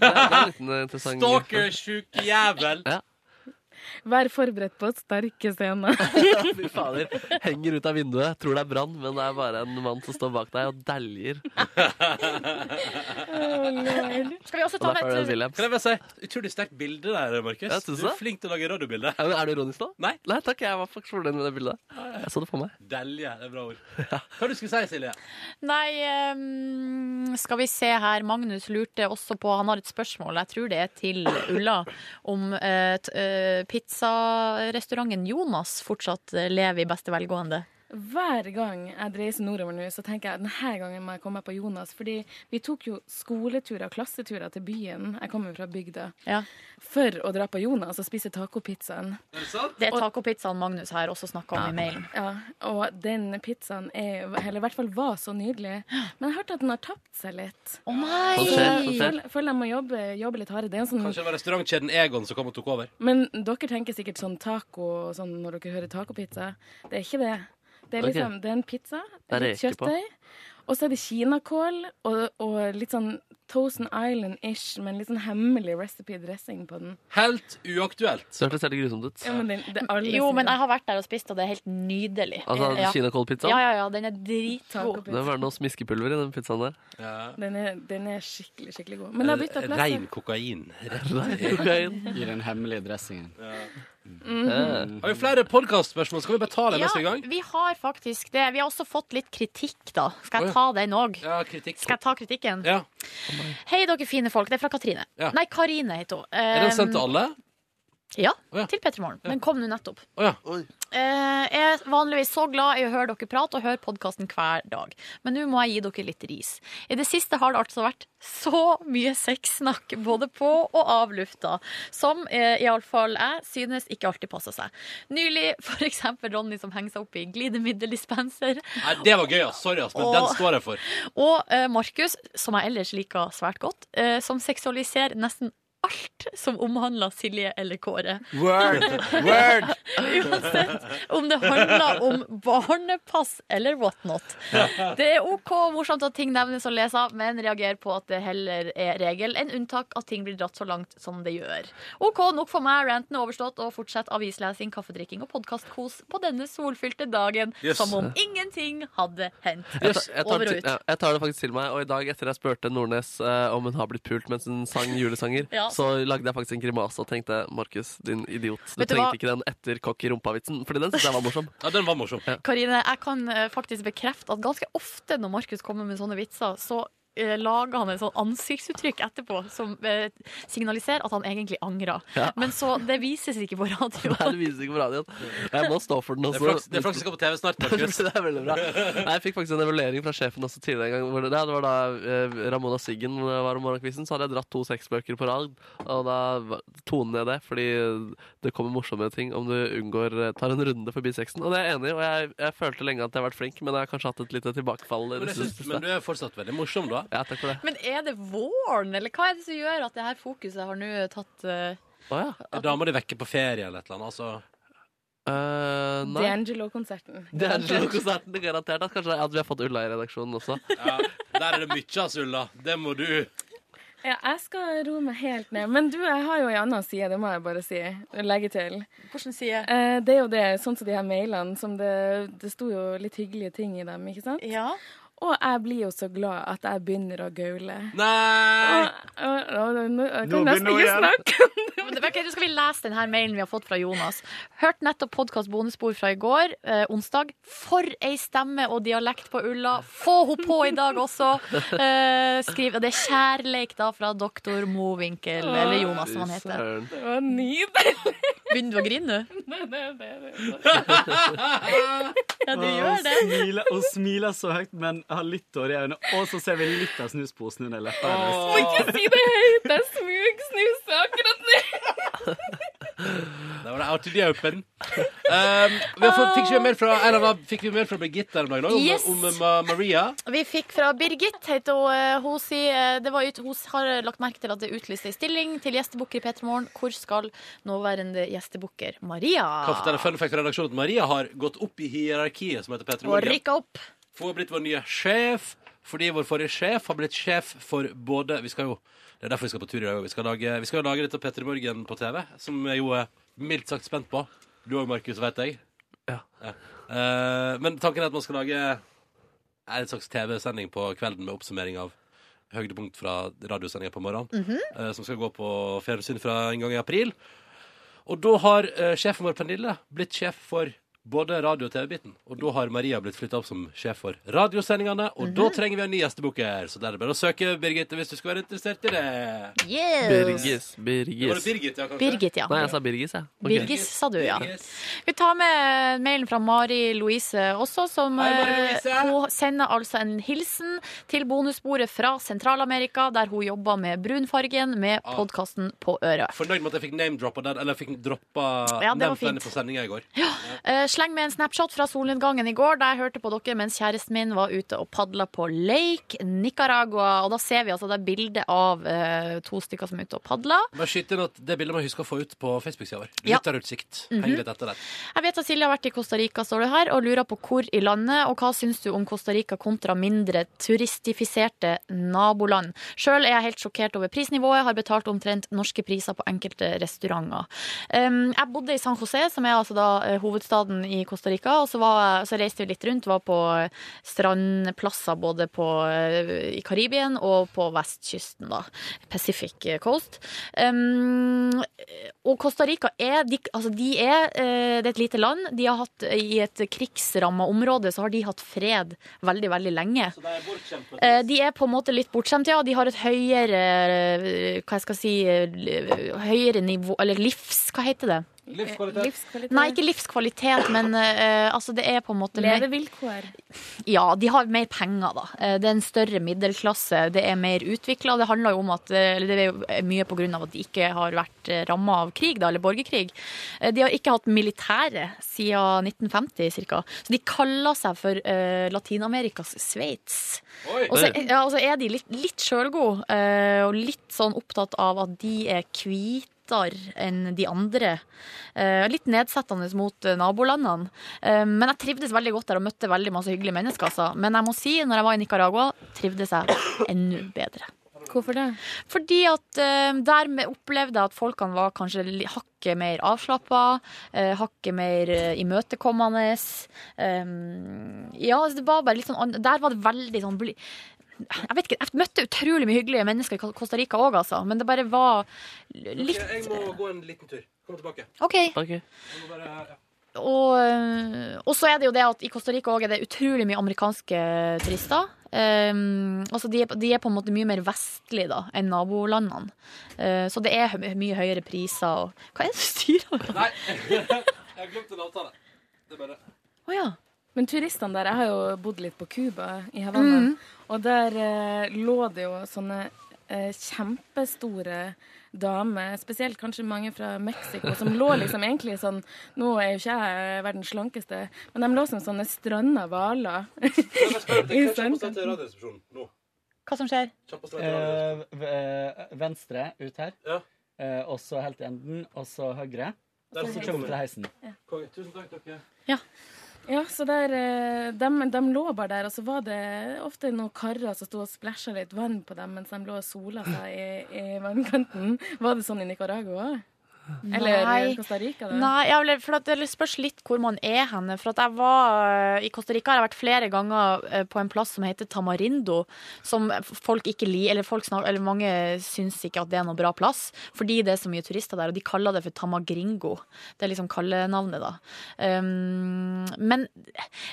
D: Det er, det er en liten eh, interessant
B: Stalkersjuk jævel.
D: Ja.
K: Vær forberedt på sterke scener.
D: Fy fader. Henger ut av vinduet, tror det er brann, men det er bare en mann som står bak deg og dæljer.
C: Skal vi også ta
D: Og det er Pharrell
C: med et
D: Williams.
B: Kan jeg bare si, utrolig sterkt bilde der, Markus.
D: Ja, synes
B: du er
D: det.
B: flink til å lage radiobilde.
D: Ja, men Er du ironisk nå?
B: Nei.
D: Nei takk, jeg var faktisk fornøyd med det bildet. Jeg så det for meg.
B: Delje, det er bra ord. Hva du skulle si, Silje?
C: Nei, ehm, skal vi se her. Magnus lurte også på Han har et spørsmål, jeg tror det er til Ulla, om eh, uh, pizzarestauranten Jonas fortsatt eh, lever i eh, beste velgående.
K: Hver gang jeg dreiser nordover nå, så tenker jeg denne gangen må jeg komme meg på Jonas. Fordi vi tok jo skoleturer og klasseturer til byen. Jeg kommer fra bygda. For å dra på Jonas og spise tacopizzaen.
C: Det er tacopizzaen Magnus her også snakka om i mailen.
K: Ja, og den pizzaen er, eller i hvert fall var så nydelig. Men jeg hørte at den har tapt seg litt.
C: Å nei!
K: Så
B: Sånn skjer, sånn
K: jeg
B: skjer.
K: føler- føler jeg må jobbe, jobbe litt hardere. Det er en sånn
B: Kanskje det var restaurantkjeden Egon som kom og tok over.
K: Men dere tenker sikkert sånn taco og sånn når dere hører tacopizza. Det er ikke det. Det er
B: Ok.
K: liksom, det er en pizza,
B: Det er
K: litt
B: reker på.
K: kjøttdeig, og så er det kinakål og, og litt sånn Toasten Island-ish, men litt sånn hemmelig recipe-dressing på den.
B: Helt uaktuelt.
D: Så hørtes helt grusomt ut.
K: Ja, men det, det er alle
C: Jo,
K: sider.
C: men jeg har vært der og spist, og det er helt nydelig. Eh,
D: Altså,
C: Ja.
D: kinakålpizzaen?
C: Ja, ja, ja, den er dritgod.
D: Det må være noe smiskepulver i den pizzaen der.
K: den, er, den er skikkelig, skikkelig god. Men det har bytta plass.
B: Eh, Rein kokain.
D: Rein kokain.
L: I den hemmelige dressingen.
B: Har vi flere podcastspørsmål? Skal vi betale
C: Ja,
B: mens vi er i gang?
C: vi har faktisk det. Vi har også fått litt kritikk, da. Skal
B: Å, ja.
C: jeg ta den òg?
B: Ja, kritikk.
C: Skal jeg ta kritikken?
B: Ja.
C: Hei, dere fine folk. Det er fra Katrine.
B: Ja.
C: Nei, Karine heter hun.
B: Er den sendt til
C: Eh,
B: alle?
C: Ja, til P3 Morgen. Den kom nå nettopp.
B: Å ja.
C: Eh, jeg er vanligvis så glad i å høre dere prate og høre podkasten hver dag, men nå må jeg gi dere litt ris. I det siste har det altså vært så mye sexsnakk både på og av lufta, som eh, iallfall jeg synes ikke alltid passer seg. Nylig f.eks. Ronny som henger seg opp i glidemiddeldispenser,
B: Nei, det var gøy, ass. Sorry, ass, men
C: Åh.
B: den står jeg for.
C: og eh, Markus, som jeg ellers liker svært godt, eh, som seksualiserer nesten alt som omhandler Silje eller Kåre.
G: Word! Word!
C: Uansett om det handler om barnepass eller whatnot. Det er OK og morsomt at ting nevnes og leses, av, men reagerer på at det heller er regel enn unntak at ting blir dratt så langt som det gjør. OK, nok for meg. Ranten er overstått, og fortsett avislesing, kaffedrikking og podkastkos på denne solfylte dagen
D: Yes.
C: som om ingenting hadde hendt.
D: Jeg, tar- jeg, tar
C: Over og
D: til,
C: ut.
D: ja, jeg tar det faktisk til meg, og i dag etter jeg spurte Nordnes eh, om hun har blitt pult mens hun sang julesanger,
C: Ja.
D: så lagde jeg faktisk en grimase og tenkte Markus, din idiot, du
C: Vet du
D: trengte
C: hva?
D: ikke den etter kokk i rumpa-vitsen, fordi den synes jeg var morsom.
B: Ja, den var morsom.
C: Karine, jeg kan eh, faktisk bekrefte at ganske ofte når Markus kommer med sånne vitser, så eh, lager han et sånn ansiktsuttrykk etterpå som eh, signaliserer at han egentlig angrer.
D: Ja.
C: Men så det vises ikke på radio.
D: Nei, det vises ikke på radioen. Jeg må stå for den
B: Det er
D: også.
B: flaks- det er flaks vi skal på TV snart, Markus.
D: det er veldig bra. Nei, Jeg fikk faktisk en evaluering fra sjefen også tidligere en gang. Hvor det, ja, det var da eh, Ramona Siggen var om morgenkvisten, så hadde jeg dratt to sexbøker på rad. Og da var- tonet jeg det, fordi det kommer morsomme ting om du unngår eh, tar en runde forbi sexen. Og det er jeg enig i, og jeg, jeg følte lenge at jeg har vært flink, men jeg har kanskje hatt et lite tilbakefall. i
B: Men,
D: det
B: jeg synes,
D: siste.
B: men du er fortsatt veldig morsom, da.
D: Ja, takk for det.
C: Men er det våren, eller hva er det som gjør at det her fokuset har nå tatt eh,
B: Er Dama di vekke på ferie eller et eller annet? Altså.
D: Eh, nei.
K: D'Angelo-konserten.
D: Det er Angelo-konserten, det er garantert. At kanskje at vi har fått Ulla i redaksjonen også.
B: Der er det mye, ass, Ulla. Det må du.
K: Ja, jeg skal roe meg helt ned. Men du, jeg har jo en annen side, det må jeg bare si. Legge til.
C: Hvordan side?
K: Eh, det er jo det, sånn som de her mailene, som det, det sto jo litt hyggelige ting i dem, ikke sant?
C: Ja.
K: Og jeg blir jo så glad at jeg begynner å gaule.
B: Nei!
K: Og, og, og, nå- jeg
C: Nå
K: kan nesten
C: begynner hun
K: ikke
C: igjen.
K: snakke.
C: Men det- ok, Nå skal vi lese denne mailen vi har fått fra Jonas. Hørt nettopp podkast bonusspor fra i går, eh, onsdag. For ei stemme og dialekt på Ulla! Få hun på i dag også! Eh, skriv, og det er kjærleik da fra doktor Mowinckel, eller Jonas som han heter.
K: Det var nydelig.
C: Begynner du å grine nå?
K: Nei, det, det, det.
C: Ja, du gjør det.
L: Hun smiler, hun smiler så høyt, men har litt tårer i øynene. Og så ser vi litt av snusposen under leppa
K: Må ikke si det høyt! Jeg smugsnuser akkurat nå.
B: Da var det out in the open. Um, vi har fått, fikk vi mail fra, eller, hva- fikk vi mail fra Birgitte her om dagen også,
C: Yes.
B: om, om Ma- Maria.
C: Vi fikk fra Birgit, heter hun. Eh, Hun, sier, eh, det var ut, hun har lagt merke til at det er utlyst ei stilling til gjestebukker i P3 Morgen. Hvor skal nåværende gjestebukker Maria?
B: Kan fortelle fun fact fra redaksjonen at Maria har gått opp i hierarkiet som heter Petter
C: Og rykka opp.
B: For hun har blitt vår nye sjef, fordi vår forrige sjef har blitt sjef for både Vi skal jo Det er derfor vi skal på tur i dag. og Vi skal lage, vi skal jo lage dette Petter Morgen på TV, som jeg jo er mildt sagt spent på. Du òg, Markus, vet jeg. Ja. Eh, men tanken er at man skal lage eh, en slags TV-sending på kvelden med oppsummering av høydepunkt fra radiosendinga på morgenen,
I: Mm-hmm.
M: Mhm.
B: eh, som skal gå på fjernsyn fra en gang i april. Og da har eh, sjefen vår, Pernille, blitt sjef for Både radio- og TV-biten. Og da har Maria blitt flytta opp som sjef for radiosendingene.
C: Mhm.
B: Og da trenger vi en ny gjestebooker, så der er det bare å søke, Birgitte, hvis du skulle være interessert i
C: Yes.
B: det.
D: Birgis.
B: Var det
D: Birgis.
B: Birgit, ja, kanskje?
C: Birgit, ja.
D: Nei, jeg sa Birgis, jeg. Ok.
C: Birgis, sa du, ja. Vi tar med mailen fra Mari Louise også, som eh, hun sender altså en hilsen til bonusbordet fra Sentral-Amerika, der hun jobber med brunfargen med
B: Ah.
C: podkasten på øret.
B: Fornøyd med at jeg fikk name-droppa den, eller jeg fikk droppa
C: Ja, det var
B: nevnt den
C: fint.
B: på sendinga i går.
C: Eh, Sleng med en snapshot fra solnedgangen i går, der jeg hørte på dere mens kjæresten min var ute og padla på Lake Nicaragua. Og da ser vi altså det bildet av eh, to stykker som er ute og padler.
B: Bare skyt inn at det bildet må jeg huske å få ut på Facebook-sida vår.
C: Ja.
B: Lytterutsikt.
C: Mhm.
B: Heng litt etter der.
C: Jeg vet at Silje har vært i Costa Rica, står det her, og lurer på hvor i landet, og hva syns du om Costa Rica kontra mindre turistifiserte naboland? Sjøl er jeg helt sjokkert over prisnivået, har betalt omtrent norske priser på enkelte restauranter. Um, jeg bodde i San José, som er altså da eh, hovedstaden i Costa Rica, og så, var, jeg- så reiste vi litt rundt, var på eh, strandplasser både på, eh, i Karibien og på vestkysten, da. Pacific Coast. Um, og Costa Rica er, de, altså de er eh, Det er et lite land. De har hatt eh, I et krigsramma område så har de hatt fred veldig, veldig lenge. Eh, De er på en måte litt bortskjemt, ja. De har et høyere eh, Hva jeg skal si eh, li- Høyere nivå Eller livs... Hva heter det?
K: Livskvalitet. Livskvalitet.
C: Nei, ikke livskvalitet, men eh, altså det er på en måte mer-
K: Levevilkår.
C: ja, de har mer penger, da. Eh, Det er en større middelklasse, det er mer utvikla. Det handler jo om at eh, eller Det er jo mye på grunn av at de ikke har vært ramma av krig, da, eller borgerkrig. Eh, De har ikke hatt militære siden 1950 ca. Så de kaller seg for eh, Latin-Amerikas Sveits.
M: Oi!
C: Og så Eh, ja, og så er de litt, litt sjølgode, eh, og litt sånn opptatt av at de er hvite enn de andre. Eh, Litt nedsettende mot eh, nabolandene. Eh, Men jeg trivdes veldig godt der og møtte veldig masse hyggelige mennesker. Altså. Men jeg må si, når jeg var i Nicaragua, trivdes jeg enda bedre.
K: Hvorfor det?
C: Fordi at eh, der me- opplevde jeg at folkene var kanskje li- hakket mer avslappa, eh, hakket mer eh, imøtekommende. Eh, ja, altså, det var bare litt sånn ann- Der var det veldig sånn bli jeg vet ikke, jeg møtte utrolig mye hyggelige mennesker i Costa Rica òg, altså. Men det bare var litt
B: Ok, jeg må gå en liten tur. Kom tilbake.
C: OK.
B: Jeg må bare, ja.
C: Og, eh, og så er det jo det at i Costa Rica også er det utrolig mye amerikanske turister. Um, altså de, er, de er på en måte mye mer vestlige da enn nabolandene. Eh, så det er hø- mye høyere priser og Hva er det du styrer med?
B: Nei, jeg har glemt en avtale. Det er bare
C: Å ja.
K: Men turistene der Jeg har jo bodd litt på Cuba, i Havanna.
C: Mhm.
K: Og der eh, lå det jo sånne eh, kjempestore damer, spesielt kanskje mange fra Mexico, som lå liksom egentlig sånn Nå er jo ikke jeg verdens slankeste, men de lå som sånne stranda hvaler. I sanden.
C: Hva som skjer?
L: Eh, v- eh, venstre ut her, eh, og så helt i enden, og så høyre.
K: Der
L: Og
K: er
L: så
K: heisen.
L: kommer vi til heisen.
B: Konge, tusen takk, dere.
C: Ja.
K: Ja, så der, eh, dem- dem lå bare der, og så var det ofte noen karer som sto og splæsja litt vann på dem mens de lå og sola seg i, i vannkanten. Var det sånn i Nicaragua òg? Eller eh,
C: Nei.
K: Costa Rica? Da?
C: Nei, ja, vel, for at det spørs litt hvor man er henne. For at jeg var eh, I Costa Rica har jeg vært flere ganger eh, på en plass som heter Tamarindo, som folk ikke liker, eller, folk snak- eller mange syns ikke at det er noen bra plass, fordi det er så mye turister der, og de kaller det for Tamagringo. Det er liksom kallenavnet, da. Um, men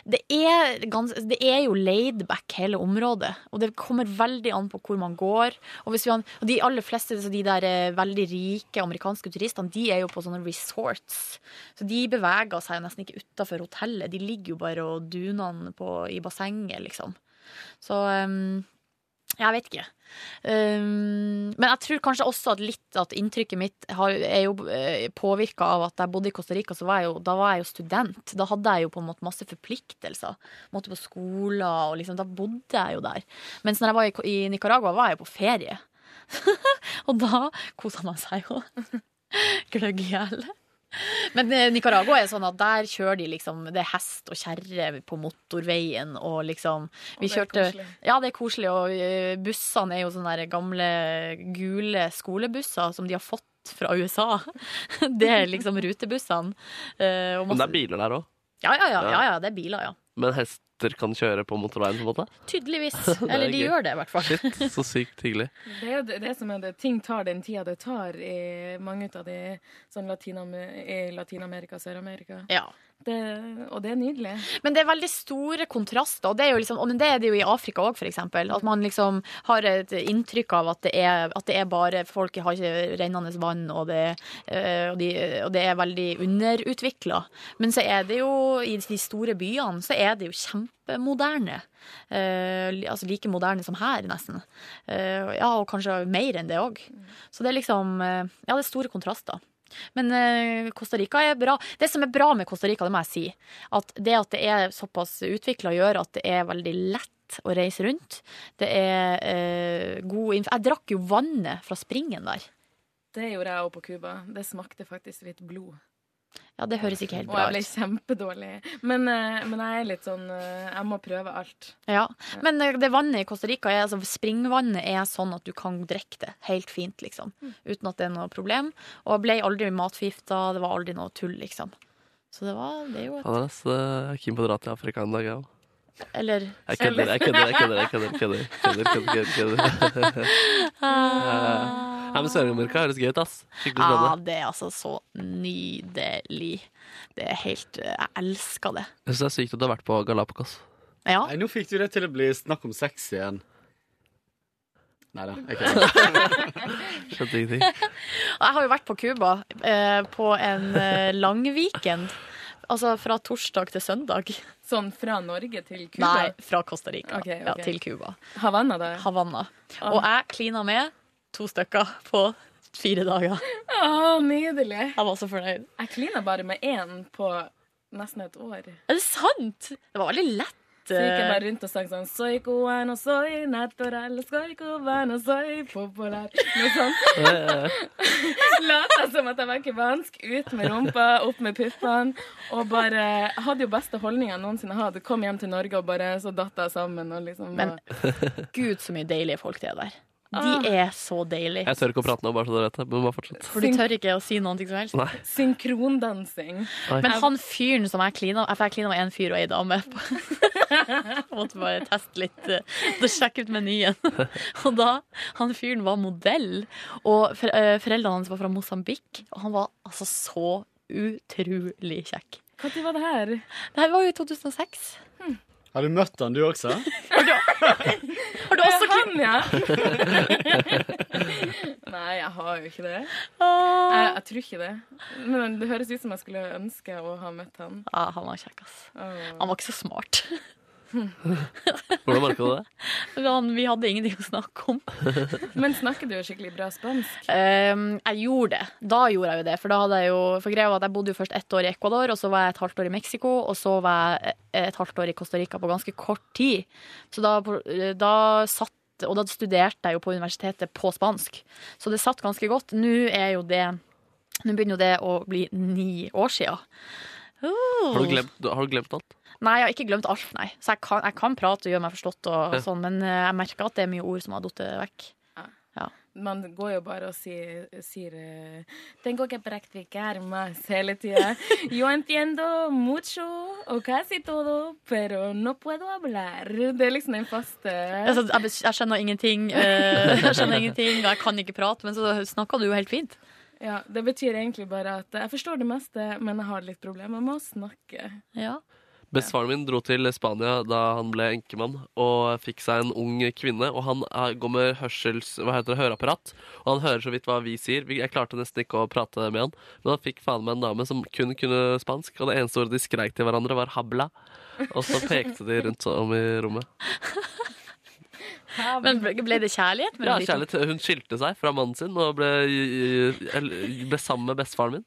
C: det er, gans, det er jo laid back hele området, og det kommer veldig an på hvor man går. Og, hvis vi har, og de aller fleste så de der eh, veldig rike amerikanske turistene, de er jo på sånne resorts. Så de beveger seg jo nesten ikke utafor hotellet. De ligger jo bare og duner på, i bassenget, liksom. Så um, jeg vet ikke. Um, men jeg tror kanskje også at litt at inntrykket mitt har, er jo påvirka av at da jeg bodde i Costa Rica, så var jeg jo, da var jeg jo student. Da hadde jeg jo på en måte masse forpliktelser. Måtte på skoler og liksom Da bodde jeg jo der. Mens når jeg var i, Ko- i Nicaragua, var jeg jo på ferie. og da kosa man seg jo. Gløgg i hjel. Men eh, Nicaragua er sånn at der kjører de liksom Det er hest og kjerre på motorveien og liksom
K: Og det
C: Vi
K: er
C: kjørte
K: koselig.
C: Ja, det er koselig, og eh, bussene er jo sånne der gamle gule skolebusser som de har fått fra USA. Det er liksom rutebussene. Eh, og
D: Men det
C: masse-
D: er biler der òg.
C: Ja, ja, ja, ja, ja, det er biler, ja.
D: Men hester kan kjøre på motorveien, på en måte?
C: Tydeligvis.
D: Det er
C: Eller de
D: gøy.
C: gjør det, i hvert fall.
D: Shit, så sykt hyggelig.
K: Det er jo det, det som er det. Ting tar den tida det tar i mange ut av de sånn Latin-Am- i Latin-Amerika og Sør-Amerika.
C: Ja.
K: Det, og det er nydelig.
C: Men det er veldig store kontraster. Og det er, jo liksom, og men det, er det jo i Afrika òg, f.eks. At man liksom har et inntrykk av at det er, at det er bare folk har ikke rennende vann, og det, eh, og de, og det er veldig underutvikla. Men så er det jo i de store byene så er det jo kjempemoderne. Eh, li- altså like moderne som her, nesten. Eh, ja, og kanskje mer enn det òg. Så det er liksom eh, Ja, det er store kontraster. Men eh, Costa Rica er bra. Det som er bra med Costa Rica, det må jeg si, at det at det er såpass utvikla, gjør at det er veldig lett å reise rundt. Det er eh, god inf... Jeg drakk jo vannet fra springen der.
K: Det gjorde jeg òg på Cuba. Det smakte faktisk litt blod.
C: Ja, det høres ikke helt
K: Og
C: bra
K: jeg ble
C: ut.
K: kjempedårlig. Men, eh, men jeg er litt sånn eh, Jeg må prøve alt.
C: Ja. Men eh, det vannet i Costa Rica, er, altså springvannet, er sånn at du kan drikke det helt fint, liksom.
K: Mm.
C: Uten at det er noe problem. Og jeg ble aldri matforgifta, det var aldri noe tull, liksom. Så det var det er jo et
D: Faen, ass. Jeg er keen eh, på å dra til Afrika en dag, jeg òg.
C: Eller
D: Jeg kødder, jeg kødder, jeg kødder. jeg kødder, kødder, kødder, kødder, kødder, kødder.
C: Ah.
D: Ja, men Sør-Amerika høres gøy ut, ass. Skikkelig
C: Ja,
D: spennende.
C: det er altså så nydelig. Det er helt Jeg elsker det.
D: Jeg synes det er sykt at du har vært på Galapagos.
C: Ja.
L: Nei, nå fikk du det til å bli snakk om sex igjen. Nei da, jeg kødder.
D: Skjønte ingenting.
C: Jeg har jo vært på Cuba eh, på en eh, lang weekend. Altså fra torsdag til søndag.
K: Sånn fra Norge til Cuba?
C: Nei, fra Costa Rica
K: Ok, Ah. ok.
C: Ja, til Cuba.
K: Havanna, da?
C: Havanna. Og jeg klina med to stykker på fire dager.
K: Å, nydelig.
C: Jeg var så fornøyd.
K: Jeg klina bare med én på nesten et år.
C: Er det sant? Det var veldig lett. eh.
K: Så gikk jeg bare rundt og sang sånn Soy cubano, soy natural, soy cubano, soy popular. Noe
D: Eh,
K: sånt. Lata som at jeg var cubansk. Ut med rumpa, opp med puppene. Og bare hadde jo beste holdninga jeg noensinne hadde. Kom hjem til Norge og bare så datt jeg sammen og liksom
C: Men
K: og-
C: gud, så mye deilige folk det er der.
K: Ah.
C: De er så deilige.
D: Jeg tør ikke å prate nå, bare så dere vet det. Men bare fortsett.
C: For du tør ikke å si noe som helst?
D: Nei.
K: Synkrondansing.
D: Nei.
C: Men han fyren som jeg klina For jeg klina med en fyr og ei dame. Jeg måtte bare teste litt eh, og sjekke ut menyen. Og da, han fyren var modell, og for, eh, foreldrene hans var fra Mosambik. Og han var altså så utrolig kjekk.
K: Når var det her? Hm.
C: Det her var jo i 2006.
L: Har du møtt han, du også?
C: Har du også
K: klin... Han, ja.
L: Nei,
K: Nei, jeg har jo ikke det.
C: Åh.
K: Jeg, jeg tror ikke det. Men det høres ut som jeg skulle ønske å ha møtt han.
C: Ja, han var kjekk, ass.
K: Åh.
C: Han var ikke så smart.
D: Hvordan merka du det?
C: Men han, vi hadde ingenting å snakke om.
K: Men snakker du jo skikkelig bra spansk?
C: Ehm, jeg gjorde det. Da gjorde jeg jo det. For da hadde jeg jo For greia var at jeg bodde jo først ett år i Ecuador, og så var jeg et halvt år i Mexico, og så var jeg e, et halvt år i Costa Rica på ganske kort tid. Så da, eh, da satt Og da studerte jeg jo på universitetet på spansk. Så det satt ganske godt. Nå er jo det Nå begynner jo det å bli ni år sia.
D: Har du glemt, du- har du glemt alt?
C: Nei, jeg har ikke glemt alt, nei. Så jeg kan, jeg kan prate og gjøre meg forstått, og
D: Ja.
C: sånn, men eh, jeg merker at det er mye ord som har falt vekk. Ja.
K: Man går jo bare og sier, sier eh, Tengo que practicar más hele tida. Yo entiendo mucho og casi todo, pero no puedo hablar. Det er liksom den faste
C: Altså, jeg, bes- jeg skjønner ingenting, eh, jeg skjønner ingenting, og jeg kan ikke prate, men så snakka du jo helt fint.
K: Ja, Det betyr egentlig bare at jeg forstår det meste, men jeg har litt problemer med å snakke.
C: Ja.
D: Bestefaren min dro til Spania da han ble enkemann, og fikk seg en ung kvinne. Og han er- går med hørsels, hva heter det, høreapparat, og han hører så vidt hva vi sier. Vi- Jeg klarte nesten ikke å prate med han, men han fikk faen meg en dame som kun kunne spansk, og det eneste ordet de skreik til hverandre, var 'habla'. Og så pekte de rundt om i rommet.
C: Men ble ble det kjærlighet? mellom
D: Ja,
C: de to?
D: kjærlighet. Hun skilte seg fra mannen sin og ble, eller, ble sammen med bestefaren min.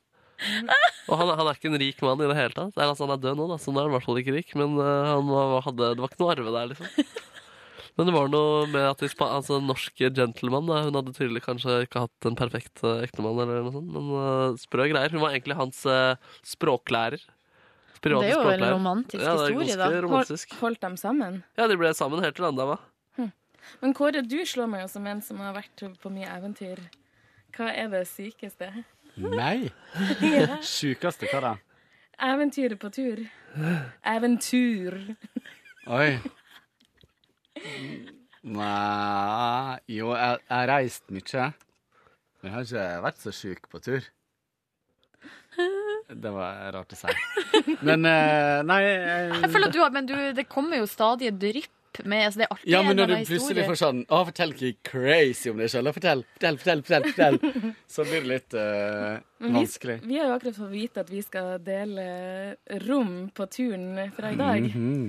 D: Og han, han er ikke en rik mann i det hele tatt. Eller, altså, han er død nå, da, så nå er han i hvert fall ikke rik. Men eh, han var, hadde, det var ikke noe arve der, liksom. Men det var noe med at de spa- altså, en norsk gentleman da, Hun hadde tydelig kanskje ikke hatt en perfekt eh, ektemann, eller noe sånt, men eh, sprø greier. Hun var egentlig hans eh, språklærer. Private
K: Det er jo en
D: språklærer.
K: romantisk
D: ja, det er
K: historie,
D: ganske
K: da.
D: Romantisk.
K: Holdt dem sammen?
D: Ja, de ble sammen helt til den dama.
K: Men Kåre, du slår meg jo som en som har vært på mye eventyr. Hva er det sykeste?
L: Nei?
K: Ja.
L: Sjukeste, hva da?
K: Eventyret på tur. Eventyr.
L: Oi. Nei Jo, jeg jeg har reist mye. Men jeg har ikke vært så sjuk på tur. Det var rart å si. Men eh, nei eh,
F: Jeg føler at du har, Men du, det kommer jo stadig et drypp med altså Det er alltid
L: Ja, men
F: en
L: når
F: eller
L: du
F: annen
L: plutselig
F: historie.
L: får sånn Å, fortell ikke crazy om deg sjøl. Fortell, fortell, fortell, fortell, fortell. Så blir det litt eh,
K: Men vi,
L: vanskelig.
K: vi har jo akkurat fått vite at vi skal dele rom på turen fra i dag.
L: Mhm.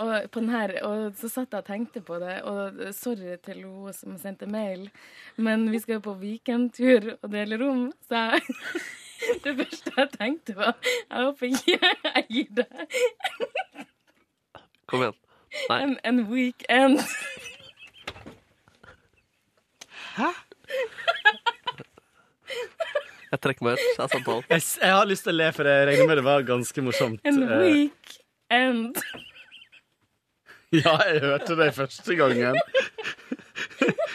K: Og, på den her, og så satt jeg og tenkte på det, og sorry til hun som sendte mail, men vi skal jo på weekendtur og dele rom, så jeg, det første jeg tenkte var Jeg håper ikke jeg gir deg
D: Kom igjen. Nei.
K: en, en weekend.
L: Hæ?
D: Jeg trekker meg ut. altså, Jeg er samtalen.
L: Jeg, s- jeg har lyst til å le, for jeg regner med det var ganske morsomt.
K: En
L: Eh,
K: weekend.
L: Ja, jeg hørte det første gangen.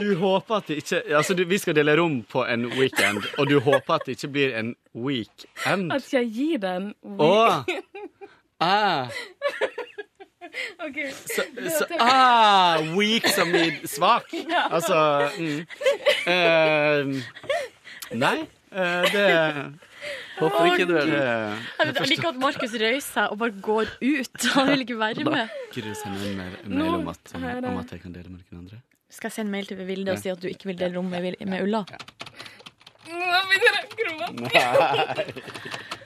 L: Du håper at det ikke Altså, du, vi skal dele rom på en weekend, og du håper at det ikke blir en weekend?
K: At jeg gir deg en
L: Åh.
K: weekend.
L: Ah,
K: OK.
L: så,
K: det
L: så,
K: var-
L: ah, weak som i svak.
K: Ja.
L: Altså mm. Eh, Nei, eh, det
D: Håper ikke du gjør det.
C: Jeg vet- jeg liker at Markus røyser seg og bare går ut. Han vil ikke være med.
L: Gidder du sende en mail-
C: Nå
L: mail om at,
C: er det-
L: om at jeg kan dele med noen andre?
C: Skal jeg sende mail til Vilde og si at du ikke vil dele rom med, Vil- med Ulla?
K: Nå begynner jeg å gråte.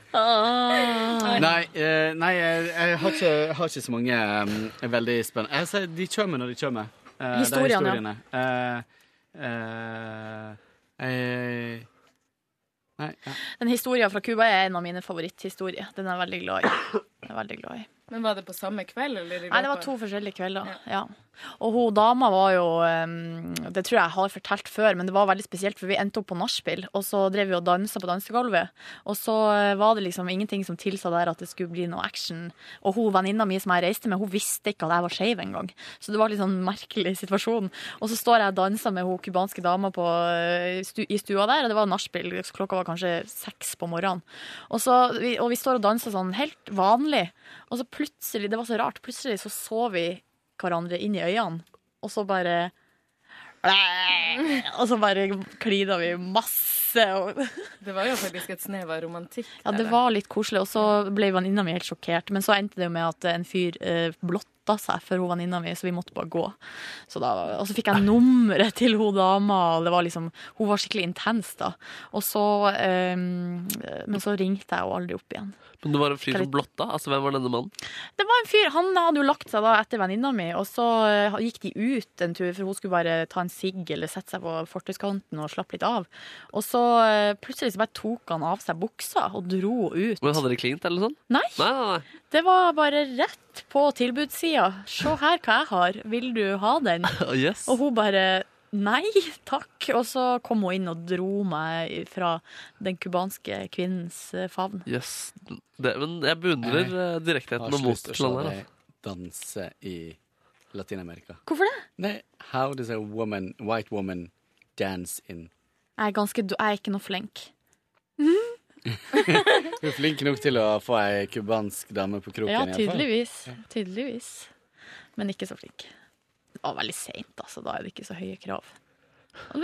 L: Nei.
C: Ah.
L: Nei, eh, nei jeg, jeg, har ikke, jeg har ikke så mange um, veldig spennende jeg, sier, De kommer når de kommer. eh, de
C: Historiene, ja.
L: historiene. Eh, eh, jeg- nei, ja.
C: Den historien fra Cuba er en av mine favoritthistorier. Den er jeg veldig glad i. Den er jeg veldig glad i.
K: Men var det på samme kveld, eller? i
C: Nei, det var
K: løpet
C: to
K: av-
C: forskjellige kvelder. Ja. Og hun dama var jo em, Det tror jeg jeg har fortalt før, men det var veldig spesielt, for vi endte opp på nachspiel, og så drev vi og dansa på dansegulvet. Og så eh, var det liksom ingenting som tilsa der at det skulle bli noe action. Og hun venninna mi som jeg reiste med, hun visste ikke at jeg var skeiv engang. Så det var litt sånn merkelig situasjon. Og så står jeg og danser med hun kubanske dama på, eh, stu, i stua der, og det var nachspiel, klokka var kanskje seks på morgenen. Og, så, vi, og vi står og danser sånn helt vanlig, og så plutselig, det var så rart, plutselig så så vi hverandre inn i øynene, og så bare Og så bare klina vi masse. Og,
K: Det var jo faktisk et snev av romantikk.
C: ja, det
K: der,
C: var litt koselig, og så ble venninna mi helt sjokkert. Men så endte det jo med at en fyr eh, blotta seg for hun venninna mi, så vi måtte bare gå. Så da, og så fikk jeg nummeret til hun dama, og det var liksom Hun var skikkelig intens, da. Og så eh, Men så ringte jeg jo aldri opp igjen.
D: Men det var en fyr som blotta. Altså, hvem var denne mannen?
C: Det var en fyr, Han hadde jo lagt seg da etter venninna mi, og så eh, gikk de ut en tur, for hun skulle bare ta en sigg eller sette seg på fortauskanten og slappe litt av. Og så eh, plutselig så bare tok han av seg buksa og dro ut.
D: Men Hadde de klint, eller sånn?
C: Nei.
D: Nei, nei, nei.
C: Det var bare rett på tilbudssida. Se her hva jeg har, vil du ha den?
D: Oh, yes.
C: Og hun bare nei takk. Og så kom hun inn og dro meg fra den cubanske kvinnens eh, favn.
D: Yes. Det, men jeg beundrer eh, direktheten og motet til han her. altså.
L: danse i Latin-Amerika.
C: Hvorfor det?
L: Nei, how does a woman, white woman dance in
C: Jeg er, ganske, do- jeg er ikke noe flink.
L: Hun er flink nok til å få ei cubansk dame på kroken.
C: Ja,
L: i hvert fall.
C: tydeligvis. Tydeligvis. Men ikke så flink. Det var veldig seint, altså. Da er det ikke så høye krav.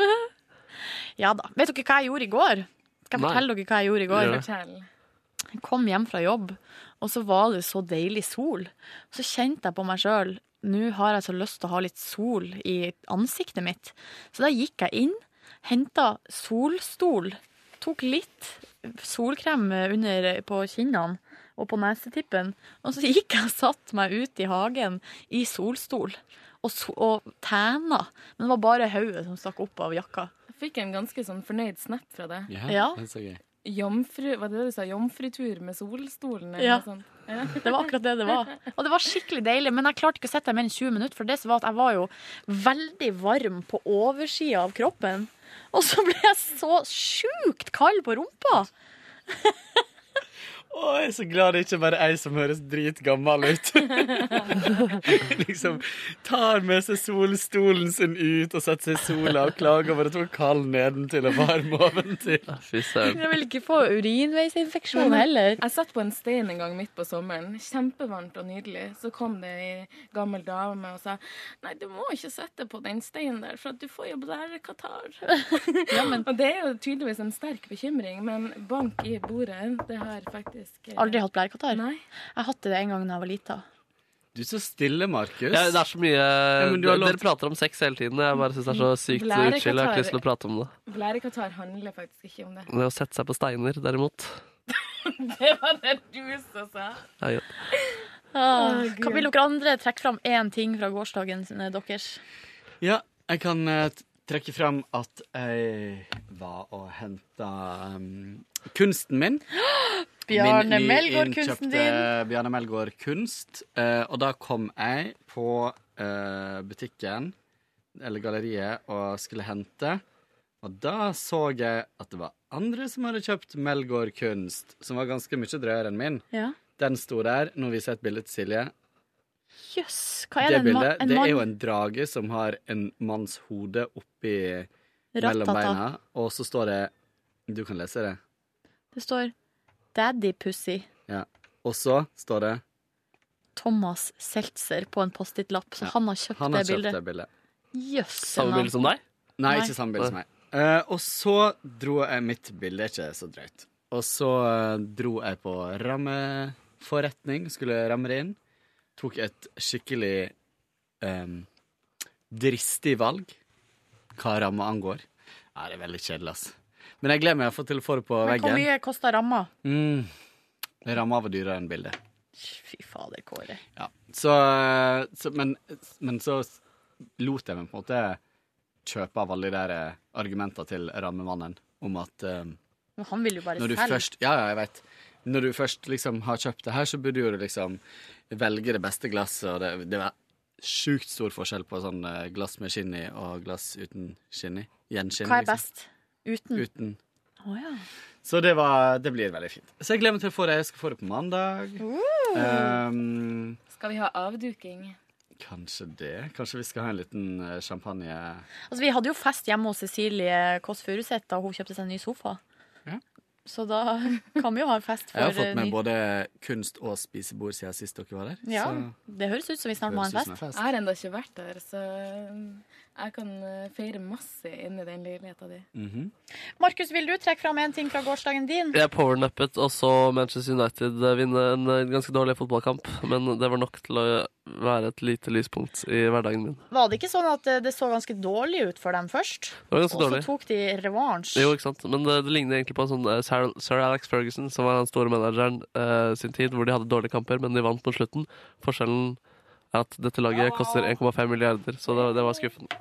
C: Ja da. Vet dere hva jeg gjorde i går? Skal jeg
K: Nei.
C: fortelle dere hva jeg gjorde i går?
K: Fortell.
C: Jeg kom hjem fra jobb, og så var det så deilig sol. Så kjente jeg på meg sjøl nå har jeg så lyst til å ha litt sol i ansiktet mitt. Så da gikk jeg inn, henta solstol, tok litt solkrem under på kinnene og på nesetippen, og så gikk jeg og satte meg ut i hagen i solstol. Og, so og tæna. Men det var bare hodet som stakk opp av jakka.
K: Jeg fikk en ganske sånn fornøyd snap fra deg.
L: Det er så gøy.
K: Jomfru, var det det du sa? Jomfrutur med solstolen?
C: Ja.
K: Eller noe sånt. Ja.
C: Det var akkurat det det var. Og det var skikkelig deilig, men jeg klarte ikke å sitte der mer enn 20 minutter, for det som var at jeg var jo veldig varm på oversida av kroppen. Og så ble jeg så sjukt kald på rumpa!
L: Å, jeg er så glad det ikke bare er jeg som høres dritgammel ut. liksom tar med seg solstolen sin ut og setter seg i sola og klager over at hun er kald nedentil og varm oventil.
D: Fy søren.
C: Jeg vil ikke få urinveisinfeksjon
K: Men
C: heller.
K: Jeg satt på en stein en gang midt på sommeren. Kjempevarmt og nydelig. Så kom det ei gammel dame og sa Nei, du må ikke sitte på den steinen der, for at du får jo blærekatarr. og det er jo tydeligvis en sterk bekymring, men bank i bordet, det har faktisk eh,
C: Aldri hatt blærekatarr? Jeg hadde det en gang da jeg var lita.
L: Du er så stille, Markus.
D: Ja, det er så mye
L: men du har lov
D: Dere prater om sex hele tiden. Jeg bare syns det er så
K: Mm.
D: sykt
K: Blærekatarr-
D: utskill. Jeg har ikke lyst til å prate om det.
K: Blærekatarr handler faktisk ikke om det.
D: Det å sette seg på steiner, derimot
K: det var det du som sa.
D: det er greit.
C: Ah,
K: Å, Gud.
C: kan vil dere andre trekke fram én ting fra gårsdagen eh, deres?
L: Ja, jeg kan eh, t- trekke fram at jeg var og henta um, kunsten min.
C: Bjarne
L: Min
C: Melgaard-kunsten
L: nyinnkjøpte Bjarne Melgaard kunst. Eh, og da kom jeg på eh, butikken, eller galleriet, og skulle hente. Og da så jeg at det var andre som hadde kjøpt Melgaard kunst, som var ganske mye drøyere enn min.
C: Ja.
L: Den sto der. Nå viser jeg et bilde til Silje.
C: Jøss, hva er
L: Det
C: det? En, ma
L: bildet,
C: en
L: det
C: mann?
L: er jo en drage som har en manns hode oppi mellom
C: Ratata.
L: beina, og så står det Du kan lese det.
C: Det står 'Daddy Pussy
L: Ja. Og så står det
C: Thomas Seltzer' på en Post-It-lapp. Så
L: Ja,
C: han har kjøpt
L: Han har
C: det
L: kjøpt
C: bildet.
L: det bildet.
C: Jøss.
L: Nei,
C: Nei.
L: ikke samme bilde som meg. Eh, og så dro jeg Mitt bilde er ikke så drøyt. Og så eh, dro jeg på rammeforretning, skulle ramme det inn. Tok et skikkelig em, dristig valg hva ramme angår. Nei, det er veldig kjedelig, ass. Men jeg gleder meg i hvert fall til å få det på
C: Men hvor
L: veggen.
C: mye kosta ramma?
L: Mm. Ramma var dyrere enn bildet.
C: Fy fader, Kåre.
L: Ja. Så, så, men, men så lot jeg meg på en måte kjøpe av alle de der eh, argumenter til rammemannen om at eh,
C: Men han vil jo bare
L: når du
C: selge.
L: først Ja, ja, jeg vet. Når du først liksom har kjøpt det her, så burde jo du liksom velge det beste glasset, og det, det var sjukt stor forskjell på sånn eh, glass med skinn i og glass uten skinn i. Gjenskinn.
C: Hva er best? Uten?
L: Liksom. Uten.
C: Å ja.
L: Så det, var, det blir veldig fint. Så jeg gleder meg til å få det. Jeg skal få det på mandag. Um,
K: Skal vi ha avduking?
L: kanskje det. Kanskje vi skal ha en liten eh, champagne
C: Altså, vi hadde jo fest hjemme hos Cecilie Kåss Furuseth da hun kjøpte seg en ny sofa.
L: Ja.
C: Så da kan vi jo ha en fest for eh,
L: Jeg har fått
C: ny-
L: med både kunst og spisebord siden sist dere var der.
C: Ja,
L: Så
C: det høres ut som vi snart må ha
L: Høres ut
C: en
L: som en
C: fest.
K: Jeg har ennå ikke vært der, så jeg kan eh, feire masse inni den leiligheta di.
L: Mhm.
C: Markus, vil du trekke fram en ting fra gårsdagen din?
D: Jeg powernappet og så Manchester United vinne en eh, ganske dårlig fotballkamp. Men det var nok til å være et lite lyspunkt i hverdagen min.
C: Var det ikke sånn at eh, det så ganske dårlig ut for dem først?
D: Det var ganske
C: Og så
D: dårlig.
C: tok de revansj.
D: Jo, ikke sant? Men det, det ligner egentlig på en sånn eh, Sir, Sir Alex Ferguson, som var den store manageren eh, sin tid, hvor de hadde dårlige kamper, men de vant på slutten. Forskjellen er at dette laget koster 1,5 milliarder, så det, det var skuffende.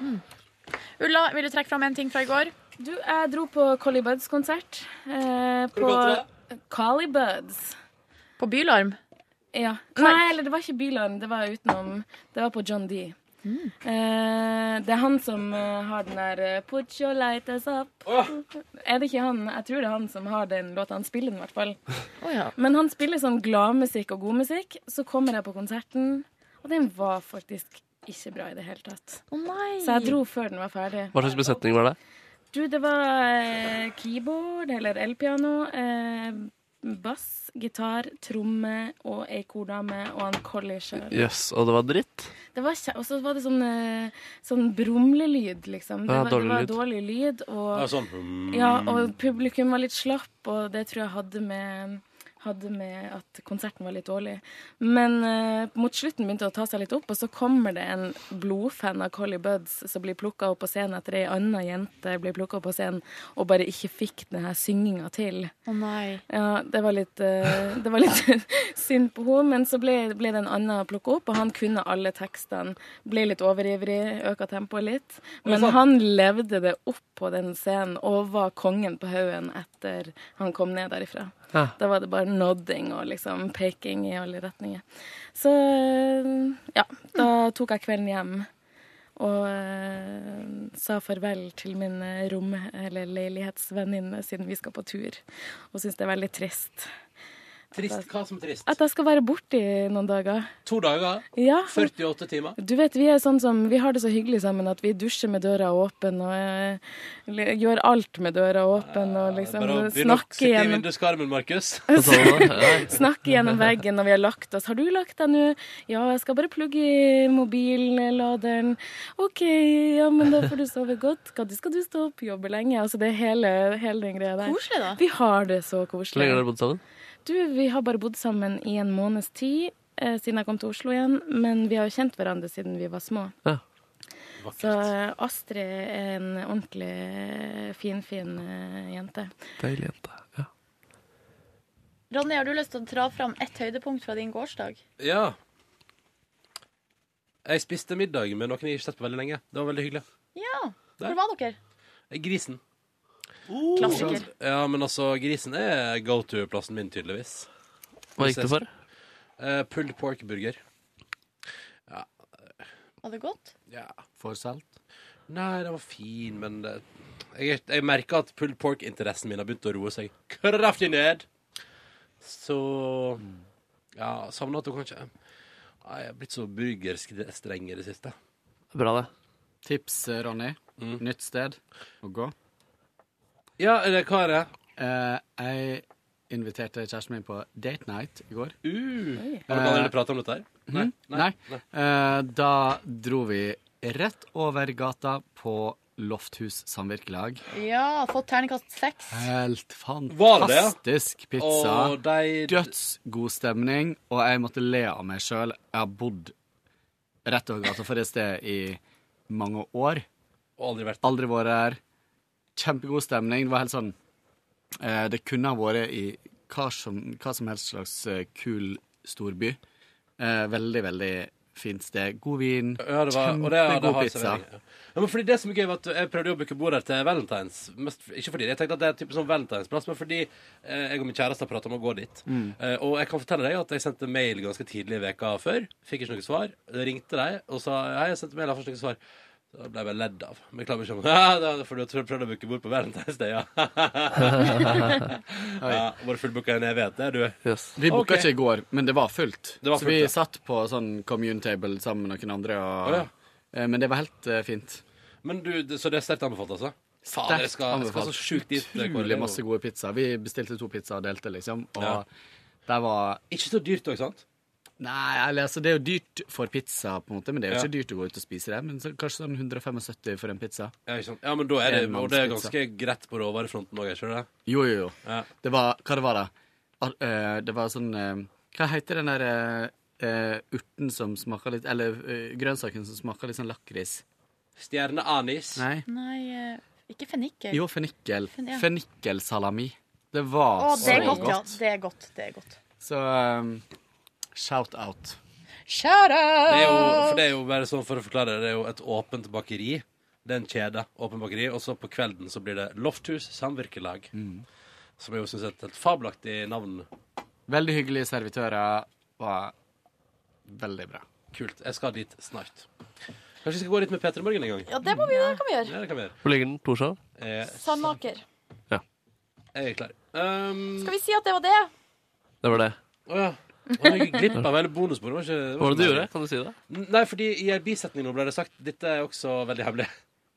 F: Mm.
C: Ulla, vil du trekke fram en ting fra i går?
K: Du, jeg dro på Collie Buds-konsert. Eh, på
C: kalte
K: Collie Buds.
C: På Bylarm?
K: Ja. Nei, eller det var ikke Bylarm, det var utenom. Det var på John D.
C: Hmm.
K: Eh, det er han som eh, har den der eh, Put your lighters up. Er det ikke han? Jeg tror det er han som har den låta. Han spiller den i hvert fall. Men han spiller sånn gladmusikk og god musikk. Så kommer jeg på konserten, og den var faktisk ikke bra i det hele tatt. Så jeg dro før den var ferdig.
D: Hva slags besetning var det?
K: Du, det var eh, keyboard eller elpiano, eh, bass, gitar, tromme og ei kordame og en collie sjøl.
D: Jøss, og det var dritt?
K: Det var kje- Og så var det sånn, eh, sånn brumlelyd, liksom. Det
D: Ja,
K: var, det
D: dårlig
K: var
D: lyd.
K: dårlig lyd, og,
B: Ja, sånn.
K: ja, og publikum var litt slapp, og det tror jeg hadde med hadde med at konserten var litt dårlig. Men eh, mot slutten begynte det å ta seg litt opp, og så kommer det en blodfan av Collie Buds som blir plukka opp på scenen etter ei anna jente blir plukka opp på scenen og bare ikke fikk denne synginga til.
C: Å nei.
K: Ja, det var litt, eh, det var litt synd på henne, men så ble, ble det en annen plukka opp, og han kunne alle tekstene. Ble litt overivrig, øka tempoet litt. Men
C: Oi, sant.
K: han levde det opp på den scenen og var kongen på haugen etter han kom ned derifra.
D: Ja.
K: Da var det bare nodding og liksom peking i alle retninger. Så eh, ja, da tok jeg kvelden hjem. Og eh, sa farvel til min eh, rom- eller leilighetsvenninne siden vi skal på tur. Og syns det er veldig trist.
B: Trist, hva som er trist?
K: At jeg skal være borte i noen dager.
B: To dager?
K: Ja.
B: 48 timer?
K: Du vet, Vi er sånn som, vi har det så hyggelig sammen at vi dusjer med døra åpen og eh, le- gjør alt med døra åpen. og liksom
B: Bare å begynne å
K: snakker
B: sitte i
K: gjennom,
B: vinduskarmen, Markus.
K: snakker gjennom veggen når vi har lagt oss. 'Har du lagt deg nå?' 'Ja, jeg skal bare plugge i mobilladeren.' 'OK, ja, men da får du sove godt. Når skal du stå opp? Jobbe lenge?' Altså det er hele, hele den greia der.
F: Koselig, da.
K: Vi har det så koselig.
D: Så lenge dere har bodd sammen?
K: Du, vi har bare bodd sammen i en måneds tid eh, siden jeg kom til Oslo igjen, men vi har jo kjent hverandre siden vi var små.
D: Ja.
K: Så eh, Astrid er en ordentlig eh, finfin eh, jente.
D: Deilig jente.
F: Ronny, har du lyst til å dra fram ett høydepunkt fra din gårsdag?
B: Ja. Jeg spiste middag med noen jeg ikke har sett på veldig lenge. Det var veldig hyggelig.
F: Ja.
B: Der. Oh.
F: Hvor var dere?
B: Grisen.
F: Klassiker.
B: Ja, men altså, grisen er go to-plassen min, tydeligvis.
D: Hva gikk det for?
B: Eh, pulled pork burger.
F: Var det godt?
B: Ja.
L: For salt?
B: Nei, den var fin, men det, jeg, jeg merker at pulled pork-interessen min har begynt å roe seg kraftig ned. Så Ja, savner at hun kanskje Nei, Jeg er blitt så burgerstreng i det siste.
L: Bra, det. Tips, eh, Ronny. Nytt sted å gå.
B: Mm.
L: Eh,
B: Ja, eller hva er det?
L: jeg inviterte kjæresten min på date night i går.
B: Uh, har dere allerede pratet om dette her?
L: Nei. Nei. Eh, da dro vi rett over gata på Lofthus samvirkelag.
F: Ja, fått terningkast seks.
L: Helt
B: Var det?
L: fantastisk pizza.
B: Og de-
L: Dødsgod stemning, og jeg måtte le av meg sjøl. Jeg har bodd rett over gata for et sted i mange år.
B: Og aldri vært
L: Aldri vært her. Kjempegod stemning. Det var helt sånn eh, Det kunne ha vært i hva som, hva som helst slags eh, kul storby. Eh, veldig, veldig fint sted. God vin.
B: Ja, det var, og det, det
L: kjempegod
B: har
L: pizza.
B: servering, ja. Ja, men fordi det som er gøy var at eh, Jeg prøvde jo å booke bord her til Valentines. Mest, ikke fordi jeg tenkte at det er en type sånn valentinesplass, men fordi eh, jeg og min kjæreste har pratet om å gå dit.
L: Mm.
B: Eh, og jeg kan fortelle deg at jeg sendte mail ganske tidlig i veka før. Fikk ikke noe svar. Jeg ringte deg og sa hei, jeg sendte mail, jeg har fått noe svar. Da ble jeg bare ledd av. Men jeg klarer ikke om ja, da, For du har prøvd å booke bord på Valentine's Day, ja. ja bare fullbooka en evighet, det er du.
L: Vi booka
B: Ok.
L: ikke i går, men det var fullt.
B: Det var
L: så
B: fullt,
L: vi
B: ja.
L: satt på sånn commune table sammen med noen andre. Og,
B: Å,
L: eh, Men det var helt eh, fint.
B: Men du, det- Så det er sterkt anbefalt, altså? Faen, jeg skal, jeg skal så sjukt dit. eh,
L: Utrolig masse gode pizzaer. Vi bestilte to pizzaer og delte, liksom. Og
B: Ja.
L: der var
B: Ikke så dyrt òg, sant?
L: Nei, eller, altså, det er jo dyrt for pizza, på en måte, men det er jo
B: Ja.
L: ikke dyrt å gå ut og spise det. Men så, kanskje sånn 175 for en pizza.
B: Ja, ikke sant? ja, men da er det, og det er
L: Enmannspizza.
B: ganske greit på råvarefronten òg, ikke det?
L: Jo, jo, jo. Det var Hva det var det? Al- eh, Det var sånn eh, Hva heter den der eh, eh, urten som smaker litt Eller eh, grønnsaken som smaker litt sånn lakris?
B: Stjerne anis.
L: Nei.
F: Nei, eh, ikke fennikel.
L: Jo, fennikel.
F: Fen- ja.
L: Fennikelsalami. Det var
F: Å, det
L: så
F: er godt, ja.
L: godt.
F: Det er godt. det er godt.
L: Så um, shout out.
F: Shout
B: Det er, jo,
F: out!
B: for det er jo bare sånn for å forklare det, det er jo et åpent bakeri. Det er en kjede. Åpen bakeri. Og så på kvelden så blir det Lofthus samvirkelag.
L: Mm.
B: Som jeg jo syns er et helt fabelaktig navn.
L: Veldig hyggelige servitører. Var veldig bra.
B: Kult. Jeg skal dit snart. Kanskje vi skal gå dit med P3 Morgen en gang?
F: Ja, det må vi, det kan vi gjøre.
B: Ja, det kan vi gjøre.
D: Hvor ligger den? Torshov?
B: Eh,
F: Sandmaker.
B: jeg er klar. Um,
F: Skal vi si at det var det?
D: Det var det.
B: Å ja. Og jeg gikk glipp av hele bonusbordet. var ikke-
D: Hva var
B: ikke
D: det du
B: meningen.
D: gjorde? Kan du si det?
B: N- Nei, fordi i en bisetning nå ble det sagt Dette er også veldig hemmelig.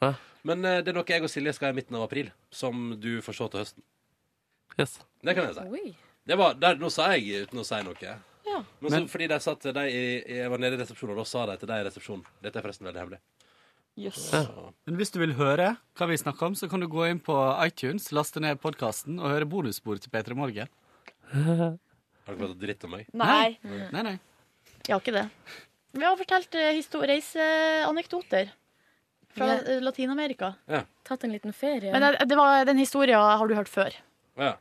D: Hæ?
B: Men eh, det er noe jeg og Silje skal i midten av april, som du får se til høsten.
D: Yes.
B: Det kan jeg si. Det var, der, nå sa jeg uten å si noe. Men, så, fordi de sa til deg i- Jeg var nede i resepsjonen, og da sa de til deg i resepsjonen Dette er forresten veldig hemmelig.
L: Ja. Men hvis du vil høre hva vi snakker om, så kan du gå inn på iTunes, laste ned podkasten og høre bonusspor til P3 Morgen.
B: Har du pratet dritt om meg?
F: Nei.
L: Nei, nei.
F: Jeg har ikke det. Vi har fortalt eh, histo- reiseanekdoter fra
K: Ja.
F: eh, Latin-Amerika.
K: Tatt en liten ferie.
F: Men eh, det var, den historien har du hørt før.
B: Ja.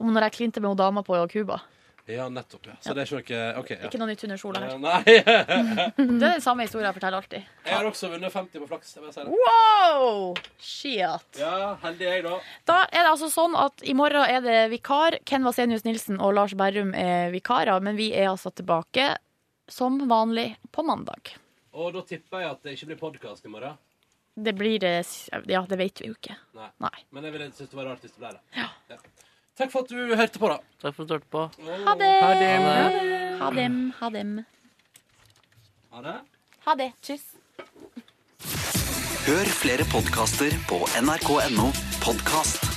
F: Om når jeg klinte med hun dama på Cuba.
B: ja, nettopp. ja Så det er ikke noe OK. Ja.
F: Ikke noe nytt under sola her.
B: Eh, Nei.
F: Det er den samme historien jeg forteller alltid.
B: jeg har også vunnet 50 på flaks. Jeg vil si det.
F: Wow! Shit.
B: Ja, heldig jeg, da.
F: Da er det altså sånn at i morgen er det vikar. Ken Vasenius Nilsen og Lars Berrum er vikarer, men vi er altså tilbake som vanlig på mandag.
B: Og da tipper jeg at det ikke blir podkast i morgen.
C: Det blir eh, s- Ja, det vet vi jo ikke.
B: Nei.
C: Nei.
B: Men jeg ville synes det var rart hvis det ble det. Ja. Takk for at du hørte på, da.
D: Takk for at du hørte på.
C: Ha det!
D: Ha det.
C: Ha dem. Ha dem.
B: Ha det.
C: Ha det. Tschüss.
A: Hør flere podkaster på nrk.no podkast.